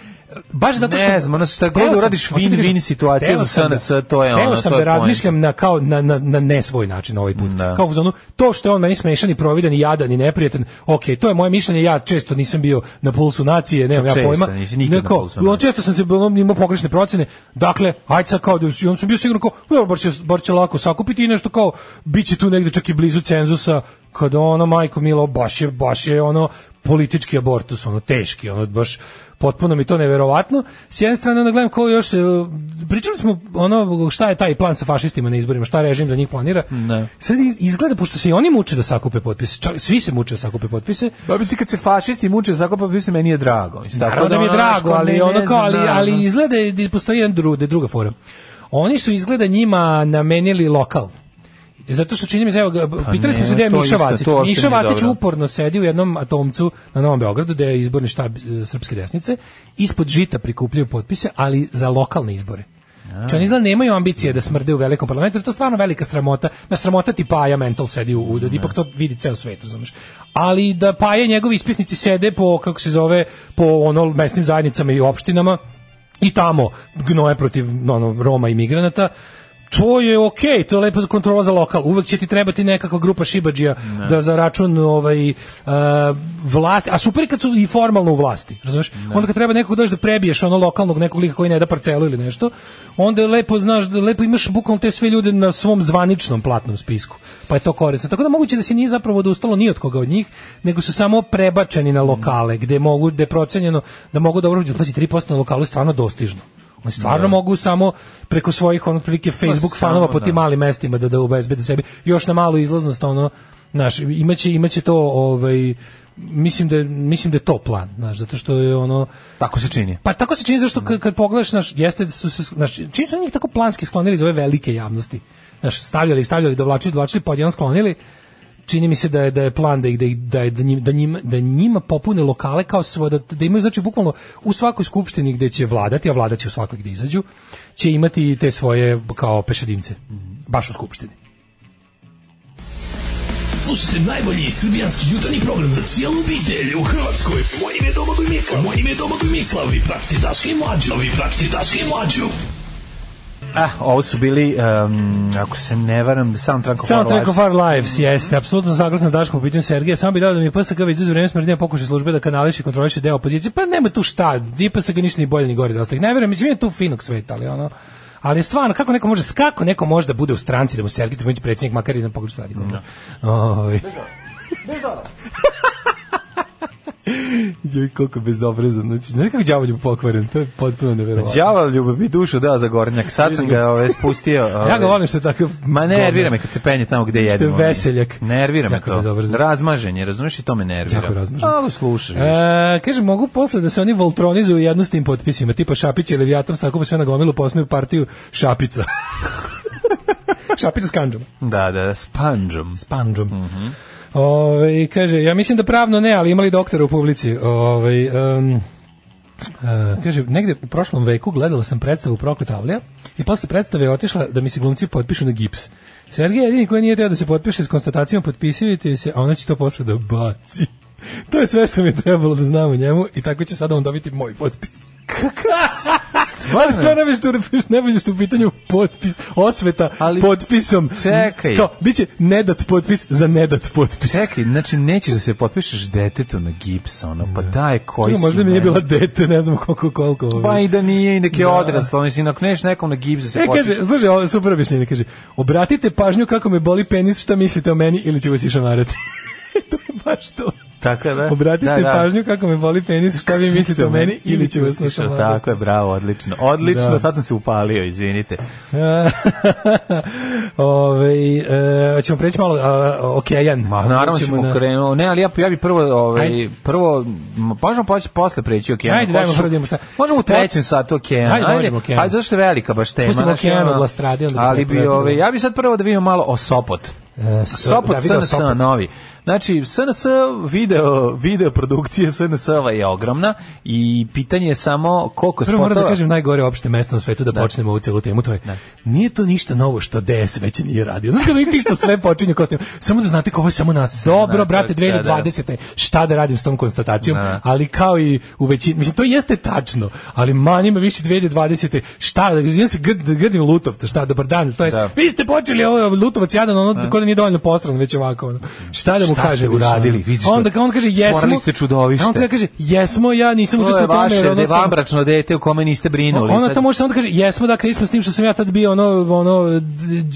H: baš zato što
G: Ne znam, ono, šta
H: Hteo
G: god
H: sam-
G: uradiš,
H: hoću ti
G: win-win
H: kažem,
G: situacija
H: hteo
G: za
H: sam da-
G: SNS, to je
H: hteo
G: ono,
H: sam
G: to
H: da
G: je point. Da.
H: razmišljam na kao na na na ne svoj način ovaj put kao u zonu to što je on meni smešan i providan i jadan i neprijatan ok, to je moje mišljenje ja često nisam bio na pulsu nacije nemam ja
G: Često,
H: pojma
G: nisi nikad na
H: Neko,
G: pulsu nacije.
H: on često sam se bilo imao pogrešne procene dakle ajde sad kao da i on sam bio siguran kao dobro bar će bar će lako sakupiti i nešto kao biće tu negde čak i blizu cenzusa kad ono majko milo baš je baš je ono politički abortus ono teški ono baš potpuno mi to neverovatno s jedne strane onda gledam ko još se, pričali smo ono šta je taj plan sa fašistima na izborima šta režim za njih planira
G: Ne.
H: sad iz- izgleda pošto se i oni muče da sakupe potpise čak, svi se muče da sakupe potpise
G: Pa mislim, kad se fašisti muče zakopa, mislim, meni je drago. Mislim,
H: Naravno da mi je
G: ono, znaš,
H: drago,
G: kao,
H: ali
G: ne,
H: ono
G: ne
H: kao,
G: znam,
H: ali,
G: da, ono.
H: ali izgleda da postoji jedan dru- da je druga fora. Oni su izgleda njima namenili lokal. Zato što čini mi se, evo, ga, pitali smo
G: Pa ne,
H: se gde je
G: to
H: Miša
G: isto,
H: Vacić.
G: to uopšte
H: Miša
G: nije
H: Vacić
G: dobro.
H: uporno sedi u jednom atomcu na Novom Beogradu, gde je izborni štab e, srpske desnice, ispod žita prikupljaju potpise, ali za lokalne izbore. Znači oni izgleda nemaju ambicije da smrde u velikom parlamentu, jer to je stvarno velika sramota. Na sramota ti Paja mental sedi u, u da ipak to vidi ceo svet, razumeš. Ali da Paja i njegovi ispisnici sede po, kako se zove, po ono mesnim zajednicama i opštinama i tamo gnoje protiv ono, Roma i migranata, to je okej, to je lepo kontrola za lokal. Uvek će ti trebati nekakva grupa šibadžija da za račun ovaj e, vlasti, a super je kad su i formalno u vlasti, razumeš? Onda kad treba nekog doći da prebiješ ono lokalnog nekog lika koji ne da parcelu ili nešto, onda je lepo znaš da lepo imaš bukvalno te sve ljude na svom zvaničnom platnom spisku. Pa je to korisno. Tako da moguće da se nije zapravo odustalo ni od koga od njih, nego su samo prebačeni na lokale gde mogu gde je procenjeno da mogu dobro pazi 3% na lokalu je stvarno dostižno. Oni stvarno mogu samo preko svojih ono otprilike Facebook
G: Da. samo,
H: fanova po
G: da.
H: tim malim mestima da da obezbede sebi još na malu izlaznost ono naš imaće imaće to ovaj mislim da je- mislim da je to plan znaš zato što je ono
G: Tako se čini.
H: pa tako se čini zašto kad, kad pogledaš naš jeste da su se naš čim su njih tako planski sklonili iz ove velike javnosti. Znaš, stavljali, stavljali, dovlačili, dovlačili, pa odjednom sklonili. Čini mi se da je da je plan da ih da ih- da je- da njima, da njima, da njima popune lokale kao svoje da, da imaju znači bukvalno u svakoj skupštini gde će vladati, a vladaće u svakoj gde izađu, će imati te svoje kao pešadimce. Baš u skupštini.
K: Slušajte najbolji srbijanski jutarnji program za cijelu obitelj u Hrvatskoj. Moje ime je Domagoj Mislav. Moje ime je Domagoj Mislav. Vi pratite Daška i Mlađu. Vi pratite Daška i Mlađu.
G: Ah, ovo su bili, em, ako se ne varam, soundtrack of our
H: Soundtrack
G: lives.
H: of our lives, jeste, apsolutno saglasan s Daškom po pitanju Sergeja. Samo bi dao da mi PSK već duže vreme smrdenja pokuša službe da kanališe i kontroliše deo opozicije. Pa nema tu šta, ni PSK ništa ni bolje ni gore dosta. Ne verujem, mislim, ima tu finog sveta, ali ono... Ali stvarno, kako neko može, kako neko može da bude u stranci, da mu Sergej Trifunović predsjednik, da
G: Da.
H: makar i na pogrešno radi. No. Joj, koliko bezobrazan. Znači, znaš kako đavolju pokvaren, to je potpuno neverovatno.
G: Đavo ljubavi dušu dao za gornjak. Sad sam ga ove, spustio. Ove.
H: Ja ga volim što je takav...
G: Ma ne nervira me kad se penje tamo gde jedemo.
H: Što je veseljak.
G: Nervira me
H: Jako
G: to.
H: bezobrazan.
G: Razmaženje, razumiješ i to me nervira.
H: Jako je razmažen.
G: Malo slušaj.
H: E, kaže, mogu posle da se oni voltronizuju jedno s tim potpisima, tipa Šapić i Levijatom, sakupu sve na gomilu, posnuju partiju Šapica. Šapica s kanđom.
G: Da, da, s panđom. S
H: panđom. Ove, kaže, ja mislim da pravno ne, ali imali doktora u publici. Ove, em, e, kaže, negde u prošlom veku gledala sam predstavu Prokleta Avlija i posle predstave je otišla da mi se glumci potpišu na gips. Sergej je jedini koji nije teo da se potpiše s konstatacijom potpisujete se, a ona će to posle da baci. To je sve što mi je trebalo da znam o njemu i tako će sada on dobiti moj potpis. Stvarno, stvarno ne što ne bi što u pitanju potpis, osveta potpisom.
G: Čekaj.
H: Kao, biće nedat potpis za nedat potpis.
G: Čekaj, znači nećeš da se potpišeš detetu na gips, ono, pa daj koji
H: Koji
G: si.
H: Da. možda mi nije
G: meni.
H: bila dete, ne znam koliko koliko. ovaj.
G: Pa i da nije, i neki
H: Da.
G: je odraslo, mislim, ako neš nekom na gips da se
H: E,
G: potpiš-
H: kaže, slušaj, ovo je super objašnjenje, kaže, obratite pažnju kako me boli penis, šta mislite o meni ili ću vas išamarati. to je baš to.
G: Tako je, da?
H: Obratite
G: Da, da.
H: pažnju kako me boli penis, šta vi mislite o meni ili ću vas
G: Slušao,
H: išamarati.
G: Tako je, bravo, odlično. Odlično,
H: Da.
G: sad sam se upalio, izvinite.
H: Ove, e, ćemo preći malo a, okejan.
G: Ma, Pa naravno ćemo
H: na-
G: krenuo. Ne, ali ja, ja bi prvo, ovaj,
H: Ajde.
G: prvo, m, možemo poći posle preći okeanu.
H: Ajde, dajmo
G: Hoćeš-
H: prvo da vidimo šta-
G: Možemo u
H: Sport-
G: trećem satu okeanu.
H: Ajde, možemo okean.
G: Ajde, zašto je velika baš tema.
H: Pustimo
G: znaš,
H: okean
G: ono,
H: od La Strade, onda
G: Ali
H: ćemo
G: bi,
H: preći.
G: ovaj, ja bi sad prvo da vidimo malo o Sopot.
H: E, so-
G: Sopot,
H: da, video
G: SNS
H: Sopot.
G: novi. Znači, SNS video, video produkcije SNS-ova je ogromna i pitanje je samo koliko
H: Prvo
G: spotova... Da.
H: moram da kažem najgore opšte mesto na svetu da, počnemo ovu celu temu, to je nije to ništa novo što DS već nije radio. Znaš kada vidite što sve počinje kao tema. Samo da znate kako je samo nas. Dobro,
G: nas,
H: brate,
G: da, da.
H: 2020. Šta da radim s tom konstatacijom?
G: Da.
H: Ali kao i u većini, mislim, to jeste tačno, ali manje me više 2020. Šta, da ja se grd, da grdim Lutovca, šta, dobar dan, to je,
G: Da.
H: vi ste počeli ovo Lutovac jadan, ono, da. da nije dovoljno posran, već ovako, ono. Šta da mu
G: Šta
H: kaže?
G: ste
H: više,
G: uradili,
H: ono?
G: vidiš
H: Onda,
G: to?
H: on kaže,
G: Stvorili
H: jesmo.
G: ste čudovište.
H: A On treba da kaže, jesmo, ja nisam
G: To je
H: učestvovao u tome, jer
G: vaše
H: ono sam-
G: devabračno dete u kome niste brinuli.
H: ona
G: Sad-
H: to može samo da kaže, jesmo, dakle, ismo s tim što sam ja tad bio, ono, ono, d-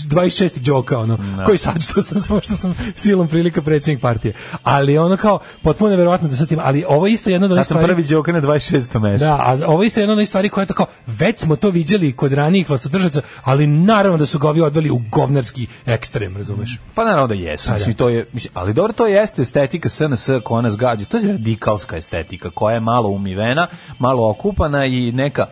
H: 26. džoka, ono,
G: Da.
H: koji sad što sam, samo što sam silom prilika predsjednik partije. Ali ono kao, potpuno nevjerojatno da sad ima, ali ovo je isto jedno od
G: Ja
H: onih
G: sam
H: stvari...
G: prvi džoka na 26. mesto.
H: Da, a ovo je isto jedna od onih stvari koja je tako, već smo to viđeli kod ranijih vlastodržaca, ali naravno da su ga ovi odveli u govnarski ekstrem, razumeš?
G: Pa naravno da jesu,
H: Pa
G: mislim,
H: da.
G: to je, mislim, ali dobro, to jeste estetika SNS koja nas gađa, to je radikalska estetika koja je malo umivena, malo okupana i neka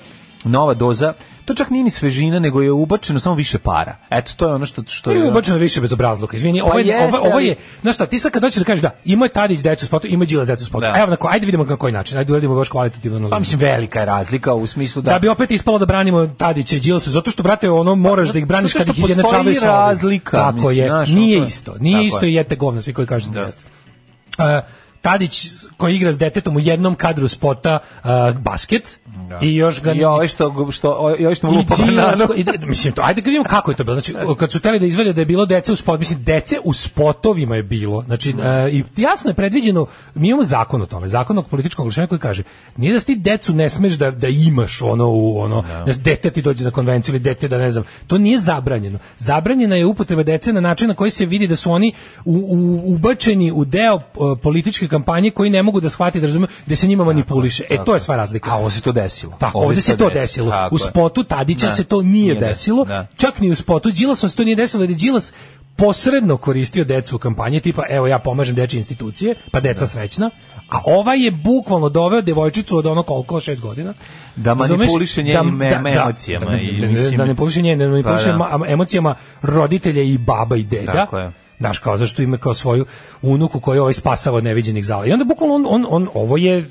G: nova doza, to čak nije ni svežina, nego je ubačeno samo više para. Eto, to je ono što... što
H: To je ubačeno više bez obrazluka. Izvini,
G: Da, Pa
H: ovo je,
G: jeste,
H: ovo, ovo
G: ali-
H: je, znaš šta, ti sad kad doćeš da kažeš da, ima je Tadić decu u spotu, ima je Đilas decu u spotu.
G: Da.
H: Evo na ko, ajde vidimo na koji način, ajde da uradimo baš kvalitativno analizu.
G: Pa mislim, velika je razlika u smislu da...
H: da. bi opet ispalo da branimo Tadića i Đilasa zato što brate ono moraš da ih braniš
G: zato
H: kad
G: što
H: ih izjednačavaju sa
G: postoji
H: ovim.
G: razlika,
H: tako
G: mislim,
H: je
G: znaš,
H: nije
G: ono to je.
H: isto nije
G: Tako
H: isto
G: je.
H: i jete govna svi koji kažete
G: Da.
H: da. jeste E, Tadić koji igra s detetom u jednom kadru spota e, basket i još ga
G: Da. I ovaj što, što, i ovaj što mu
H: i
G: lupa
H: Đilas
G: bananu.
H: koji- i- mislim to ajde da vidimo kako je to bilo znači kad su hteli da izvede da je bilo dece u spot mislim dece u spotovima je bilo znači e, i jasno je predviđeno mi imamo zakon o tome zakon o političkom oglašavanju koji kaže nije da si ti decu ne smeš da da imaš ono u ono da dete ti dođe na konvenciju ili dete da ne znam to nije zabranjeno zabranjena je upotreba dece na način na koji se vidi da su oni u, u, ubačeni u deo e, političke kampanje koji ne mogu da shvate da razumeju da se njima manipuliše e to je sva razlika
G: A ovo se to desilo.
H: tako,
G: Ovdje
H: ovde se to desilo.
G: Tako
H: U
G: je.
H: spotu Tadića
G: Da.
H: se to nije,
G: Nije de-
H: desilo.
G: da.
H: Čak ni u spotu Đilasom se to nije desilo, jer je Đilas posredno koristio decu u kampanji, tipa evo ja pomažem dečje institucije, pa deca
G: Da.
H: srećna, a ovaj je bukvalno doveo devojčicu od ono koliko, šest godina.
G: Da
H: Razumeš?
G: manipuliše njenim
H: Da- da- da-
G: emocijama
H: Da,
G: i
H: da-
G: mislim-
H: da ne manipuliše njenim, da manipuliše
G: Pa da.
H: ma- emocijama roditelja i baba i deda.
G: Tako je.
H: Znaš, kao zašto ima kao svoju unuku koju ovaj spasava od neviđenih zala. I onda bukvalno on, on, on ovo je...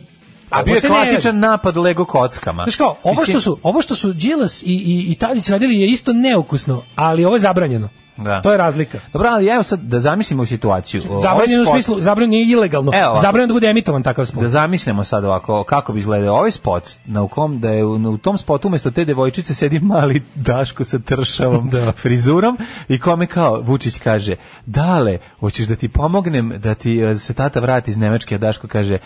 G: A
H: ovo
G: bio je
H: se ne radi.
G: klasičan napad Lego kockama.
H: Znaš kao, ovo
G: Mislim-
H: što su, ovo što su Đilas i, i, i Tadić radili je isto neukusno, ali ovo je zabranjeno.
G: Da.
H: To je razlika.
G: Dobro, ali evo sad da zamislimo situaciju.
H: Zabranjeno
G: Ovaj
H: u
G: spot-
H: smislu, zabranjeno je ilegalno.
G: Evo ovako.
H: Zabranjeno da bude emitovan takav spot.
G: Da zamislimo sad ovako kako bi izgledao ovaj spot na u kom da je u, u tom spotu umjesto te devojčice sedi mali Daško sa tršavom
H: Da.
G: frizurom i kome kao Vučić kaže: "Dale, hoćeš da ti pomognem da ti e, se tata vrati iz Nemačke?" A Daško kaže: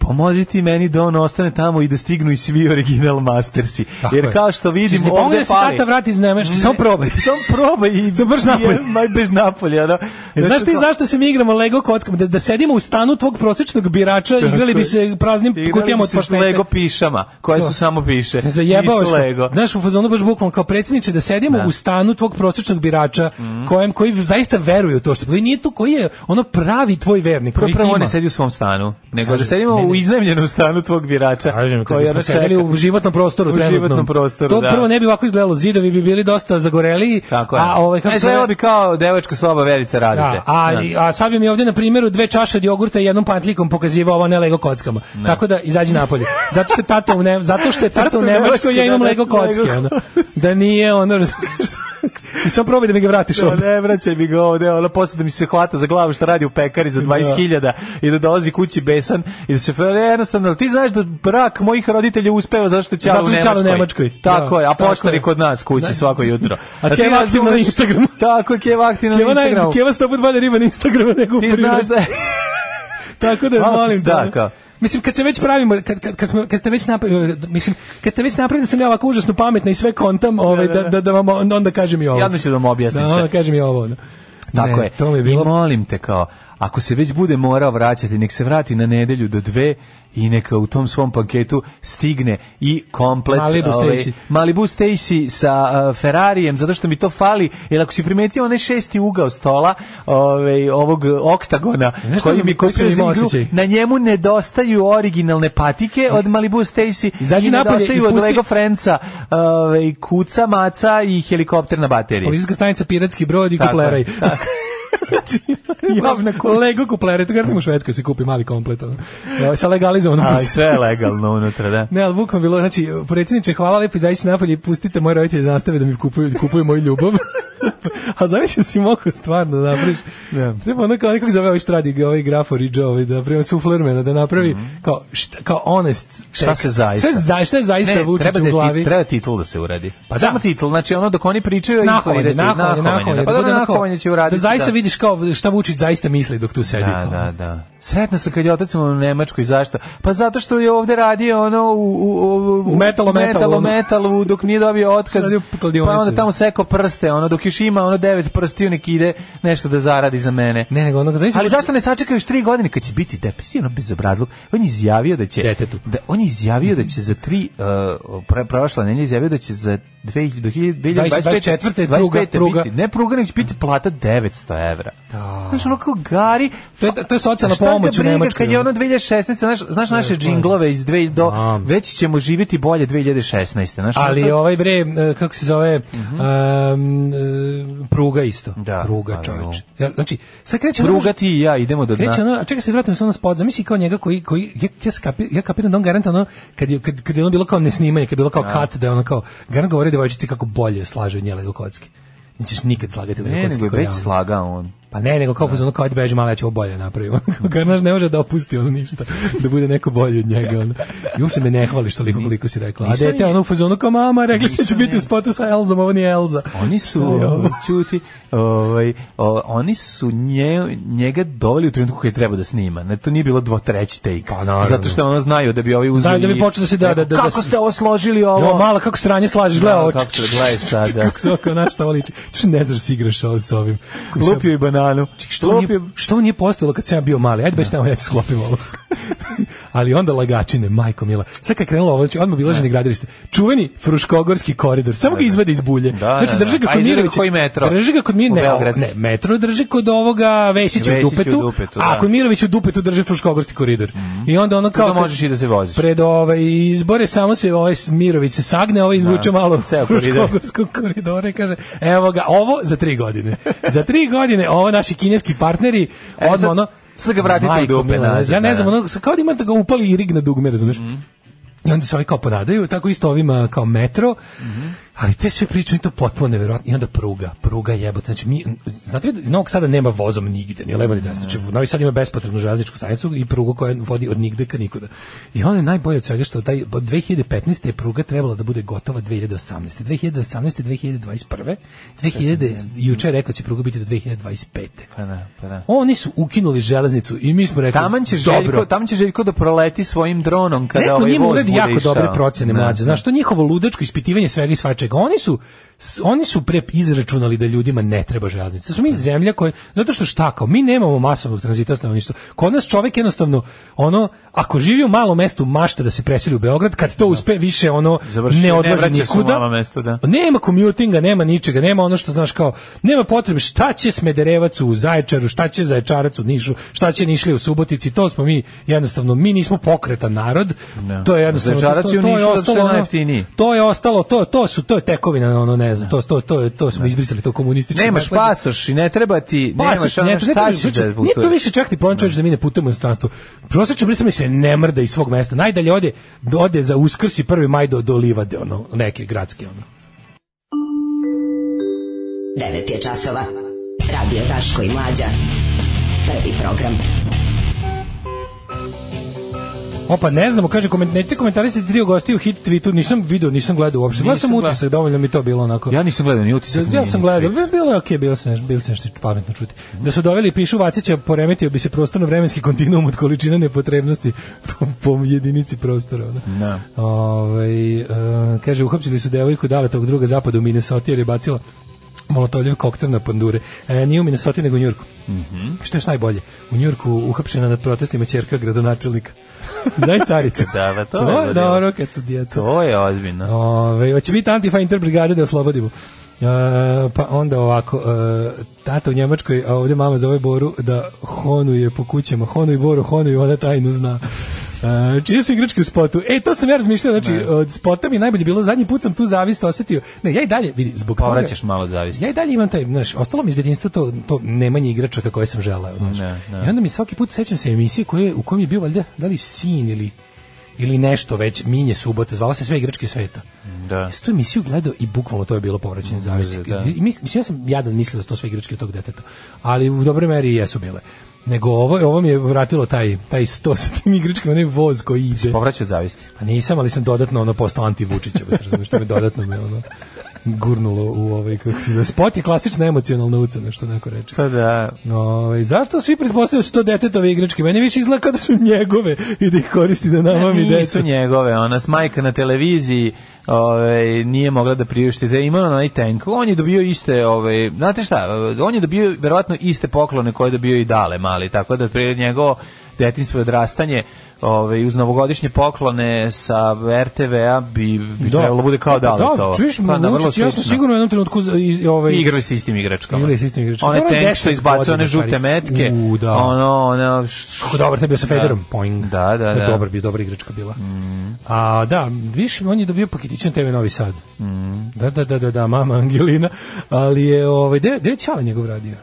G: pomozi ti meni da on ostane tamo i da stignu i svi original mastersi.
H: Tako
G: Jer
H: je.
G: kao što
H: Češ
G: vidim
H: ti pomogne
G: ovde
H: da se
G: pali.
H: tata vrati iz Nemačke? Samo probaj.
G: Samo probaj i
H: Samo brž napolje.
G: Maj bež napolje, ono.
H: E, Znaš ti
G: kao-
H: zašto se mi igramo Lego kockom? Da, da sedimo u stanu tvog prosječnog birača, igrali bi se praznim
G: Igrali bi
H: kutijama Pa od
G: se s
H: paštete.
G: Lego pišama, koje
H: To.
G: su samo piše.
H: Se zajebavaš.
G: Nisu Lego.
H: kao- Znaš, u fazonu baš bukvalno kao predsjedniče da sedimo
G: Da. Mhm.
H: u stanu tvog prosječnog birača kojem koji zaista veruje u to što koji nije tu koji je ono pravi tvoj vernik.
G: Prvo,
H: koji
G: prvo on
H: ima.
G: ne sedi u svom stanu, nego
H: Kažem,
G: da sedimo
H: ne, ne.
G: u iznajmljenom stanu tvog birača.
H: Kažem, kad
G: koji
H: bismo
G: ono
H: sedeli
G: čeka.
H: u životnom prostoru
G: U
H: trenutnom.
G: životnom prostoru,
H: to
G: da.
H: prvo ne bi ovako izgledalo, zidovi bi bili dosta zagoreli.
G: Tako je.
H: A ovaj kako
G: e,
H: se
G: izgledalo
H: zove-
G: bi kao devačka soba Verica radite.
H: Da, a, a sad bi mi ovdje na primjeru dve čaše od jogurta i jednom pantlikom pokazivao ovo ne Lego kockama. Tako da izađi napolje. Zato što je tata u ne, zato što je tata
G: Tata
H: u
G: u
H: Nemačkoj, ja
G: Nemačkoj,
H: imam
G: da,
H: Lego
G: da,
H: kocke.
G: Lego
H: ono. Da nije ono, razumiješ. I samo probaj da mi ga vratiš
G: Da,
H: ovdje.
G: ne vraćaj mi ga ovde, ono posle da mi se hvata za glavu što radi u pekari
H: Da.
G: za 20.000 i da dolazi kući besan i da se fel- jednostavno, ali ti znaš da brak mojih roditelja uspeva zašto će
H: Zato
G: u
H: što je ćala u
G: Nemačkoj.
H: Nemačkoj.
G: Tako
H: Da,
G: je, a
H: tako
G: poštari
H: je.
G: kod nas kući svako jutro.
H: A
G: ti
H: Keva aktivna na
G: razumeš-
H: Instagramu.
G: Tako je, Keva aktivna na
H: Keva, naj,
G: Instagramu.
H: keva stoput bolje riba na Instagramu nego u
G: Ti znaš
H: prirodi.
G: da je...
H: Tako da
G: Malo si
H: molim da.
G: staka.
H: Mislim kad se već pravimo kad kad kad, smo, kad ste već napravili mislim kad ste već napravili da sam ja ovako užasno pametna i sve kontam, ovaj da
G: da,
H: da da vam onda kažem i ovo.
G: Jadno ću da vam objasniš.
H: Da, onda kažem i ovo. ono.
G: Tako
H: Ne,
G: je.
H: To mi je
G: I
H: bilo
G: molim te kao, ako se već bude morao vraćati, nek se vrati na nedelju do dve i neka u tom svom paketu stigne i komplet
H: Malibu
G: ovaj,
H: Stacy.
G: Malibu Stacy sa uh, Ferrarijem zato što mi to fali, jer ako si primetio onaj šesti ugao stola ovaj, ovog oktagona
H: E, Znaš šta
G: koji
H: sam-
G: mi
H: koji sam
G: kupio za
H: imao
G: igru,
H: osjećaj? E.
G: na njemu nedostaju originalne patike od Malibu Stacy
H: Izađi
G: i
H: napolje i
G: nedostaju od
H: pusti-
G: Lego Friendsa ovaj, kuca, maca i helikopter na bateriji.
H: policijska stanica Piratski brod i
G: Tako je.
H: kupleraj. Znači,
G: Javna kuća.
H: Lego kupleraj, to garantno u Švedskoj se kupi mali komplet. ono. Evo, Sa legalizovanom.
G: A, i sve je legalno unutra, da.
H: Ne, ali bukvalno bilo, znači, predsjedniče, hvala lepo, izađite napolje i pustite moje roditelje da nastave da mi kupuju, kupuju moju ljubav. A zamislim si mogu stvarno da napraviš.
G: Da.
H: Treba ono kao nekog zove ovaj štradi, ovaj grafo Riđa, ovaj, da prema suflermena, da napravi kao, šta, kao honest
G: Mhm. Šta
H: tekst.
G: se zaista-
H: Šta, se za, šta je zaista
G: Ne,
H: Vučić
G: treba, da
H: u
G: je ti-
H: glavi?
G: treba titul da se uradi.
H: Pa
G: Pa
H: da.
G: Samo titul, znači ono dok oni pričaju...
H: nahovanje,
G: intonirati,
H: nahovanje, nahovanje,
G: Pa
H: da
G: da,
H: bude
G: da,
H: onako-
G: nahovanje će uraditi.
H: Da zaista vidiš kao šta Vučić zaista misli dok tu sedi.
G: Da,
H: kao.
G: da, da. Sretna sam kad je otac u Nemačkoj, zašto? Pa zato što je ovde radio ono u, u, u,
H: U metalu, metalu,
G: metalu,
H: ono.
G: metalu, dok nije dobio otkaz,
H: Radio kladionice,
G: pa onda
H: da.
G: tamo seko prste, ono dok još ima ono devet prstiju nek ide nešto da zaradi za mene.
H: Ne, nego onoga, zaista...
G: Ali zašto ne sačekaju još tri godine kad će biti depresivno bez obrazlog? On je izjavio da će...
H: Detetu.
G: Da, on je izjavio da će za tri... Uh, pre, prošla nedelja je izjavio da će za dve, do hilj- 2025.
H: 24. pruga,
G: 25.
H: pruga.
G: Biti, ne pruga, nego će biti plata 900 evra. Da. Znaš, ono kao gari...
H: To je- to je socijalna
G: A šta ga
H: pomoć u
G: briga
H: Nemačkoj,
G: Kad je
H: ono?
G: ono 2016. Znaš, znaš naše džinglove iz dve, do...
H: Znam.
G: Već ćemo živjeti bolje 2016. Znaš, ono
H: Ali
G: to-
H: ovaj bre, e, kako se zove, em, e, pruga isto.
G: Mhm. Da,
H: pruga
G: ali
H: čoveče.
G: ovo.
H: Ja, Znači, sad kreće ono-
G: Pruga da. ti i ja, idemo do dna.
H: Kreće ono, a čekaj se vratim samo na spot, zamisli kao njega koji, koji ja, ja, skapi, ja kapiram da on garanta ono, kad je, kad, kad je ono bilo kao nesnimanje, kad je bilo kao kat, da je ono kao, garant govori devojčici kako bolje slaže nje Lego kocki. Nećeš nikad slagati Lego
G: Ne,
H: kocki
G: nego je
H: kao ja,
G: već
H: ono.
G: slagao on.
H: Pa ne, nego kao
G: Da.
H: pozvano kao ajde beži malo, ja ću ovo bolje da napravim. Garnaš ne može da opusti ono ništa, da bude neko bolji od njega. Ono. I uopšte me ne hvališ toliko koliko si rekla. A
G: Ništa
H: dete
G: nije.
H: ono u fazonu kao mama, rekli ste da ću
G: Ništa
H: biti u
G: nije.
H: spotu sa Elzom, ovo nije Elza.
G: Oni su
H: Šta je ovo?
G: čuti, ovaj o, oni su nje, njega doveli u trenutku kad je treba da snima. Ne, to nije bilo dvotreći take.
H: Pa, naravno.
G: Zato što ono znaju da bi ovi uzeli.
H: Znaju da bi počeli da se da- da- da- da-
G: Kako ste ovo složili ovo?
H: Jo, mala, kako sranje slažeš, gledaj
G: Da,
H: ovo.
G: kako se gledaj sad, da.
H: kako se ovo kao naš šta ovo liči. Čuš, ne znaš da si igraš ovo s ovim.
G: Lupio i bananu.
H: Što ovo nije,
G: Lupio-
H: što ovo nije postojalo kad sam ja bio mali? Ajde
G: Da.
H: baš tamo ja ću sklopim ovo. Ali onda lagačine, majko mila. Sad kad je krenulo ovo, znači odmah obilaženje gradilište. Čuveni Fruškogorski koridor. Samo ga izvede iz bulje.
G: Da. Da,
H: znači
G: da,
H: drži
G: da.
H: ga
G: A
H: kod
G: izvede
H: Mirovića.
G: koji metro?
H: Drži ga kod mi-
G: U
H: ne,
G: Beograd.
H: ne, metro drži kod ovoga Vesića u
G: Vesića u
H: dupetu.
G: dupetu,
H: A
G: da.
H: kod Mirovića u dupetu drži Fruškogorski koridor. I onda ono kao
G: Kao da možeš i da se voziš.
H: pred ove izbore samo se ovaj Mirović se sagne, ovaj izvuče malo
G: Da. ceo koridor.
H: Fruškogorskog koridora i kaže evo ga, ovo za tri godine. za tri godine ovo naši kineski partneri
G: E,
H: odmah
G: sad-
H: ono
G: sad ga vratite u
H: Majko
G: dupe
H: mila,
G: nazad,
H: Ja ne
G: da,
H: znam,
G: da.
H: ono, kao da imate ga upali i rig na dugme, razumeš? I onda se ovi kao ponadaju, tako isto ovima kao metro. Ali te sve priče mi to potpuno neverovatno. I onda pruga, pruga jebote. Znači mi znate vi da Novog Sada nema vozom nigde, ni levo ni desno. Znači Novi Sad ima bespotrebnu železničku stanicu i prugu koja vodi od nigde ka nikuda. I ono je najbolje od svega što taj od 2015 je pruga trebala da bude gotova 2018. 2018. 2021. 2000 juče je rekao da će pruga biti do 2025.
G: Pa da, pa da.
H: Oni su ukinuli železnicu i mi smo rekli
G: Taman će
H: dobro.
G: Željko, taman će Željko da proleti svojim dronom kada
H: Neko
G: ovaj
H: njima
G: voz
H: uradi
G: bude
H: jako
G: išao.
H: dobre procene
G: Da.
H: mlađe. Znaš, to njihovo ludačko ispitivanje svega i svačega. Oni su s- oni su pre izračunali da ljudima ne treba železnica. Smo mi
G: Da.
H: zemlja koja zato što šta kao mi nemamo masovnog tranzita stanovništva. Kod nas čovjek jednostavno ono ako živi u malom mestu mašta da se preseli u Beograd, kad to uspe više ono
G: Završi,
H: ne
G: ne
H: odlazi
G: vraća se u
H: nikuda.
G: malo mesto, da.
H: Nema commutinga, nema ničega, nema ono što znaš kao, nema potrebe šta će Smederevac u Zaječaru, šta će Zaječarac u Nišu, šta će Nišli u Subotici, to smo mi jednostavno, mi nismo pokretan narod,
G: Ne.
H: to je jednostavno
G: Zaječarac
H: to,
G: je u
H: to
G: Nišu zato što je
H: ono-
G: najjeftiniji. Da.
H: to je ostalo, to to su to je tekovina ono ne znam, to to to to smo izbrisali to komunističko.
G: Nemaš
H: nasleđe.
G: pasoš i ne treba ti,
H: da- Pasoš,
G: nemaš ono
H: ne,
G: šta
H: ne,
G: ćeš da
H: ne, Nije to
G: putuješ.
H: više čak ni problem čovječ da mi ne putujemo u inostranstvo. Prosječno brisamo se ne mrda iz svog mesta. Najdalje ode, ode za uskrs i prvi maj do, do livade, ono, neke gradske. Ono.
I: 9 je časova. Radio Daško i Mlađa. Prvi program.
H: Opa, ne znamo, kaže, koment, nećete komentarisati trio gosti u hit tweetu, nisam video, nisam gledao uopšte. Gledao
G: Nisam
H: sam
G: gledao.
H: utisak, dovoljno mi to bilo onako.
G: Ja nisam gledao ni utisak.
H: Ja
G: ni-
H: sam
G: ni
H: gledao,
G: tweet.
H: bi- bilo je okej, bilo se nešto, bilo se nešto pametno čuti. Da su doveli pišu Vacića, poremetio bi se prostorno vremenski kontinuum od količina nepotrebnosti po, po jedinici prostora. ono.
G: Da.
H: Ovaj, e, kaže, uhapsili su devojku dale tog druga zapada u Minnesota jer je bacila molotovljev koktel na pandure. E, nije u Minnesota, nego u Njurku.
G: Mhm.
H: Što je još najbolje? U Njurku uhapšena nad protestima čerka gradonačelnika. Znaš caricu?
G: Da, pa to je
H: to je
G: ludilo.
H: dobro kad su djeca.
G: To je ozbiljno.
H: Ove, hoće biti Antifa Interbrigade da oslobodimo. E, pa onda ovako, e, tata u Njemačkoj, a ovdje mama zove Boru da honuje po kućama, honuj Boru, honuj, ona tajnu zna. E, čije su igračke u spotu? E, to sam ja razmišljao, znači, od spota mi je najbolje bilo, zadnji put sam tu zavist osetio. Ne, ja i dalje, vidi, zbog toga-
G: Povraćaš Pa malo zavisno.
H: ja i dalje imam taj, znaš, ostalo mi iz djetinjstva to, to nemanje igračaka koje sam želeo, znaš.
G: Ne, ne.
H: I onda mi svaki put sećam se emisije koje, u kojem je bio valjda, da li sin ili ili nešto već, Minje subota, zvala se sve igračke sveta.
G: Da.
H: Ja sam tu emisiju gledao i bukvalno to je bilo povraćanje zavisti.
G: da.
H: I mis- Mislim, ja sam jadan mislio da su to sve igračke tog deteta, ali u dobroj meri jesu bile. Nego ovo, ovo mi je vratilo taj, taj sto sa tim igračkama, onaj voz koji ide.
G: Povraćaj od zavisti.
H: Pa nisam, ali sam dodatno ono postao anti-Vučićevac, razumiješ, što me dodatno me ono gurnulo u ovaj, kako se zove, spot je klasična emocionalna ucena, što neko reče.
G: Pa da,
H: Ovaj, zašto svi pretpostavljaju da su to detetove igračke? Meni više izgleda kao da su njegove i da ih koristi da nama mi
G: nisu
H: decu.
G: njegove, ona s majka na televiziji ovaj, nije mogla da priušti, da ima onaj tank, on je dobio iste, ovaj, znate šta, on je dobio verovatno iste poklone koje je dobio i dale mali, tako da prije njegovo detinjstvo i odrastanje ovaj, uz novogodišnje poklone sa RTV-a bi, bi trebalo da bude kao dale
H: da,
G: to.
H: Čuješ,
G: Pa da, vrlo
H: Vučić, ja sam
G: slično.
H: sigurno u jednom trenutku za- iz, ovaj,
G: I igrali se istim igračkama.
H: Igrali se istim igračkama.
G: One
H: Dobro,
G: tank što
H: deset
G: izbacuje one
H: godina,
G: žute
H: stari.
G: metke.
H: U, da.
G: Ono, ono... š-
H: Kako dobar, to je bio sa Federom. Poing.
G: Da, da, Mm. da.
H: Dobar bio, dobra igračka bila. A da, više on je dobio paketić na TV Novi Sad.
G: Mm.
H: Da, da, da, da, da, mama Angelina. Ali je, ovaj, gde gde je Čale njegov radio?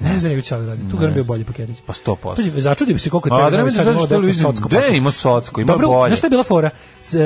H: Ne znam da je Čale radio. Tu ga bio bolji paketić.
G: Pa 100%.
H: Pazi, začudio bi se koliko je
G: A,
H: TV
G: da
H: Novi
G: ne
H: Sad
G: znaš
H: imao
G: što
H: dosta
G: Luizin,
H: socko.
G: gde ima socko, ima
H: Dobro,
G: bolje.
H: znaš šta je bila fora? C-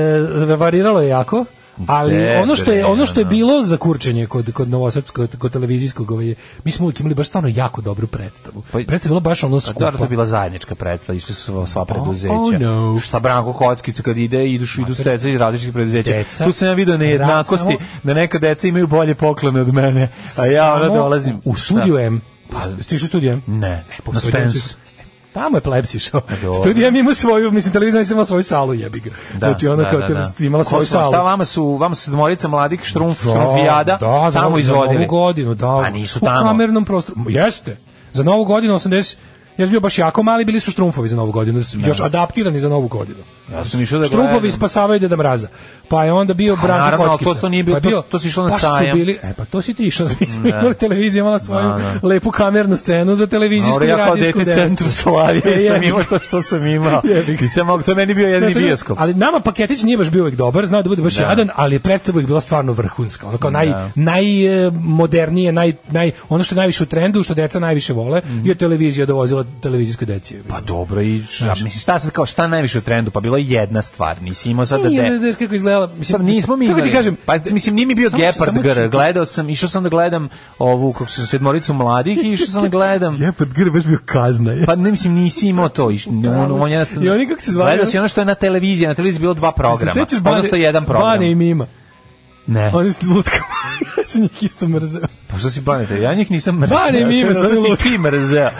H: e, variralo je jako, ali
G: Debre,
H: ono što je ono što je
G: ono.
H: bilo za kurčenje kod kod novosadskog kod televizijskog ovaj mi smo uvijek imali baš stvarno jako dobru predstavu.
G: Pa-
H: Predstava je bila baš ono
G: Pa
H: skupa.
G: dobro, to je bila zajednička predstava, išli su sva- sva preduzeća.
H: oh no.
G: Šta Branko Kockica kad ide, iduš, idu steca iz različitih preduzeća.
H: Deca,
G: tu sam ja vidio nejednakosti,
H: samo-
G: da neka deca imaju bolje poklone od mene, a ja ono
H: Samo
G: dolazim.
H: U studiju M. Pa, stiš u studiju M?
G: Ne,
H: pa u
G: na
H: studiju M si- E,
G: Spence.
H: Tamo je plebs išao.
G: dobro.
H: Studio M ima svoju, mislim, televizija ima svoju salu, jebi ga.
G: Da,
H: znači, ona
G: da,
H: kao
G: da,
H: te-
G: da.
H: imala svoju
G: Ko su-
H: salu.
G: Šta vama su, vama su dvorica mladih štrumf,
H: Da,
G: štrumfijada,
H: da, za
G: tamo
H: novu-
G: izvodili.
H: Za novu godinu, da.
G: A nisu tamo.
H: U kamernom prostoru. Ma, Jeste. Za novu godinu 80... Ja sam bio baš jako mali, bili su štrumfovi za novu godinu, još adaptirani za novu godinu.
G: Ja sam išao da
H: Štrumfovi
G: gledam.
H: spasavaju Deda Mraza. Pa je onda bio Branko
G: naravno, ali to-
H: Kockica.
G: to nije bio-
H: Pa je
G: to- to si išao na
H: pa su
G: sajam.
H: Bili, e, pa to si ti išao, mi smo
G: Da.
H: imali televiziju, imala svoju
G: Da,
H: lepu kamernu scenu za televizijsku
G: Dobro,
H: i
G: ja kao
H: radijsku
G: dete
H: devet.
G: centru Slavije
H: E,
G: sam
H: jebi
G: imao
H: ga.
G: to što sam imao.
H: Jebi ga.
G: I sam mogu, to je meni bio jedni
H: Ne, sad,
G: bioskop.
H: Ali nama paketić nije baš bio uvek dobar, znao da bude baš jadan, ali je predstava uvek bila stvarno vrhunska. Ono kao naj,
G: Da.
H: najmodernije, naj, naj, ono što je najviše u trendu, što deca najviše vole, je televizija dovozila televizijskoj deci.
G: Mhm. Pa dobro, i šta, mislim, šta sad kao, šta je najviše u trendu? Pa bila je jedna stvar, nisi imao sad da
H: Nije,
G: de...
H: znaš kako izgledala, mislim,
G: Pa nismo mi
H: kako ti
G: imali.
H: kažem,
G: pa, mislim, nije mi bio
H: samo-
G: Gepard
H: samo
G: Gr,
H: ću-
G: gledao sam, išao sam da gledam ovu, kako su sedmoricu mladih i išao sam da gledam.
H: Gepard Gr baš bio kazna. pa Je.
G: Pa ne mislim nisi imao to. Iš, on, on jednostavno-
H: Da, I oni kako se zvali?
G: Gledao si ono što je na televiziji, na televiziji je bilo dva programa.
H: Se sećaš
G: odnosno jedan program.
H: Bane i Mima.
G: Ne.
H: Oni su lutka. ja sam njih isto mrzeo.
G: Pa što si banete? Ja njih nisam mrzeo.
H: Bane i Mime su
G: Zato
H: oni
G: si
H: lutki.
G: ti mrzeo.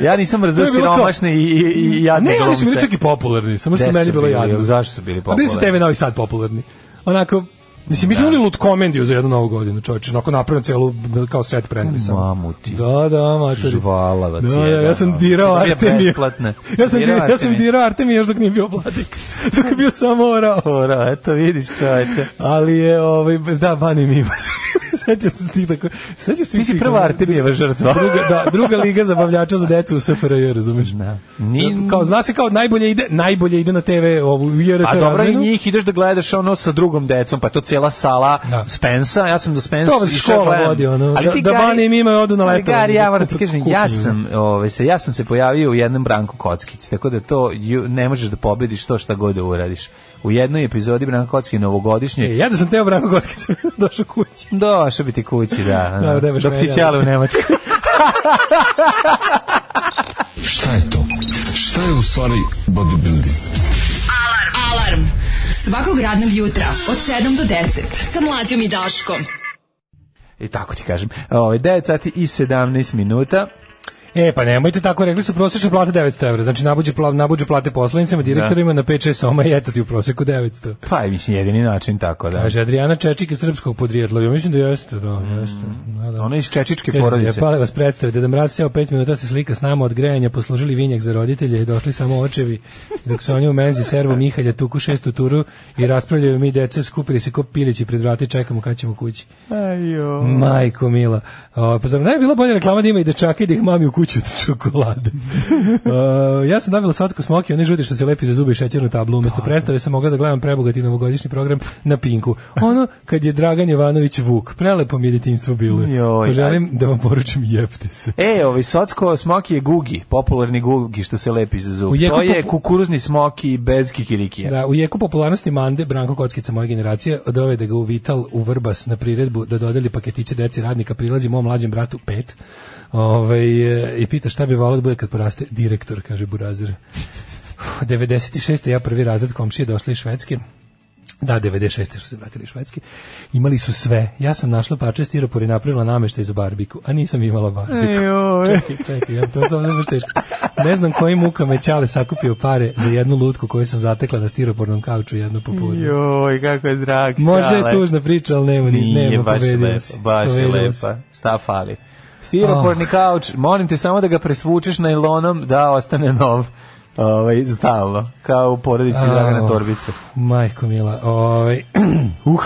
G: Ja nisam mrzeo
H: To je bilo kao-
G: siromašne i, i, i jadne
H: Ne, oni su bili
G: glumce.
H: čak i popularni, samo što
G: Gde
H: meni
G: su
H: bilo
G: bili?
H: jadno.
G: Zašto su bili
H: Pa bili su
G: popularni? Da.
H: TV Novi Sad popularni. Onako, Mislim, mi smo imali komendiju za jednu novu godinu, čovječe, onako napravim celu, da, kao set preneli sam.
G: Mamu ti.
H: Da, da, mater.
G: Žvalavac
H: Da, da,
G: jedan,
H: ja sam
G: ono.
H: dirao
G: Dobija
H: Artemija.
G: besplatne.
H: ja sam,
G: Dirao
H: dirao, ja sam
G: Artemija.
H: dirao Artemija još dok nije bio vladik. Dok je bio samo orao.
G: Ora, eto vidiš čoveče.
H: Ali je, ovaj, da, Bani Mima. Sećam se tih tako... Sećam se
G: Ti si
H: tih-
G: prva Artemijeva žrtva.
H: druga, da, druga liga zabavljača za decu u SFRJ, razumeš? Da.
G: Ni-
H: Kao, zna se kao najbolje ide, najbolje ide na TV ovu JRT
G: A Pa dobro i
H: razmenu.
G: njih ideš da gledaš ono sa drugom decom, pa je to cijela sala
H: Da.
G: Spensa, ja sam do Spensa
H: To vas škola vodi, ono, da- da Bane i Mima odu na letovanje,
G: Gari,
H: da
G: ja moram ti
H: kupe
G: kažem,
H: kuhinju.
G: ja sam, ove, se, ja sam se pojavio u jednom branku kockici, tako da to ju- ne možeš da pobediš to šta god da uradiš. U jednoj epizodi Branko Kocki novogodišnje,
H: E, ja da sam teo Branko Kockić, došao kući.
G: došao bi ti kući, da,
H: Da, nemaš
G: dok ti
H: mene,
G: ćale u Nemačku.
A: Šta je to? Šta je u stvari bodybuilding?
E: Alarm. Alarm. Svakog radnog jutra od 7 do 10 sa mlađom i Daškom.
G: I tako ti kažem. Ove, 9 sati i 17 minuta.
H: E, pa nemojte tako, rekli su prosječna plata 900 evra, znači nabuđe, pla, nabuđe plate poslanicama, direktorima na 5-6 soma i eto ti u proseku 900.
G: Pa, mislim, jedini način tako, da.
H: Kaže, Adriana Čečik iz srpskog podrijetla, ja mislim da jeste, da, jeste. Da, da.
G: Ona iz čečičke
H: Kaže,
G: porodice.
H: Pale vas predstave, Deda Mraz seo pet minuta se slika s nama od grejanja, poslužili vinjak za roditelje i došli samo očevi, dok se oni u menzi servu Mihalja tuku šestu turu i raspravljaju mi dece, skupili se ko pilići pred vrati, čekamo kad ćemo kući.
G: Ajo.
H: Mm. Majko mila. O, pa zar ne bi bila bolja reklama da ima i dečaka i da ih mami u kuću od čokolade. o, ja sam navila svatko smoki, one žuti što se lepi za zube i šećernu tablu. Umesto predstave sam mogla da gledam prebogati novogodišnji program na Pinku. Ono kad je Dragan Jovanović Vuk. Prelepo mi je detinjstvo bilo.
G: Joj,
H: Želim da vam poručim jepte se.
G: E, ovaj Socko smoki je gugi, popularni gugi što se lepi za zub.
H: U jeku
G: To je
H: popu-
G: kukuruzni smoki bez kikirikija.
H: Da, u jeku popularnosti Mande, Branko Kockica moje generacije, dovede ga u Vital, u Vrbas na priredbu da dodeli paketiće deci radnika, prilazi mom mlađem bratu pet Ove, i pita šta bi volao da bude kad poraste direktor, kaže Burazir. Uf, 96. ja prvi razred komšije došli iz Švedske. Da, 96. su se vratili iz Švedske. Imali su sve. Ja sam našla parče stiropora i napravila nameštaj za barbiku, a nisam imala barbiku. Čekaj, čekaj, ja to sam nema teško. Ne znam kojim mukama je Ćale sakupio pare za jednu lutku koju sam zatekla na stiropornom kauču jedno popodne.
G: Joj, kako je drag.
H: Možda je
G: Sale.
H: tužna priča, ali nema, ni-
G: Nije
H: nema
G: baš
H: pobedila
G: lepa,
H: si.
G: baš je
H: Pobedila si.
G: lepa. Šta fali? Stiroporni
H: Ah.
G: kauč, molim te samo da ga presvučeš najlonom da ostane nov. Ovaj stalno, kao u porodici
H: Au.
G: Dragana Torbice.
H: Majko mila, ovaj, uh,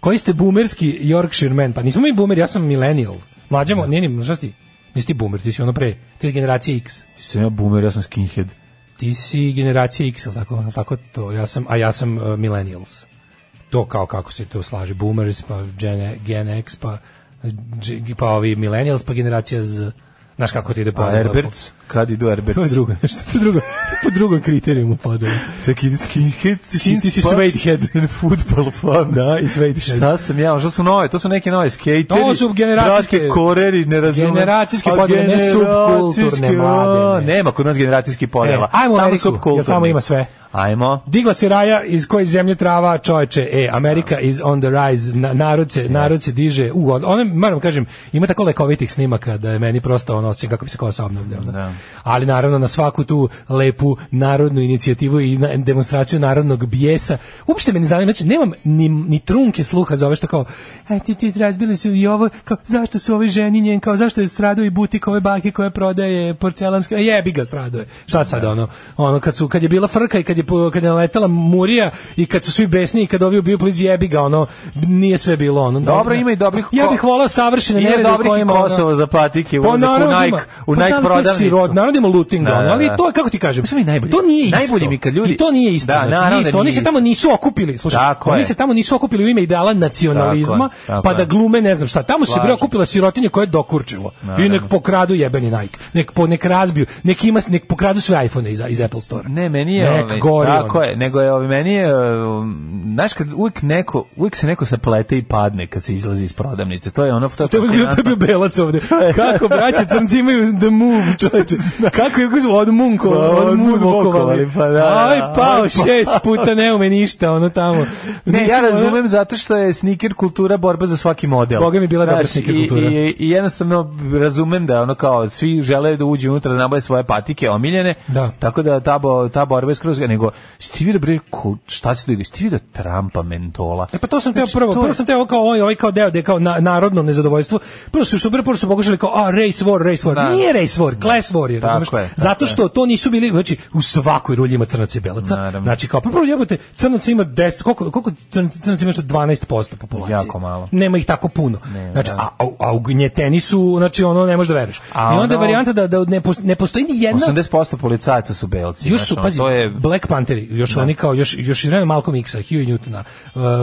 H: koji ste boomerski Yorkshire man? Pa nismo mi boomer, ja sam millennial. Mlađa,
G: Da.
H: mo- nije ni, šta si ti? Nisi ti boomer, ti si ono pre, ti si generacija X.
G: Sam ja boomer, ja sam skinhead.
H: Ti si generacija X, ali tako, jel tako to, ja sam, a ja sam uh, millennials. To kao kako se to slaže, boomers, pa gen, gen X, pa, dž- pa ovi millennials, pa generacija Z. Znaš kako ti ide po...
G: A Pa Herberts? Kad idu Herberts?
H: Pa da, To je drugo nešto, to je drugo, to je po drugom kriterijumu podelo.
G: Čak idu skinhead,
H: si- ti si Sweathead.
G: and football fans.
H: Da, i Sweathead.
G: Šta sam ja, što su nove, to su neke nove skateri.
H: To su generacijske-
G: bratske koreri, ne razumem.
H: generacijske
G: A
H: podele, ne
G: generacijske,
H: subkulturne mlade,
G: a,
H: ne.
G: Nema kod nas generacijski podela.
H: E, ajmo u
G: Samo
H: Ameriku,
G: subkulturni.
H: jer tamo ima sve.
G: Ajmo.
H: Digla se raja iz koje zemlje trava, čoveče, e, Amerika is on the rise, na, narod, se, narod se diže, u, on- ono, moram da kažem, ima tako lekovitih snimaka da je meni prosto ono osjećam kako bi se kosa obnavljala.
G: Da.
H: Ali naravno na svaku tu lepu narodnu inicijativu i na, demonstraciju narodnog bijesa, uopšte me ne zanima, znači nemam ni, ni trunke sluha za ove što kao, e, ti, ti razbili su i ovo, kao, zašto su ove ženi njen, kao, zašto je stradao i butik ove
G: Da.
H: bake koje prodaje porcelanske, e, jebi ga stradao je. Šta sad ono, ono, kad, su, kad je bila frka i kad je je po- kad je naletala Murija i kad su svi besni i kad ovi ubiju policije jebi ga ono nije sve bilo ono. da.
G: Dobro, ima i dobrih
H: Ja
G: ko-
H: bih volao savršene
G: Ima
H: nerede
G: dobrih i
H: ono-
G: Kosovo za patike,
H: Pa
G: ulazak u
H: naravno ima.
G: Nike- u
H: Pa
G: Nike
H: da, ali to je
G: prodavnicu.
H: sirot, Narod ima looting, da,
G: Da,
H: ono,
G: da,
H: ali
G: da.
H: to je, kako ti kažem,
G: mi najbolje.
H: to nije isto.
G: Najbolje mi kad ljudi-
H: I to nije isto.
G: Da,
H: znači,
G: naravno
H: nije
G: da
H: isto. Oni
G: nije
H: se tamo nisu okupili, slušaj,
G: Tako
H: oni
G: je.
H: se tamo nisu okupili u ime ideala nacionalizma,
G: Tako je, tako
H: pa da
G: je.
H: glume ne znam šta. Tamo su se bre
G: Slažem
H: okupila sirotinje koje je dokurčilo. I nek pokradu jebeni Nike, nek, po, nek razbiju, nek, ima, nek pokradu sve iPhone iz, iz Apple Store.
G: Ne, meni je,
H: Nek
G: ovaj,
H: gori
G: tako
H: ono.
G: je, nego je, ovaj, meni je, um, znaš, kad uvijek neko, uvijek se neko saplete i padne kad se izlazi iz prodavnice, to je ono, to je
H: To je bio
G: fascinantno.
H: tebe belac ovde. Kako braće crnci imaju the move, čoveče. Kako je kako od munko,
G: Pa,
H: od
G: od
H: munvokovali.
G: munvokovali, pa da, da.
H: Aj pao
G: Aj, pa.
H: šest puta ne ume ništa, ono tamo.
G: Ne, ja
H: Nisam, ono-
G: razumem zato što je sneaker kultura borba za svaki model.
H: Boga mi bila dobra
G: Znaš,
H: sneaker
G: i-
H: kultura.
G: I, i jednostavno razumem da ono kao svi žele da uđu unutra da nabaje svoje patike omiljene.
H: Da.
G: Tako da ta, bo, ta borba je skroz nego si ti vidio bre ko- šta se događa? Si ti vidio Trumpa mentola?
H: E pa to sam teo
G: Znači,
H: prvo,
G: to je-
H: prvo sam teo kao ovaj, ovaj kao deo da je kao na, narodno nezadovoljstvo. Prvo su što prvo prvo su pokušali kao a race war, race war.
G: Da.
H: Nije race war, class war, je,
G: Tako
H: razumeš?
G: je, tako
H: Zato
G: je.
H: što to nisu bili, znači u svakoj rulji ima crnaca i belaca.
G: Naravno.
H: Znači kao prvo jebote, crnaca ima 10, koliko koliko crnaca, crnaca ima što 12% populacije.
G: Jako malo.
H: Nema ih tako puno.
G: Nema,
H: znači
G: da.
H: a a, a ugnjeteni su, znači ono ne možeš da veruješ.
G: A
H: I onda je
G: ono-
H: varijanta da da ne postoji, ne postoji ni jedna
G: 80% policajaca su belci.
H: još
G: znaš,
H: su,
G: ono,
H: pazi,
G: to je, Da.
H: Black Pantheri, još oni kao, još, još iz vremena Malcolm X-a, Huey Newtona,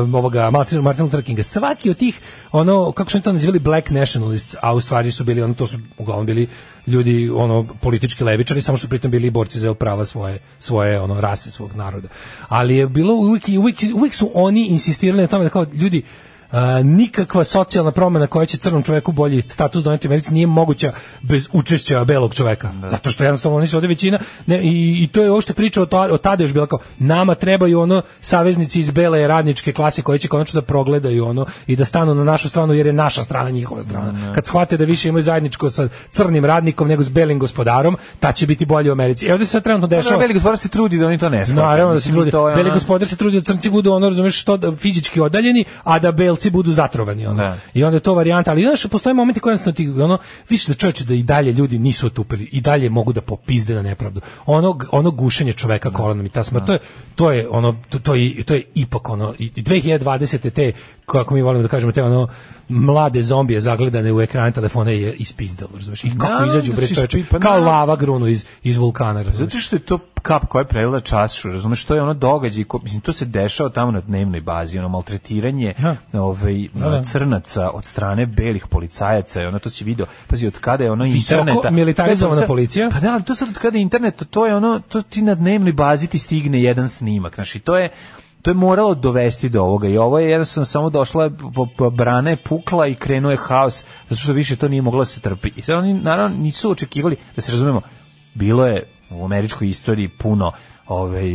H: um, ovoga, Martin, Martin Luther Kinga, svaki od tih, ono, kako su oni to nazivali, Black Nationalists, a u stvari su bili, ono, to su uglavnom bili ljudi, ono, politički levičari, samo su pritom bili i borci za prava svoje, svoje, ono, rase, svog naroda. Ali je bilo, uvijek, uvijek, uvijek su oni insistirali na tome da kao, ljudi, a, nikakva socijalna promjena koja će crnom čovjeku bolji status doneti u Americi nije moguća bez učešća belog čovjeka. Zato što jednostavno oni su ovdje većina ne, i, i to je uopšte priča o, to, o tada još bila kao nama trebaju ono saveznici iz bele radničke klase koji će konačno da progledaju ono i da stanu na našu stranu jer je naša strana njihova strana. Kad shvate da više imaju zajedničko sa crnim radnikom nego s belim gospodarom, ta će biti bolje u Americi. E ovdje se sad trenutno
G: Ono,
H: dešava.
G: Beli gospodar se trudi da oni to ne shvate.
H: Naravno da se
G: Mislim,
H: trudi.
G: to je
H: Beli
G: ono-
H: gospodar se trudi da crnci budu ono, razumeš, što da, fizički odaljeni, a da belci budu zatrovani. Ono.
G: Da.
H: I onda je to varijanta. Ali znaš, postoje momenti koji jednostavno ti, ono, više da čovječe da i dalje ljudi nisu otupili, i dalje mogu da popizde na nepravdu. Ono, ono gušenje
G: Da.
H: čoveka kolonom i ta smrt, to je, to je ono, to, to je, to je ipak ono, i i 2020. te, kako mi volimo da kažemo, te ono, mlade zombije zagledane u ekran telefona je ispizdalo, razumeš, i kako
G: Da,
H: izađu
G: da
H: bre
G: si
H: čoveče,
G: spi- pa
H: kao
G: naravno.
H: lava grunu iz, iz vulkana, razumeš.
G: Pa Zato što je to kap koja je prelila čašu, razumeš, to je ono događaj, ko, mislim, to se dešava tamo na dnevnoj bazi, ono maltretiranje
H: Ha.
G: ovaj,
H: da.
G: crnaca od strane belih policajaca, i ono to si video, pazi, od kada je ono
H: Visoko
G: interneta...
H: militarizovana
G: Ne, pa,
H: policija.
G: Pa da, ali to sad od kada je internet, to je ono, to ti na dnevnoj bazi ti stigne jedan snimak, znaš, i to je to je moralo dovesti do ovoga i ovo je jednostavno samo došla po- po- brana je pukla i krenuo je haos zato što više to nije moglo da se trpi i sad oni naravno nisu očekivali da se razumemo bilo je u američkoj istoriji puno ovaj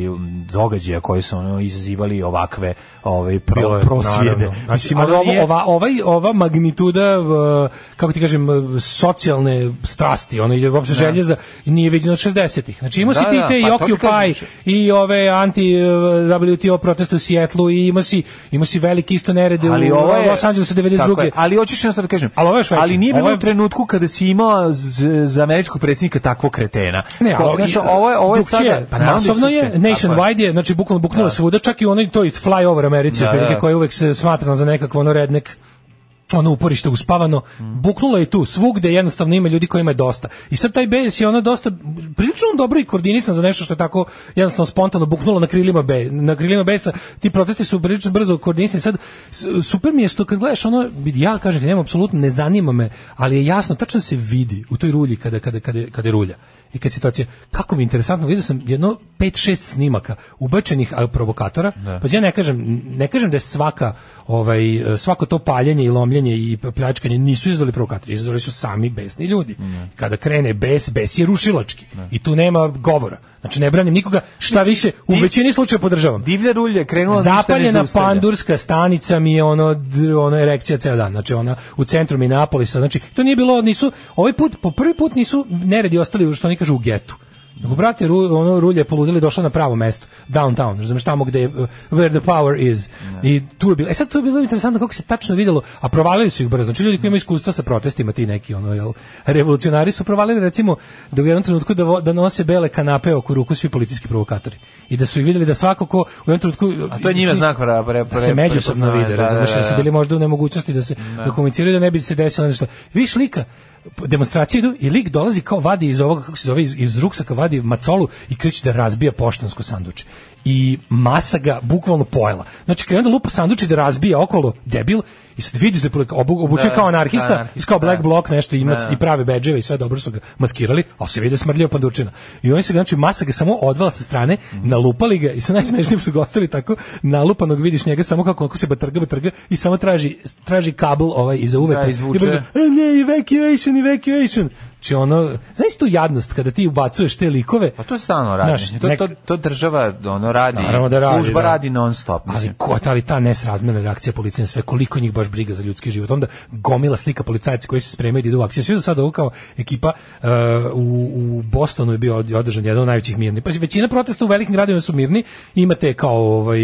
G: događaja koji su ono izazivali ovakve ovaj pro,
H: Bilo je,
G: prosvjede.
H: naravno. Znači,
G: Mislim,
H: ali
G: ono
H: ovo-
G: nije-
H: ova, ovaj, ova magnituda, v- kako ti kažem, v- socijalne strasti, ono, ili uopšte želje za, nije viđeno od 60-ih. Znači, imao
G: Da,
H: si ti
G: da,
H: te i
G: pa to ti
H: Occupy,
G: kažem.
H: i ove e, anti-WTO proteste u Sijetlu, i imao si, imao si veliki isto nerede
G: ali
H: u
G: ovo je
H: Los Angelesu
G: Tako
H: 92.
G: je, ali hoćeš nešto da kažem.
H: Ali ovo je još veće.
G: Ali nije bilo
H: Ovo je-
G: u trenutku kada si imao z- za američkog predsjednika takvog kretena.
H: Ne,
G: Ko-
H: ali
G: znaš, ovo je ovo je
H: drugčije,
G: sada naravno da
H: masovno Pa je,
G: drugčije. Tako
H: nationwide je, znači bukvalno buknulo
G: Da.
H: svuda, čak i onaj to i fly over Americi,
G: Da,
H: otprilike,
G: da.
H: koja je uvek se smatrana za nekakvo ono rednek ono uporište uspavano,
G: Mm.
H: buknulo je i tu, svugde jednostavno ima ljudi kojima je dosta. I sad taj Bejs je ono dosta, prilično on dobro i koordinisan za nešto što je tako jednostavno spontano buknulo na krilima, Be, na krilima Bejsa. Ti protesti su prilično brzo koordinisani. Sad, s- super mi je što kad gledaš ono, ja kažem ti, nema apsolutno, ne zanima me, ali je jasno, tačno se vidi u toj rulji kada, kada, kada, je- kada je rulja. I kad situacija, kako mi je interesantno, vidio sam jedno 5-6 snimaka ubačenih a, provokatora, pa ja ne kažem, ne kažem da je svaka, ovaj, svako to paljenje i lomljenje i pljačkanje nisu izvali provokatori, izvali su sami besni ljudi. Kada krene bes, bes je rušilački i tu nema govora. Znači ne branim nikoga, šta
G: Mislim,
H: više, u
G: ti-
H: većini slučaja podržavam.
G: Divlja rulja je krenula da ništa ne
H: Zapaljena
G: zaustavlja.
H: pandurska stanica mi je ono dr- ono erekcija ceo dan. Znači ona u centru Minneapolisa. Znači to nije bilo nisu ovaj put po prvi put nisu neredi ostali što oni kažu u getu Nego, brate, ru, ono rulje poludili došla na pravo mesto, downtown, razumiješ, tamo gde je, uh, where the power is. I tu je bilo, e sad tu je bilo interesantno kako se tačno videlo, a provalili su ih brzo, znači ljudi koji imaju iskustva sa protestima, ti neki, ono, jel, revolucionari su provalili, recimo, da u jednom trenutku da, vo- da nose bele kanape oko ruku svi policijski provokatori. I da su ih vidjeli da svako ko u jednom trenutku...
G: A to je njima
H: svi-
G: znak pre, pre, pre,
H: da se međusobno
G: prepoznavanja,
H: vide,
G: da, da,
H: razumeš, da,
G: da.
H: su bili možda u nemogućnosti da se da. komuniciraju, da ne bi se desilo nešto. Viš lika, demonstracije idu i lik dolazi kao vadi iz ovoga, kako se zove, iz, iz ruksaka vadi macolu i kriči da razbija poštansko sanduče. I masa ga bukvalno pojela. Znači, kada onda lupa sanduče da razbija okolo, debil, i sad vidiš da je polik- obu- obučen
G: Da,
H: kao anarhista,
G: anarhista,
H: kao black
G: da.
H: block, nešto ima
G: Da.
H: i prave bedževe i sve dobro su ga maskirali, ali se vidi smrdljao pandučina. I oni su ga, znači, masa ga samo odvala sa strane, nalupali ga i sa najsmešnijim su ga ostavili tako, nalupanog vidiš njega samo kako, kako se batrga, batrga i samo traži, traži kabel ovaj iza uveta.
G: Da, izvuče.
H: I brzo, "E, ne, evacuation, evacuation. Znači ono, znaš tu jadnost kada ti ubacuješ te likove?
G: Pa to stalno radi.
H: Znaš,
G: Znaš, to,
H: nek-
G: to, to država ono radi.
H: Naravno da radi,
G: Služba
H: da.
G: radi non stop.
H: Ali ko ali ta nesrazmerna reakcija policije na sve koliko njih baš briga za ljudski život. Onda gomila slika policajaca koji se spremaju da idu u akciju. Svi do sada ovo kao ekipa e, u, u Bostonu je bio od- održan jedan od najvećih mirnih. Pa većina protesta u velikim gradovima su mirni. Imate kao ovaj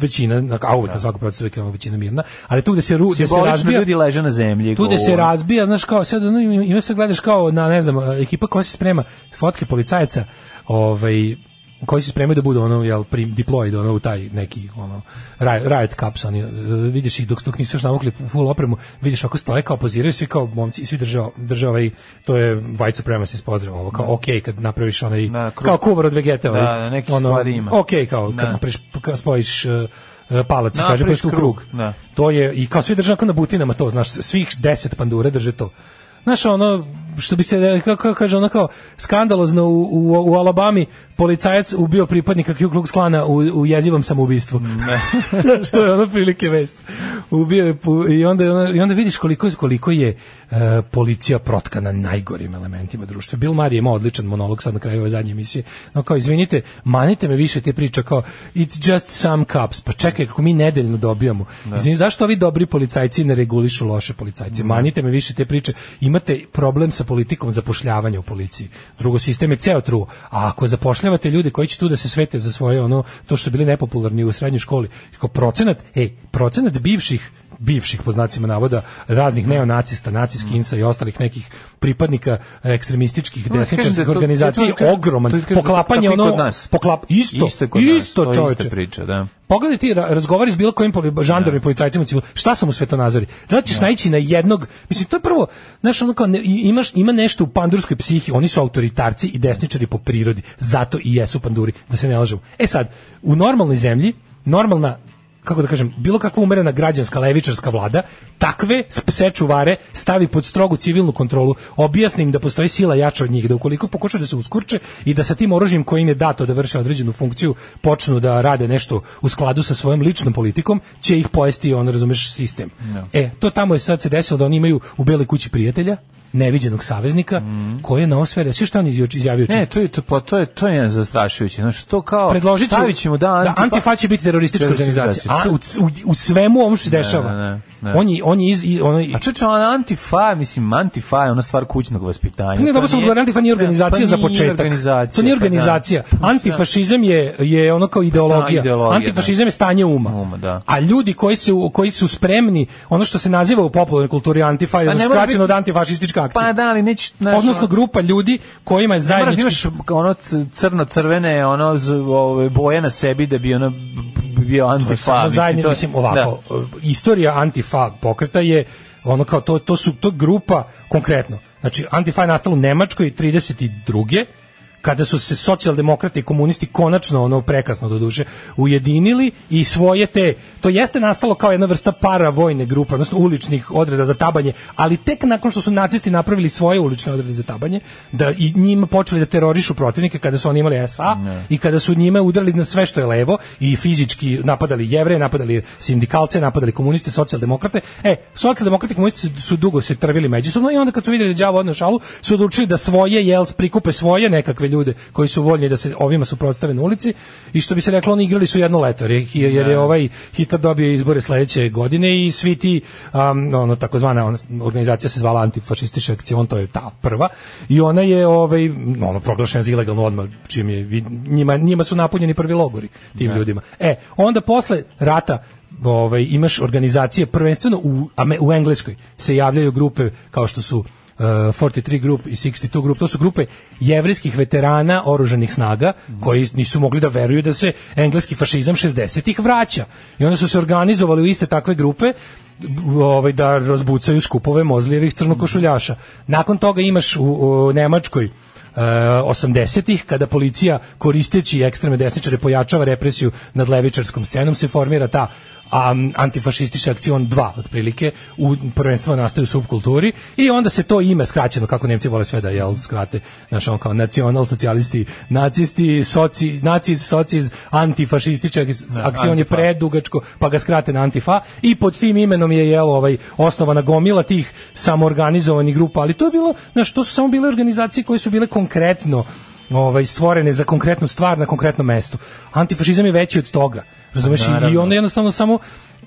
H: većina, na- a uvek na svaku protestu uvek imamo većina mirna, ali tu gde se, ru, gde se
G: Da. Simbolično
H: razbija...
G: ljudi leže na zemlji.
H: Tu da se
G: govore.
H: razbija, znaš kao sad ono, ima- ima se gledaš kao na ne znam, ekipa koja se sprema fotke policajaca, ovaj koji se spremaju da budu ono jel prim deployed ono u taj neki ono riot, riot caps oni e, vidiš ih dok dok nisu još navukli full opremu vidiš ako stoje kao poziraju svi kao momci svi drže drže ovaj to je white supremacist pozdrav ovo kao okej kad napraviš onaj
G: Da, kruh.
H: kao kuvar od vegeta ovaj,
G: Da, da, nekih stvari ima.
H: okej kao kad
G: Da.
H: napraviš kad spojiš e, e, palac i kaže pa
G: Napraviš
H: tu krug,
G: krug, da.
H: to je, i kao svi drže onako na butinama to, znaš, svih deset pandure drže to. Znaš, ono, što bi se, kako kaže, ono kao, skandalozno u, u, u Alabami policajac ubio pripadnika Ku Klux Klana u, u jezivom samoubistvu. što je ono prilike vest. Ubio je, pu- i onda, je ono- i onda vidiš koliko, koliko je e, policija protkana najgorim elementima društva. Bill Murray ima odličan monolog sad na kraju ove zadnje emisije. No kao, izvinite, manite me više te priče kao, it's just some cops. Pa čekaj, kako mi nedeljno dobijamo. Izvini, zašto ovi dobri policajci ne regulišu loše policajce? Manite me više te priče. Imate problem sa politikom zapošljavanja u policiji. Drugo, sistem je ceo truo. A ako zapošljavate ljude koji će tu da se svete za svoje ono, to što su bili nepopularni u srednjoj školi, kao procenat, ej, procenat bivših bivših po znacima navoda raznih neonacista, naciskinsa i ostalih nekih pripadnika ekstremističkih
G: Ne, kažem da
H: desničarskih
G: to-
H: organizacija
G: to-
H: je
G: to- to- to-
H: ogroman
G: to- to-
H: poklapanje
G: kako i kod
H: ono
G: nas.
H: poklap isto
G: Isto
H: isto,
G: je kod nas, to je ista
H: čoveče
G: priča, da.
H: Pogledaj ti ra- razgovori s bilo kojim poli, žandarnim policajcima, u civilu, šta sam u svetonazori? Da li ćeš naići na jednog, mislim to je prvo, znaš ono kao ne- i- imaš ima nešto u pandurskoj psihi, oni su autoritarci i desničari po prirodi, zato i jesu panduri, da se ne lažemo. E sad, u normalnoj zemlji, normalna kako da kažem, bilo kakva umerena građanska levičarska vlada, takve pse čuvare stavi pod strogu civilnu kontrolu, objasni im da postoji sila jača od njih, da ukoliko pokušaju da se uskurče i da sa tim oružjem koje im je dato da vrše određenu funkciju, počnu da rade nešto u skladu sa svojom ličnom politikom, će ih pojesti, on razumeš, sistem. E, to tamo je sad se desilo da oni imaju u Beloj kući prijatelja, neviđenog saveznika, koji je na osvere, sve što on izjuč- izjavio
G: Ne, to je to, pa to je to je zastrašujuće. Znači to kao
H: Znači- predložit ću
G: stavit ćemo da antifa,
H: Antifa će biti teroristička
G: Teroristička
H: organizacija. A u,
G: organizacija.
H: u, u svemu ovom što se dešava.
G: ne, ne.
H: On je on je iz i ono
G: A čeče, ona antifa, mislim, antifa je ona stvar kućnog vaspitanja.
H: Pa ne,
G: To
H: dobro sam
G: nije-
H: odgovorio, antifa nije
G: Ne,
H: organizacija
G: pa
H: za
G: nije
H: početak.
G: organizacija,
H: to nije
G: pa da.
H: organizacija.
G: Pa šta? Pa
H: Antifašizam je, je ono kao ideologija.
G: ideologija, da.
H: Antifašizam je stanje uma.
G: Uma, da.
H: A ljudi koji su, koji su spremni, ono što se naziva u popularnoj kulturi antifa, je
G: Pa ne mora biti-
H: skraćeno od antifašistička akcija.
G: Pa da, ali neće... znaš,
H: Odnosno
G: ono-
H: grupa ljudi kojima je
G: Moraš da
H: zajednički
G: imaš ono c- crno-crvene ono z- ove, boje na sebi da bi ono b- b- bio
H: To je
G: antifa.
H: samo
G: pa,
H: zajedni-
G: to- Da,
H: mislim, ovako, istorija antifa pokreta je ono kao to, to su to grupa konkretno. Znači, antifa je nastala u Nemačkoj 32 kada su se socijaldemokrati i komunisti konačno ono prekasno doduše ujedinili i svoje te to jeste nastalo kao jedna vrsta paravojne grupe odnosno uličnih odreda za tabanje ali tek nakon što su nacisti napravili svoje ulične odrede za tabanje da i njima počeli da terorišu protivnike kada su oni imali SA i kada su njime udarili na sve što je levo i fizički napadali jevreje, napadali sindikalce, napadali komuniste, socijaldemokrate. E, socijaldemokrati i komunisti su, su dugo se trvili međusobno i onda kad su vidjeli đavo odno šalu, su odlučili da svoje jel da prikupe svoje nekakve takve ljude koji su voljni da se ovima suprotstave na ulici i što bi se reklo oni igrali su jedno leto jer, je- jer je ovaj Hitler dobio izbore sledeće godine i svi ti um, ono takozvana ona organizacija se zvala antifašistička akcija on to je ta prva i ona je ovaj ono proglašena za ilegalnu odmah čim je vid- njima njima su napunjeni prvi logori tim ljudima e onda posle rata ovaj, imaš organizacije prvenstveno u, Ame- u Engleskoj se javljaju grupe kao što su uh, 43 grup i 62 grup, to su grupe jevrejskih veterana oruženih snaga koji nisu mogli da veruju da se engleski fašizam 60-ih vraća. I onda su se organizovali u iste takve grupe b- ovaj da razbucaju skupove mozlijevih crnokošuljaša. Nakon toga imaš u, u Nemačkoj e, 80-ih kada policija koristeći ekstremne desničare pojačava represiju nad levičarskom scenom se formira ta a, antifašistička akcion 2 otprilike u prvenstvo nastaju u subkulturi i onda se to ime skraćeno kako Nemci vole sve da jel skrate znači on kao nacional socijalisti nacisti soci naciz sociz antifašistička akcion je
G: Da, antifa.
H: predugačko pa ga skrate na antifa i pod tim imenom je jel ovaj osnovana gomila tih samoorganizovanih grupa ali to je bilo na što su samo bile organizacije koje su bile konkretno ovaj stvorene za konkretnu stvar na konkretnom mestu antifašizam je veći od toga razumeš I- i
G: Naravno.
H: onda jednostavno samo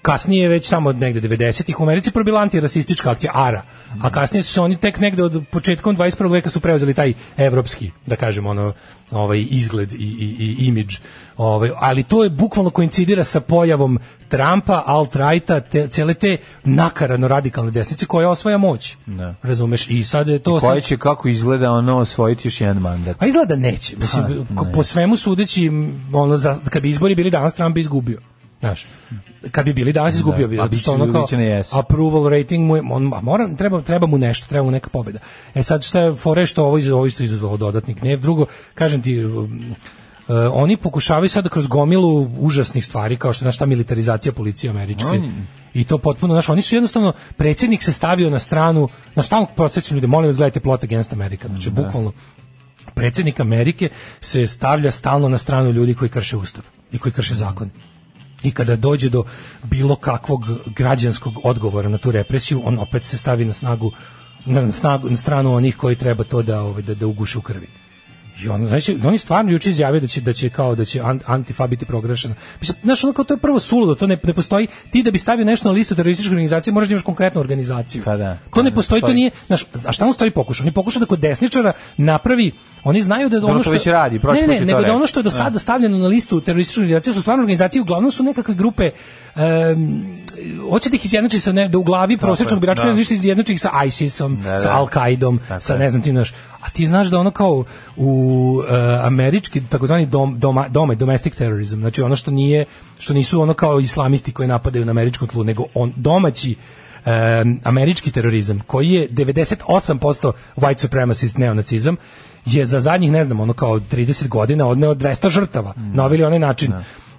H: kasnije već tamo negde 90-ih u Americi probila antirasistička akcija ARA. A kasnije su se oni tek negde od početkom 21. veka su preuzeli taj evropski, da kažem, ono, ovaj izgled i, i, i imidž. Ovaj, ali to je bukvalno koincidira sa pojavom Trumpa, alt-righta, te, cele te nakaradno radikalne desnice koja osvaja moć.
G: Da.
H: Razumeš? I sad je to... sad-
G: Koji će kako izgleda ono osvojiti još jedan mandat.
H: Pa izgleda neće. Mislim,
G: Pa,
H: ko-
G: ne.
H: po svemu sudeći, m, ono, za, kad bi izbori bili danas, Trump bi izgubio. Znaš, kad bi bili danas izgubio bi,
G: Da, a bit će-
H: što ono kao
G: bit će na jesen.
H: approval rating mu je, on, a mora, treba, treba mu nešto, treba mu neka pobjeda. E sad šta je fore što ovo, iz- ovo isto izazvalo dodatni gnev, drugo, kažem ti, um, e, oni pokušavaju sada kroz gomilu užasnih stvari kao što je znaš, ta militarizacija policije američke
G: Oni-
H: i to potpuno, znaš, oni su jednostavno, predsjednik se stavio na stranu, na stalno prosjećam ljude, molim vas gledajte Plot Against America, znači
G: Da.
H: bukvalno predsjednik Amerike se stavlja stalno na stranu ljudi koji krše ustav i koji krše zakon. I kada dođe do bilo kakvog građanskog odgovora na tu represiju, on opet se stavi na snagu na, snagu, na stranu onih koji treba to da ovaj, da, da uguše u krvi. I on, znači, oni stvarno juče izjavio da će, da će kao da će an- antifa biti proglašena. Mislim, znaš, ono kao to je prvo suludo, to ne, ne postoji. Ti da bi stavio nešto na listu terorističke organizacije, moraš da imaš konkretnu organizaciju.
G: Pa da.
H: To ne
G: Ne
H: postoji, to
G: postoji.
H: nije, znaš, a šta on stvari pokušao? Oni pokušao da kod desničara napravi, oni znaju da ono što
G: Drnotović radi, prošli
H: ne,
G: put
H: ne,
G: je to
H: nego da
G: rekao.
H: ono što je do
G: Da.
H: sada stavljeno na listu terorističkih organizacija su stvarno organizacije, uglavnom su nekakve grupe em, hoće da ih izjednači sa ne, da u glavi prosječnog
G: je,
H: biračka
G: da.
H: ne znaš izjednači ih sa ISIS-om,
G: Da,
H: sa
G: da.
H: Al-Qaidom,
G: Tako
H: sa
G: je.
H: ne znam ti znaš. A ti znaš da ono kao u e, američki takozvani dom, doma, doma, domestic terrorism, znači ono što nije što nisu ono kao islamisti koji napadaju na američkom tlu, nego on domaći em, američki terorizam koji je 98% white supremacist neonacizam je za zadnjih ne znam ono kao 30 godina odneo 200 žrtava
G: Mm.
H: na ovaj ili onaj način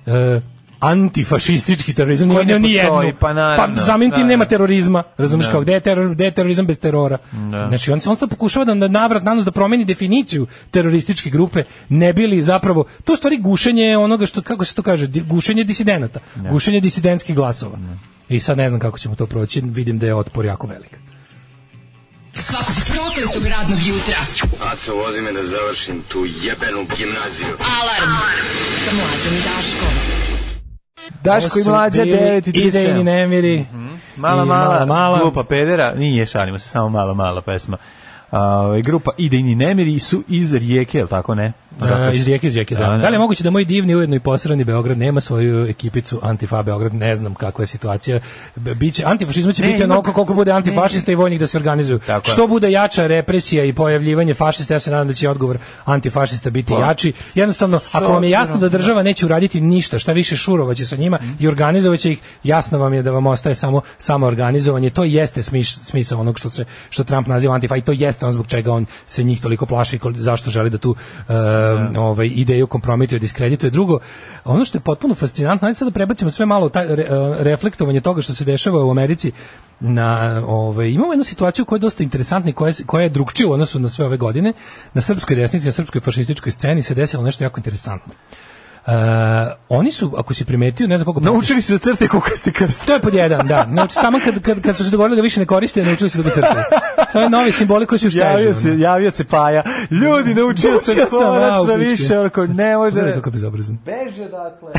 G: Da.
H: E, antifašistički terorizam nije
G: Koji ne
H: odneo ni jednu
G: postoji, pa naravno,
H: samim tim
G: da,
H: nema
G: da.
H: terorizma razumiješ
G: Da.
H: kao gde je, teror, gde je terorizam bez terora
G: Da.
H: znači on se on sad pokušava da na- navrat nanos da promeni definiciju terorističke grupe ne bili zapravo to je u stvari gušenje onoga što kako se to kaže di- gušenje disidenata gušenje disidentskih glasova i sad ne znam kako ćemo to proći vidim da je otpor jako velik
E: Svakog prokletog radnog jutra.
D: Aco, vozi me da završim tu jebenu gimnaziju.
E: Alarm. Sa mlađom i Daškom.
G: Daško i
H: Ovo su
G: mlađa
H: bili
G: 9 i Mhm. 37.
H: idejni nemiri
G: Mala,
H: i
G: mala, mala, glupa pedera, nije, šalimo se, samo mala, mala pesma. Ovaj grupa Idejni nemiri su iz Rijeke, je li tako ne?
H: A,
G: Odakle su?
H: E, iz rijeke, iz rijeke, da. Da, li je moguće da moj divni, ujedno i posrani Beograd nema svoju ekipicu Antifa Beograd? Ne znam kakva je situacija. B- Biće, antifašizma će
G: Ne,
H: biti
G: ima-
H: onoliko koliko bude antifašista i vojnih da se organizuju.
G: Tako je.
H: Što bude jača represija i pojavljivanje fašista, ja se nadam da će odgovor antifašista
G: Pa,
H: biti jači. Jednostavno, ako vam je jasno da država neće uraditi ništa, šta više šurova će sa njima i organizovat će ih, jasno vam je da vam ostaje samo samo organizovanje. To jeste smiš, smisao onog što se što Trump naziva antifa i to jeste on zbog čega on se njih toliko plaši i kol- zašto želi da tu e, ovaj ideju kompromituje, diskredituje. Drugo, ono što je potpuno fascinantno, ajde sad da prebacimo sve malo taj, re- e, reflektovanje toga što se dešava u Americi na ovaj imamo jednu situaciju koja je dosta interesantna i koja, je- koja je drugčija u odnosu na sve ove godine na srpskoj desnici, na srpskoj fašističkoj sceni se desilo nešto jako interesantno. Uh, oni su, ako si primetio, ne znam koliko...
G: Naučili su da crte kukaste krste.
H: To je pod jedan, da. Znači, tamo kad, kad, kad su se dogovorili da više ne koriste, naučili su da ga crtaju. To je novi simboli koji su još
G: Javio
H: teži.
G: se, javio se Paja. Ljudi, naučio sam
H: Naučio sam, a, u
G: konačno
H: pičke.
G: više, onako, ne može.
H: Gledaj kako je bezobrazan.
G: Beži odakle.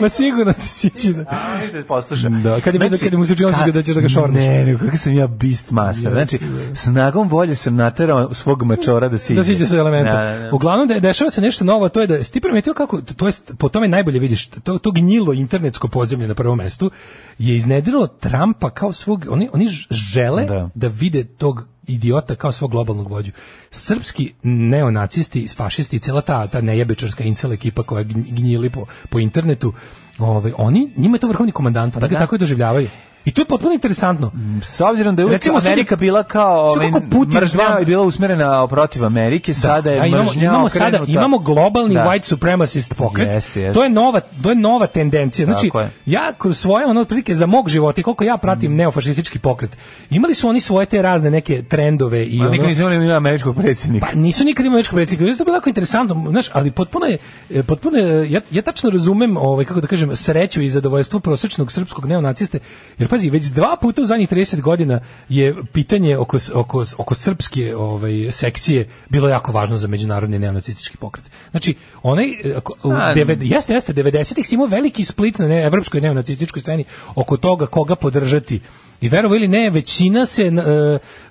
H: Ma sigurno ti sići da...
G: A, viš da posluša.
H: Da, kad je vidio, kad je mu se učinilo, da ćeš da ga šorniš.
G: Znači, Ne, ne, kako sam ja beast master. Znači, snagom volje sam naterao svog mačora da siđe.
H: Da siđe sa elementa.
G: Da, da, da.
H: Uglavnom de, dešava se nešto novo, to je da jesi ti primetio kako to jest po tome najbolje vidiš to to gnjilo internetsko podzemlje na prvom mestu je iznedrilo Trumpa kao svog oni oni ž- žele
G: Da.
H: da, vide tog idiota kao svog globalnog vođu. Srpski neonacisti, fašisti, cela ta, ta nejebečarska incel ekipa koja gnj- gnjili po, po internetu, ovaj, oni, njima je to vrhovni komandant,
G: Pa da.
H: oni ga tako i doživljavaju. I to je potpuno interesantno.
G: S obzirom da je uvijek
H: Recimo, sad je-
G: Amerika bila kao
H: sad
G: ovaj,
H: kako Putin
G: mržnja
H: zna-
G: je bila usmerena protiv Amerike, sada je
H: Da. a imamo,
G: mržnja
H: imamo sada
G: okrenuta.
H: imamo globalni
G: Da.
H: white supremacist pokret.
G: Jeste, jeste.
H: To je nova to je nova tendencija. Znači
G: Tako je. Mm.
H: ja kroz svoje ono otprilike za mog života i koliko ja pratim neofašistički pokret. Imali su oni svoje te razne neke trendove i
G: Ma
H: ono,
G: niko nisu imali ni američkog predsjednika.
H: pa nisu nikad imali već predsjednika. Znači, to je bilo jako interesantno, znaš, ali potpuno je, e, potpuno je, ja, ja tačno razumem, ovaj, kako da kažem, sreću i zadovoljstvo prosečnog srpskog neonaciste, jer pazi, već dva puta u zadnjih 30 godina je pitanje oko, s- oko, s- oko srpske ovaj, sekcije bilo jako važno za međunarodni neonacistički pokret. Znači, onaj, e, ako- u
G: A,
H: deved- jeste, jeste, 90-ih si imao veliki split na ne, evropskoj neonacističkoj sceni oko toga koga podržati. I verovo ili ne, većina se, n- e,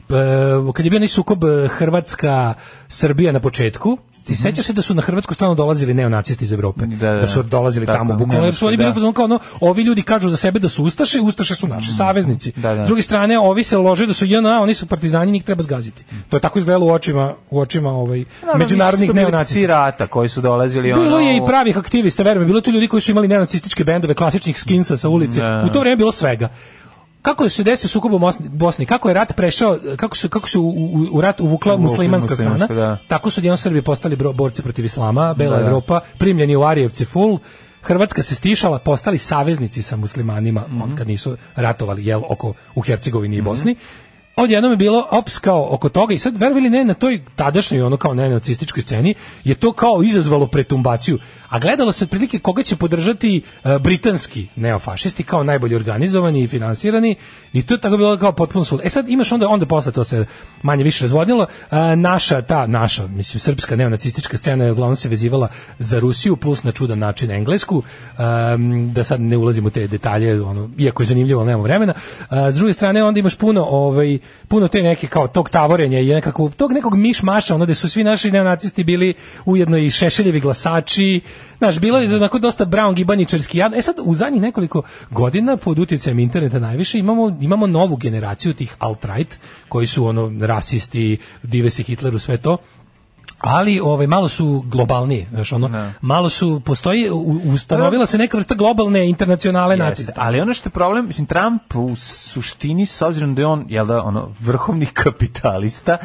H: p- e, kad je bio onaj sukob e, Hrvatska-Srbija na početku, ti sećaš se da su na hrvatsku stranu dolazili neonacisti iz Evrope,
G: Mhm. Da, da.
H: su dolazili
G: Tako,
H: tamo, bukvalno, jer su oni bili
G: da.
H: u fazonu kao ono, ovi ljudi kažu za sebe da su ustaše, ustaše su naši saveznici.
G: Da, da.
H: S druge strane, ovi se lože da su JNA, oni su partizani, njih treba zgaziti. To je tako izgledalo u očima, u očima ovaj,
G: Naravno, nisu
H: međunarodnih
G: to bili psi
H: neonacista.
G: rata koji su dolazili ono...
H: Bilo je i pravih aktivista, verujem, bilo je tu ljudi koji su imali neonacističke bendove, klasičnih skinsa sa ulice.
G: Da.
H: U to vrijeme je bilo svega. Kako je se desio sukob u Mosni- Bosni? Kako je rat prešao, kako se kako se u, u, u rat uvukla
G: Uvukla
H: muslimanska
G: muslimanska,
H: strana?
G: da.
H: Tako su jedan Srbi postali bro- borci protiv islama, Bela
G: Da, da.
H: Evropa, primljeni u Arijevce full. Hrvatska se stišala, postali saveznici sa muslimanima,
G: Mhm.
H: on kad nisu ratovali jel oko u Hercegovini i Bosni. Odjednom je bilo ops kao oko toga i sad verovali ili ne na toj tadašnjoj ono kao neonacističkoj sceni je to kao izazvalo pretumbaciju. A gledalo se otprilike koga će podržati e, britanski neofašisti kao najbolje organizovani i finansirani i to je tako bilo kao potpuno sul. E sad imaš onda onda posle to se manje više razvodnilo. E, naša ta naša mislim srpska neonacistička scena je uglavnom se vezivala za Rusiju plus na čudan način englesku. Em, da sad ne ulazim u te detalje, ono iako je zanimljivo, ali nemamo vremena. E, s druge strane onda imaš puno ovaj puno te neke kao tog tavorenja i nekako tog nekog mišmaša, ono da su svi naši neonacisti bili ujedno i šešeljevi glasači. Znaš, bilo je onako dosta brown gibaničarski jad. E sad, u zadnjih nekoliko godina pod utjecajem interneta najviše imamo, imamo novu generaciju tih alt-right, koji su ono rasisti, dive se Hitleru, sve to ali ovaj malo su globalnije, znaš ono, malo su postoji u- ustanovila se neka vrsta globalne internacionale
G: Jeste,
H: nacista.
G: Ali ono što je problem, mislim, Trump u suštini, s obzirom da je on, jel da, ono, vrhovni kapitalista,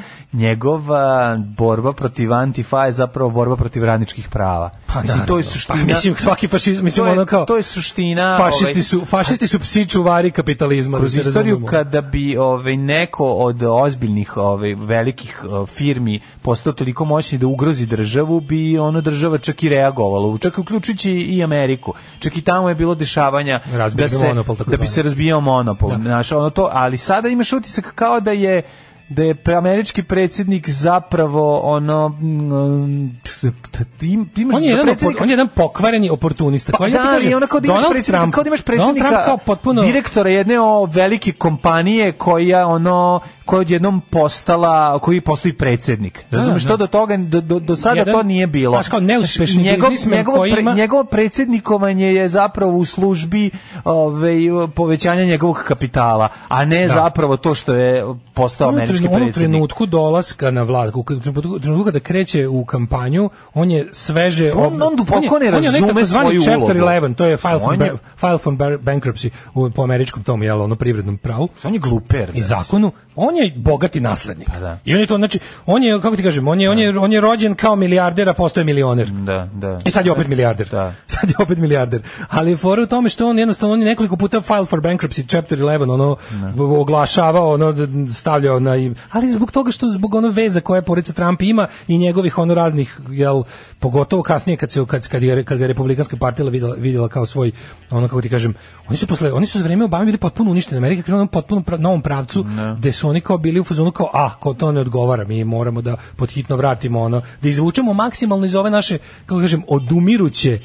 G: njegova borba protiv antifa je zapravo borba protiv radničkih prava. da, mislim, to
H: naravno.
G: je suština.
H: Pa, mislim, svaki fašizam, mislim,
G: to je,
H: ono kao...
G: To je suština... ovaj,
H: Fašisti su, fašisti su psi čuvari kapitalizma.
G: kroz
H: da se
G: istoriju
H: razumemo.
G: kada bi ovaj neko od ozbiljnih ovaj velikih eh, firmi postao toliko moćni da ugrozi državu bi ono država čak i reagovala čak uključujući i Ameriku čak i tamo je bilo dešavanja
H: Razbio
G: da
H: bi
G: se
H: monopol,
G: da bi
H: takozvani.
G: se razbijao monopol
H: Da.
G: znaš, ono to ali sada imaš utisak kao da je da je pre- američki predsjednik zapravo ono mm, t- t- ti im- ti imaš
H: on je,
G: za
H: jedan, opor,
G: predsjednika-
H: on je jedan pokvareni oportunista.
G: pa,
H: koji
G: da, i ono kao da imaš predsjednika, kao da imaš predsjednika,
H: Donald Trump kao potpuno...
G: direktora jedne o, velike kompanije koja ono koja je odjednom postala, koji postoji predsjednik. Razumeš
H: da.
G: to do toga do, do, do sada
H: Jedan,
G: to nije bilo. Znači,
H: znaš, kao neuspešni biznismen
G: njegovo,
H: koji ima-
G: njegovo predsjednikovanje je zapravo u službi ovaj povećanja njegovog kapitala, a ne
H: Da.
G: zapravo to što je postao
H: U
G: američki
H: trenu- u
G: predsjednik.
H: trenutku dolaska na vlast, u trenutku- u trenutku kada kreće u kampanju, on je sveže...
G: On-
H: ob-
G: on duboko
H: je-
G: ne
H: on je onaj
G: razume
H: takozvani
G: svoju
H: Chapter
G: ulogu.
H: 11, to je file
G: On
H: from,
G: je-
H: ba- file from bar- bankruptcy u, po američkom tom, jel, ono privrednom pravu.
G: On je gluper.
H: i zakonu, on je bogati naslednik.
G: da.
H: I on je to, znači, on je, kako ti kažem, on je, on je, on je rođen kao milijarder, a postoje milioner.
G: Da, da.
H: I sad je opet milijarder.
G: Da.
H: Sad je opet milijarder. Ali je fora u tome što on jednostavno on je nekoliko puta file for bankruptcy chapter 11 ono
G: Da.
H: v- oglašavao, ono d- stavljao na ali zbog toga što zbog ono veza koje porodica Trump ima i njegovih ono raznih jel pogotovo kasnije kad se kad kad je kad ga je republikanska partija videla videla kao svoj ono kako ti kažem oni su posle oni su za vreme Obame bili potpuno uništeni Amerika je krenula na potpuno pra, novom pravcu
G: Da.
H: gde su oni kao bili u fazonu kao a ko to ne odgovara mi moramo da podhitno vratimo ono da izvučemo maksimalno iz ove naše kako kažem odumiruće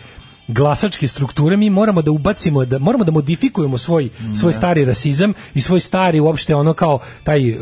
H: glasačke strukture mi moramo da ubacimo da moramo da modifikujemo svoj
G: Da.
H: svoj stari rasizam i svoj stari uopšte ono kao taj eh,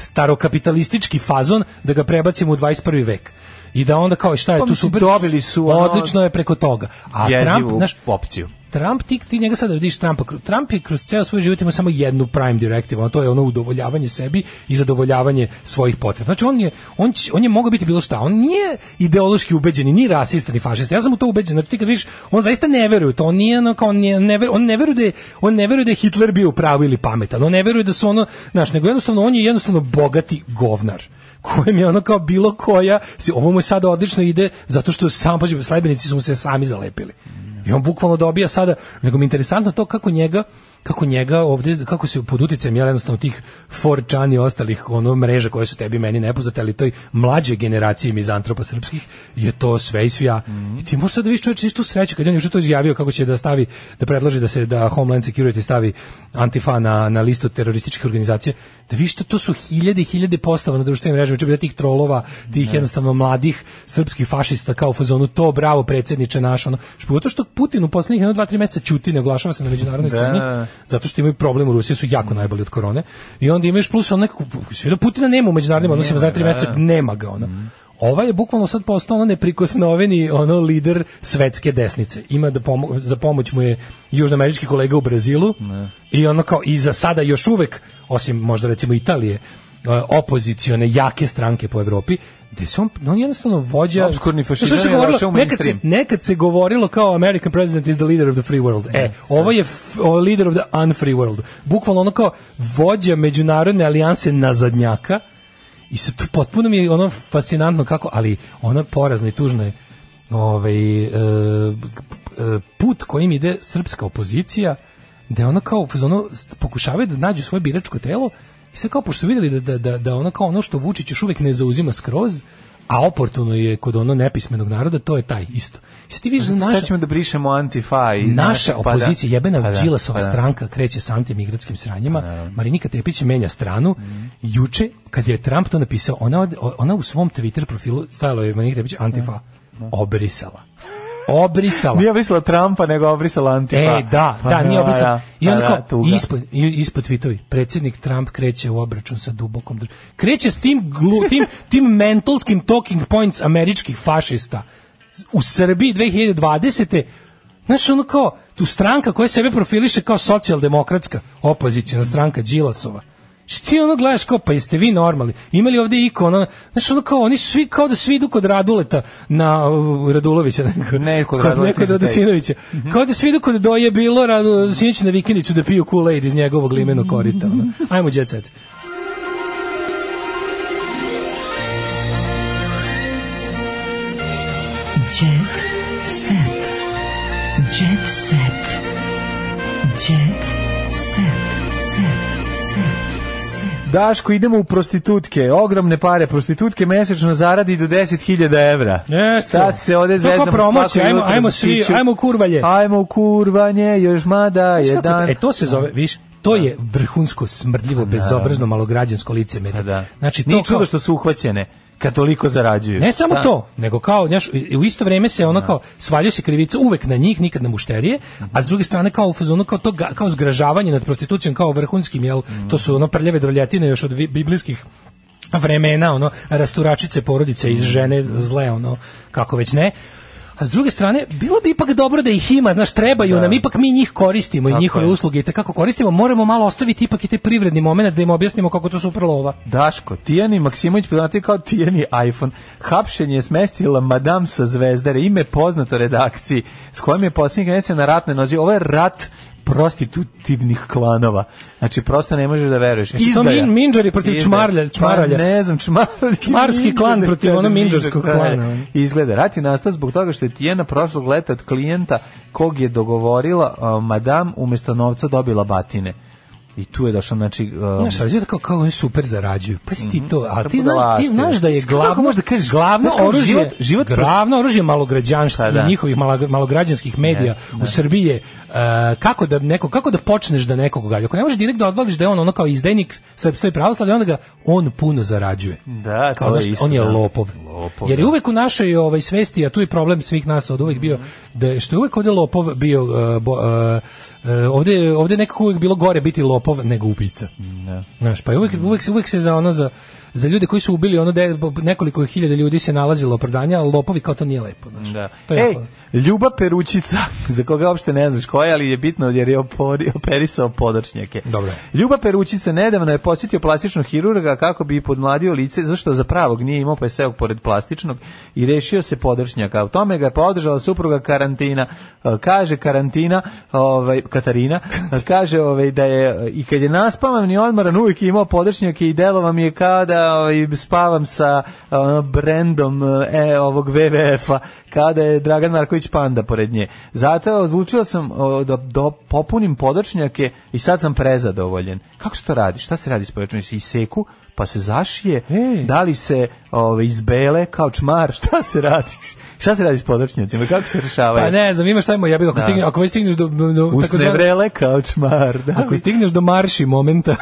H: starokapitalistički fazon da ga prebacimo u 21. vek. I da onda kao šta je
G: Pa
H: tu
G: mislim,
H: super Pa
G: dobili su ono-
H: odlično je preko toga. A Trump,
G: jezivu
H: znaš,
G: opciju.
H: Trump, ti, ti njega sada vidiš Trumpa, Trump je kroz ceo svoj život ima samo jednu prime directive, a to je ono udovoljavanje sebi i zadovoljavanje svojih potreba. Znači on je, on, će, on je mogao biti bilo šta, on nije ideološki ubeđen, ni rasista, ni fašista, ja sam u to ubeđen, znači ti kad vidiš, on zaista ne veruje u to, on nije ono kao, on, nije, ne veruje, on ne veruje da je, on ne veruje da je Hitler bio u pravu ili pametan, on ne veruje da su ono, znaš, nego jednostavno on je jednostavno bogati govnar kojem je ono kao bilo koja, si- ovo mu je sada odlično ide zato što sam, pađe, sledbenici su mu se sami zalepili. I on bukvalno dobija sada, nego mi je interesantno to kako njega kako njega ovde, kako se pod uticajem jel, jednostavno tih 4chan i ostalih ono mreža koje su tebi i meni nepoznate, ali toj mlađe generacije mizantropa srpskih je to sve i svija. I ti možeš sad da vidiš čovječe istu sreću kad je on juče to izjavio kako će da stavi, da predloži da se da Homeland Security stavi Antifa na, na listu terorističkih organizacija, da vidiš to, to su hiljade i hiljade postava na društvenim mrežama, će biti tih trolova, tih jednostavno mladih srpskih fašista kao u fazonu to bravo predsjedniče naš ono. Što pogotovo što Putin u poslednjih 1 2 3 meseca ćuti, ne oglašava se na međunarodnoj
G: Da.
H: sceni zato što imaju problem u Rusiji su jako najbolji od korone. I onda imaš plus on nekako sve do Putina nema u međunarodnim odnosima za 3
G: da,
H: meseca
G: da.
H: nema ga ona. Ova je bukvalno sad postao ono neprikosnoveni ono lider svetske desnice. Ima da pomo- za pomoć mu je južnoamerički kolega u Brazilu i ono kao i za sada još uvek, osim možda recimo Italije, e, opozicione jake stranke po Evropi, gde se on, on je jednostavno vođa...
G: Obskurni fašizam
H: Znaš što se
G: je
H: govorilo?
G: došao u
H: Nekad se,
G: mainstream.
H: nekad se govorilo kao American president is the leader of the free world. E, ovo je f- o, leader of the unfree world. Bukvalno ono kao vođa međunarodne alijanse nazadnjaka i se tu potpuno mi je ono fascinantno kako, ali ono porazno i tužno je ovaj, e, p- e, put kojim ide srpska opozicija da ono kao u fazonu pokušavaju da nađu svoje biračko telo i sve kao pošto su vidjeli da, da, da, da ono kao ono što Vučić još uvijek ne zauzima skroz a oportuno je kod ono nepismenog naroda to je taj isto. I sad ti vidiš da
G: Sad
H: naša,
G: ćemo da brišemo Antifa iz
H: naša
G: našeg, pa da.
H: opozicija, jebena
G: Pa da,
H: Đilasova
G: pa da.
H: stranka kreće sa antimigratskim sranjima. Marinika Tepić menja stranu.
G: Mm.
H: Juče, kad je Trump to napisao, ona, od- ona u svom Twitter profilu, stajalo je Marinika Tepić, Antifa, obrisala. Obrisala.
G: Da, Nije obrisala Trumpa, nego obrisala Antifa.
H: E, da,
G: Pa
H: da, nije obrisao.
G: da,
H: I onda
G: pa da,
H: kao,
G: tuga.
H: ispod, i- ispod tvitovi, predsjednik Trump kreće u obračun sa dubokom državom. Kreće s tim, glu, tim, tim mentalskim talking points američkih fašista. U Srbiji 2020. Znaš, ono kao, tu stranka koja sebe profiliše kao socijaldemokratska, opozicijna stranka Đilasova. Što ti ono gledaš kao, pa jeste vi normalni? Imali ovdje iko, ono, znaš, ono kao, oni su svi kao da svi idu kod Raduleta na uh, Radulovića. da
G: Ne, kod Raduleta
H: nekog
G: iz Dejstva.
H: Radosinovića. Kao da svi idu kod doje bilo Rado Sinić na vikendicu da piju Kool-Aid iz njegovog limenog korita. ono. Ajmo, jet set.
E: Jet set. Jet set. Jet set. Set. Set.
G: Daško, idemo u prostitutke. Ogromne pare. Prostitutke mesečno zaradi do 10.000 evra.
H: Eto.
G: Šta se ovde
H: To kao
G: zezamo
H: promocija,
G: svako
H: ajmo-
G: jutro
H: ajmo
G: za
H: svi,
G: siću?
H: ajmo u kurvalje.
G: Ajmo u kurvanje, još mada,
H: Znaš kako
G: jedan... Da.
H: to- E, to se zove, viš, to je vrhunsko, smrdljivo, bezobrazno, malograđansko licemerje.
G: Da.
H: Znači, to
G: Nije
H: kao-
G: čudo što su uhvaćene, kad toliko zarađuju.
H: Ne samo
G: Šta?
H: to, nego kao, znaš, i- u isto vrijeme se
G: Da.
H: ono kao svaljuje se krivica uvek na njih, nikad na mušterije, a s druge strane kao u fazonu kao to ga- kao zgražavanje nad prostitucijom kao vrhunskim, jel, to su ono prljave droljetine još od vi- biblijskih vremena, ono rasturačice porodice
G: Mm.
H: iz žene zle, ono kako već ne. A s druge strane, bilo bi ipak dobro da ih ima, znaš, trebaju nam, ipak mi njih koristimo i
G: Da. Tako
H: njihove
G: je.
H: usluge i kako koristimo, moramo malo ostaviti ipak i te privredni moment da im objasnimo kako to super lova.
G: Daško, Tijani Maksimović poznati kao Tijani iPhone. Hapšenje je smestila madam sa zvezdare, ime poznato redakciji, s kojim je posljednjeg mjeseca na ratnoj nozi. Ovo je rat prostitutivnih klanova. Znači, prosto ne možeš da veruješ.
H: Jesu to min- minđari protiv čmarlja- čmaralja?
G: Pa ne znam, čmaralja.
H: Čmarski klan
G: Minđari,
H: protiv
G: da,
H: ono
G: da,
H: minđarskog
G: minđar, da,
H: klana,
G: da.
H: ono.
G: Izgleda, rat je nastao zbog toga što je Tijena prošlog leta od klijenta kog je dogovorila a, madam umjesto novca dobila batine. I tu je došao, znači... Um,
H: Znaš, ali kao, kao oni super zarađuju. Pa si
G: Mhm.
H: ti to, a ti
G: Kako
H: znaš, ti
G: budalaštine.
H: znaš da je
G: Kako
H: glavno,
G: možeš da kažeš,
H: glavno
G: znaš kako
H: oružje,
G: život- život-
H: glavno oružje malograđanstva
G: Pa da.
H: i njihovih mala- malograđanskih medija u Srbiji je e, kako da neko kako da počneš da nekog gađa. Ako ne možeš direktno da odvališ da je on ono kao izdajnik srpstva i pravoslavlja, onda ga on puno zarađuje.
G: Da,
H: Kao,
G: to
H: znaš,
G: je isto,
H: on je
G: da.
H: lopov.
G: Lopov,
H: Jer je
G: da.
H: uvek u našoj ovaj svesti, a tu je problem svih nas od uvek bio da je- što je uvek ovde lopov bio e, bo, e, e, ovde ovde je nekako uvek bilo gore biti lopov nego ubica.
G: da.
H: Znaš, pa je uvek, uvek, se- uvek se za ono za za ljude koji su ubili ono de, nekoliko hiljada ljudi se nalazilo opravdanje, ali lopovi kao to nije lepo, znaš.
G: Da.
H: To je
G: Ej,
H: jako-
G: Ljuba Peručica, za koga uopšte ne znaš ko je, ali je bitno jer je opori- operisao podočnjake.
H: Dobro.
G: Ljuba Peručica nedavno je posjetio plastičnog hirurga kako bi podmladio lice, zašto za pravog nije imao pa je seo pored plastičnog i rešio se podršnjaka. U tome ga je podržala supruga karantina. E, Kaže karantina, ovaj, Katarina, e, kaže ovaj, da je e, i kad je naspavan i odmaran uvijek je imao podršnjake i delo vam je kao da ovaj, spavam sa e, ono, brendom e, ovog WWF-a kada je Dragan Marković Panda pored nje. Zato odlučio sam o, da, da popunim podočnjake i sad sam prezadovoljen. Kako se to radi? Šta se radi s podočnjakom? Se iseku, pa se zašije,
H: Ej.
G: da li se ove, izbele kao čmar, šta se radi? Šta se radi s podočnjacima? Kako se rešavaju?
H: Pa ne znam, imaš taj moj jebiga, ako,
G: Da.
H: stigne, ako već stigneš do, do takozvane-
G: Usnevrele kao čmar. Da.
H: Ako stigneš do marši momenta,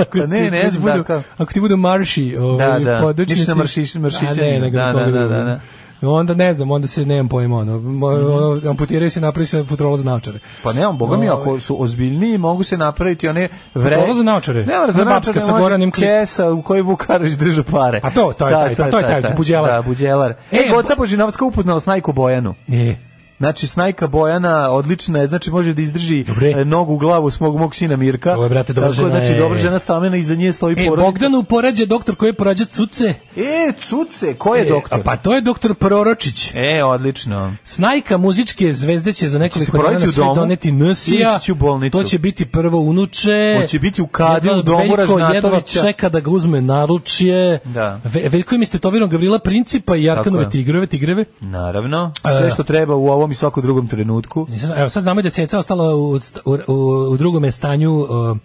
H: ako
G: Pa ne,
H: ti-
G: ne
H: ti
G: znam,
H: budu-
G: da, kao-
H: ako ti budu marši, ovaj,
G: da.
H: podočnici-
G: Ništa maršiš- maršićenje,
H: A ne, nego
G: da,
H: koga
G: da, da,
H: drugog.
G: da, Mhm. da.
H: Onda ne znam, onda se nemam pojma, ono, mo- ono, amputiraju se, napravi se futrolo za naočare.
G: Pa nemam, boga mi, ako
H: Ovaj.
G: su ozbiljniji, mogu se napraviti one vre...
H: Kontrola za naočare.
G: Ne, mora za
H: Ona
G: naočare,
H: babska sa
G: može
H: Goranim Kli-
G: Kesa u kojoj Vukarović drža pare.
H: Pa to, to je taj, pa to je taj, buđelar.
G: Da, buđelar.
H: E,
G: E, Goca
H: bo-
G: Božinovska upoznala Snajku Bojanu.
H: E,
G: Znači, Snajka Bojana odlična je, znači može da izdrži
H: Dobre.
G: e, nogu u glavu svog mog sina Mirka.
H: Ovo je, brate, dobra
G: Tako,
H: žena
G: Znači,
H: je.
G: dobra žena stamena, iza nje stoji
H: e,
G: porodica.
H: Bogdan upoređa doktor koji je porađa cuce.
G: E, cuce, ko je
H: E,
G: doktor?
H: a Pa to je doktor Proročić.
G: E, odlično.
H: Snajka muzičke zvezde će za
G: se
H: nekoliko
G: poroditi
H: dana na
G: u
H: sve
G: domu
H: doneti
G: i
H: nsija.
G: ići će u bolnicu.
H: To će biti prvo unuče.
G: Hoće biti u kadi
H: Jedva
G: u domu
H: Veljko jedva
G: Ražnatovića.
H: čeka da ga uzme naručje.
G: Da.
H: Ve, Veljko im istetovirao Gavrila Principa i
G: Tako
H: Jarkanove
G: je.
H: tigrove, tigreve.
G: Naravno,
H: E.
G: sve što treba u ovom i svakom drugom trenutku.
H: Nisam- Evo sad znamo da je ceca ostala u, st- u, u, u drugome stanju uh,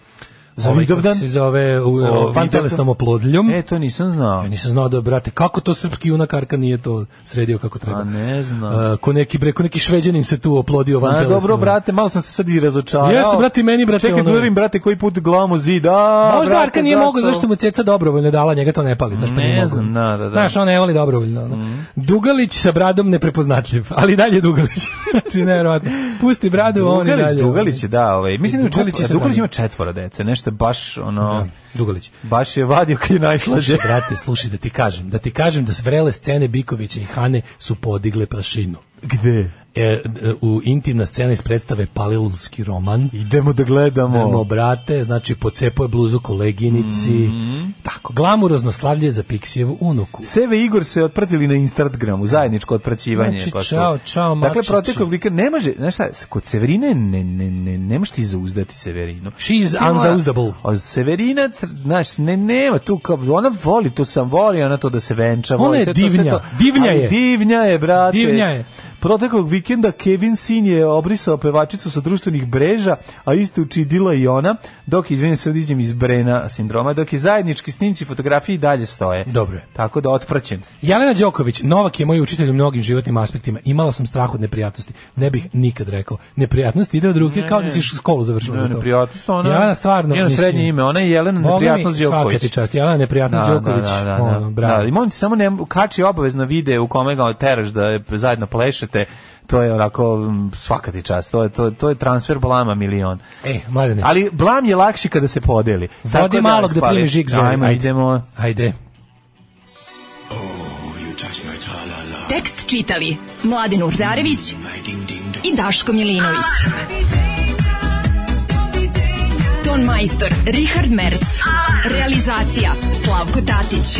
G: Za
H: ovaj,
G: Vidovdan?
H: kako se zove, u,
G: O,
H: vantelesnom
G: Vidovdan.
H: oplodljom.
G: E, to nisam znao.
H: Ja nisam znao da, brate, kako to srpski junak Arka nije to sredio kako treba.
G: A Pa ne znam.
H: E, ko neki, bre, ko neki šveđanin se tu oplodio van
G: A,
H: telesno.
G: dobro, brate, malo sam se sad i razočarao.
H: Jesi, brate, i meni, brate,
G: Čekaj,
H: ono-
G: gledam, brate, koji put glavom u zid. A,
H: Možda
G: brate,
H: Arka nije
G: zašto?
H: mogao zašto mu ceca dobrovoljno dala, njega to ne pali, znaš pa
G: Ne
H: nije
G: znam,
H: mogao.
G: da, Mhm. da, da.
H: Znaš, on ne voli dobrovoljno. ono. Dugalić sa bradom neprepoznatljiv, ali i dalje je Dugalić. znači, nevjerovatno. Pusti bradu, on i
G: Dugalić,
H: dalje.
G: Dugalić je, da, ovaj. Mislim da
H: Dugalić
G: Dugalić,
H: je sa
G: Dugalić
H: bratom.
G: ima četvora dece, nešto je baš ono
H: Da, Dugalić.
G: baš je vadio kad je najslađe.
H: Slušaj, brate, slušaj da ti kažem, da ti kažem da vrele scene Bikovića i Hane su podigle prašinu.
G: Gde?
H: E, e, u intimna scena iz predstave Palilulski roman.
G: Idemo da gledamo.
H: Idemo, brate, znači pocepo je bluzu koleginici.
G: Mhm.
H: Tako, glamurozno slavlje za Piksijevu unuku.
G: Seve i Igor se otpratili na Instagramu, zajedničko otpraćivanje.
H: Znači,
G: pa što-
H: čao, čao,
G: Dakle,
H: mačići.
G: proteklog lika ne može, znaš šta, kod Severine ne, ne, ne, ne možeš ti zauzdati Severinu.
H: She is
G: Ti mora-
H: unzauzdable.
G: A Severina, tr- znaš, ne, nema tu, kao, ona voli, to sam voli, ona to da se venča.
H: Ona
G: voli
H: je
G: sve to, sve
H: divnja,
G: to.
H: divnja
G: Ali
H: je.
G: Divnja je, brate.
H: Divnja je.
G: Proteklog vikenda Kevin Sin je obrisao pevačicu sa društvenih breža, a isto učidila i ona, dok, izvinim se, iđem iz Brena sindroma, dok je zajednički snimci i fotografije i dalje stoje.
H: Dobro je.
G: Tako da otpraćen.
H: Jelena Đoković, Novak je moj učitelj u mnogim životnim aspektima. Imala sam strah od neprijatnosti. Ne bih nikad rekao. Neprijatnost ide od ruke kao da si školu završila za to.
G: Neprijatnost, ona...
H: Jelena stvarno,
G: Njeno
H: mislim,
G: srednje ime, ona je Jelena
H: Boga mi,
G: Neprijatnost
H: Svaka
G: Đoković.
H: ti čast. Jelena Neprijatnost Đoković.
G: Da, da, da,
H: ono,
G: da.
H: bravo.
G: da. I molim ti samo ne, kači obavezno video u kome ga teraš da je zajedno plešete, to je onako mm, svaka ti čast, to je, to, to je transfer blama milion.
H: E, mladene,
G: Ali blam je lakši kada se podeli.
H: vodi malo da primi žig zvonim,
G: Ajmo, idemo.
H: Ajde.
E: Tekst čitali Mladin Urdarević i Daško Milinović. Ton majstor Richard Merc. Realizacija Slavko Tatić.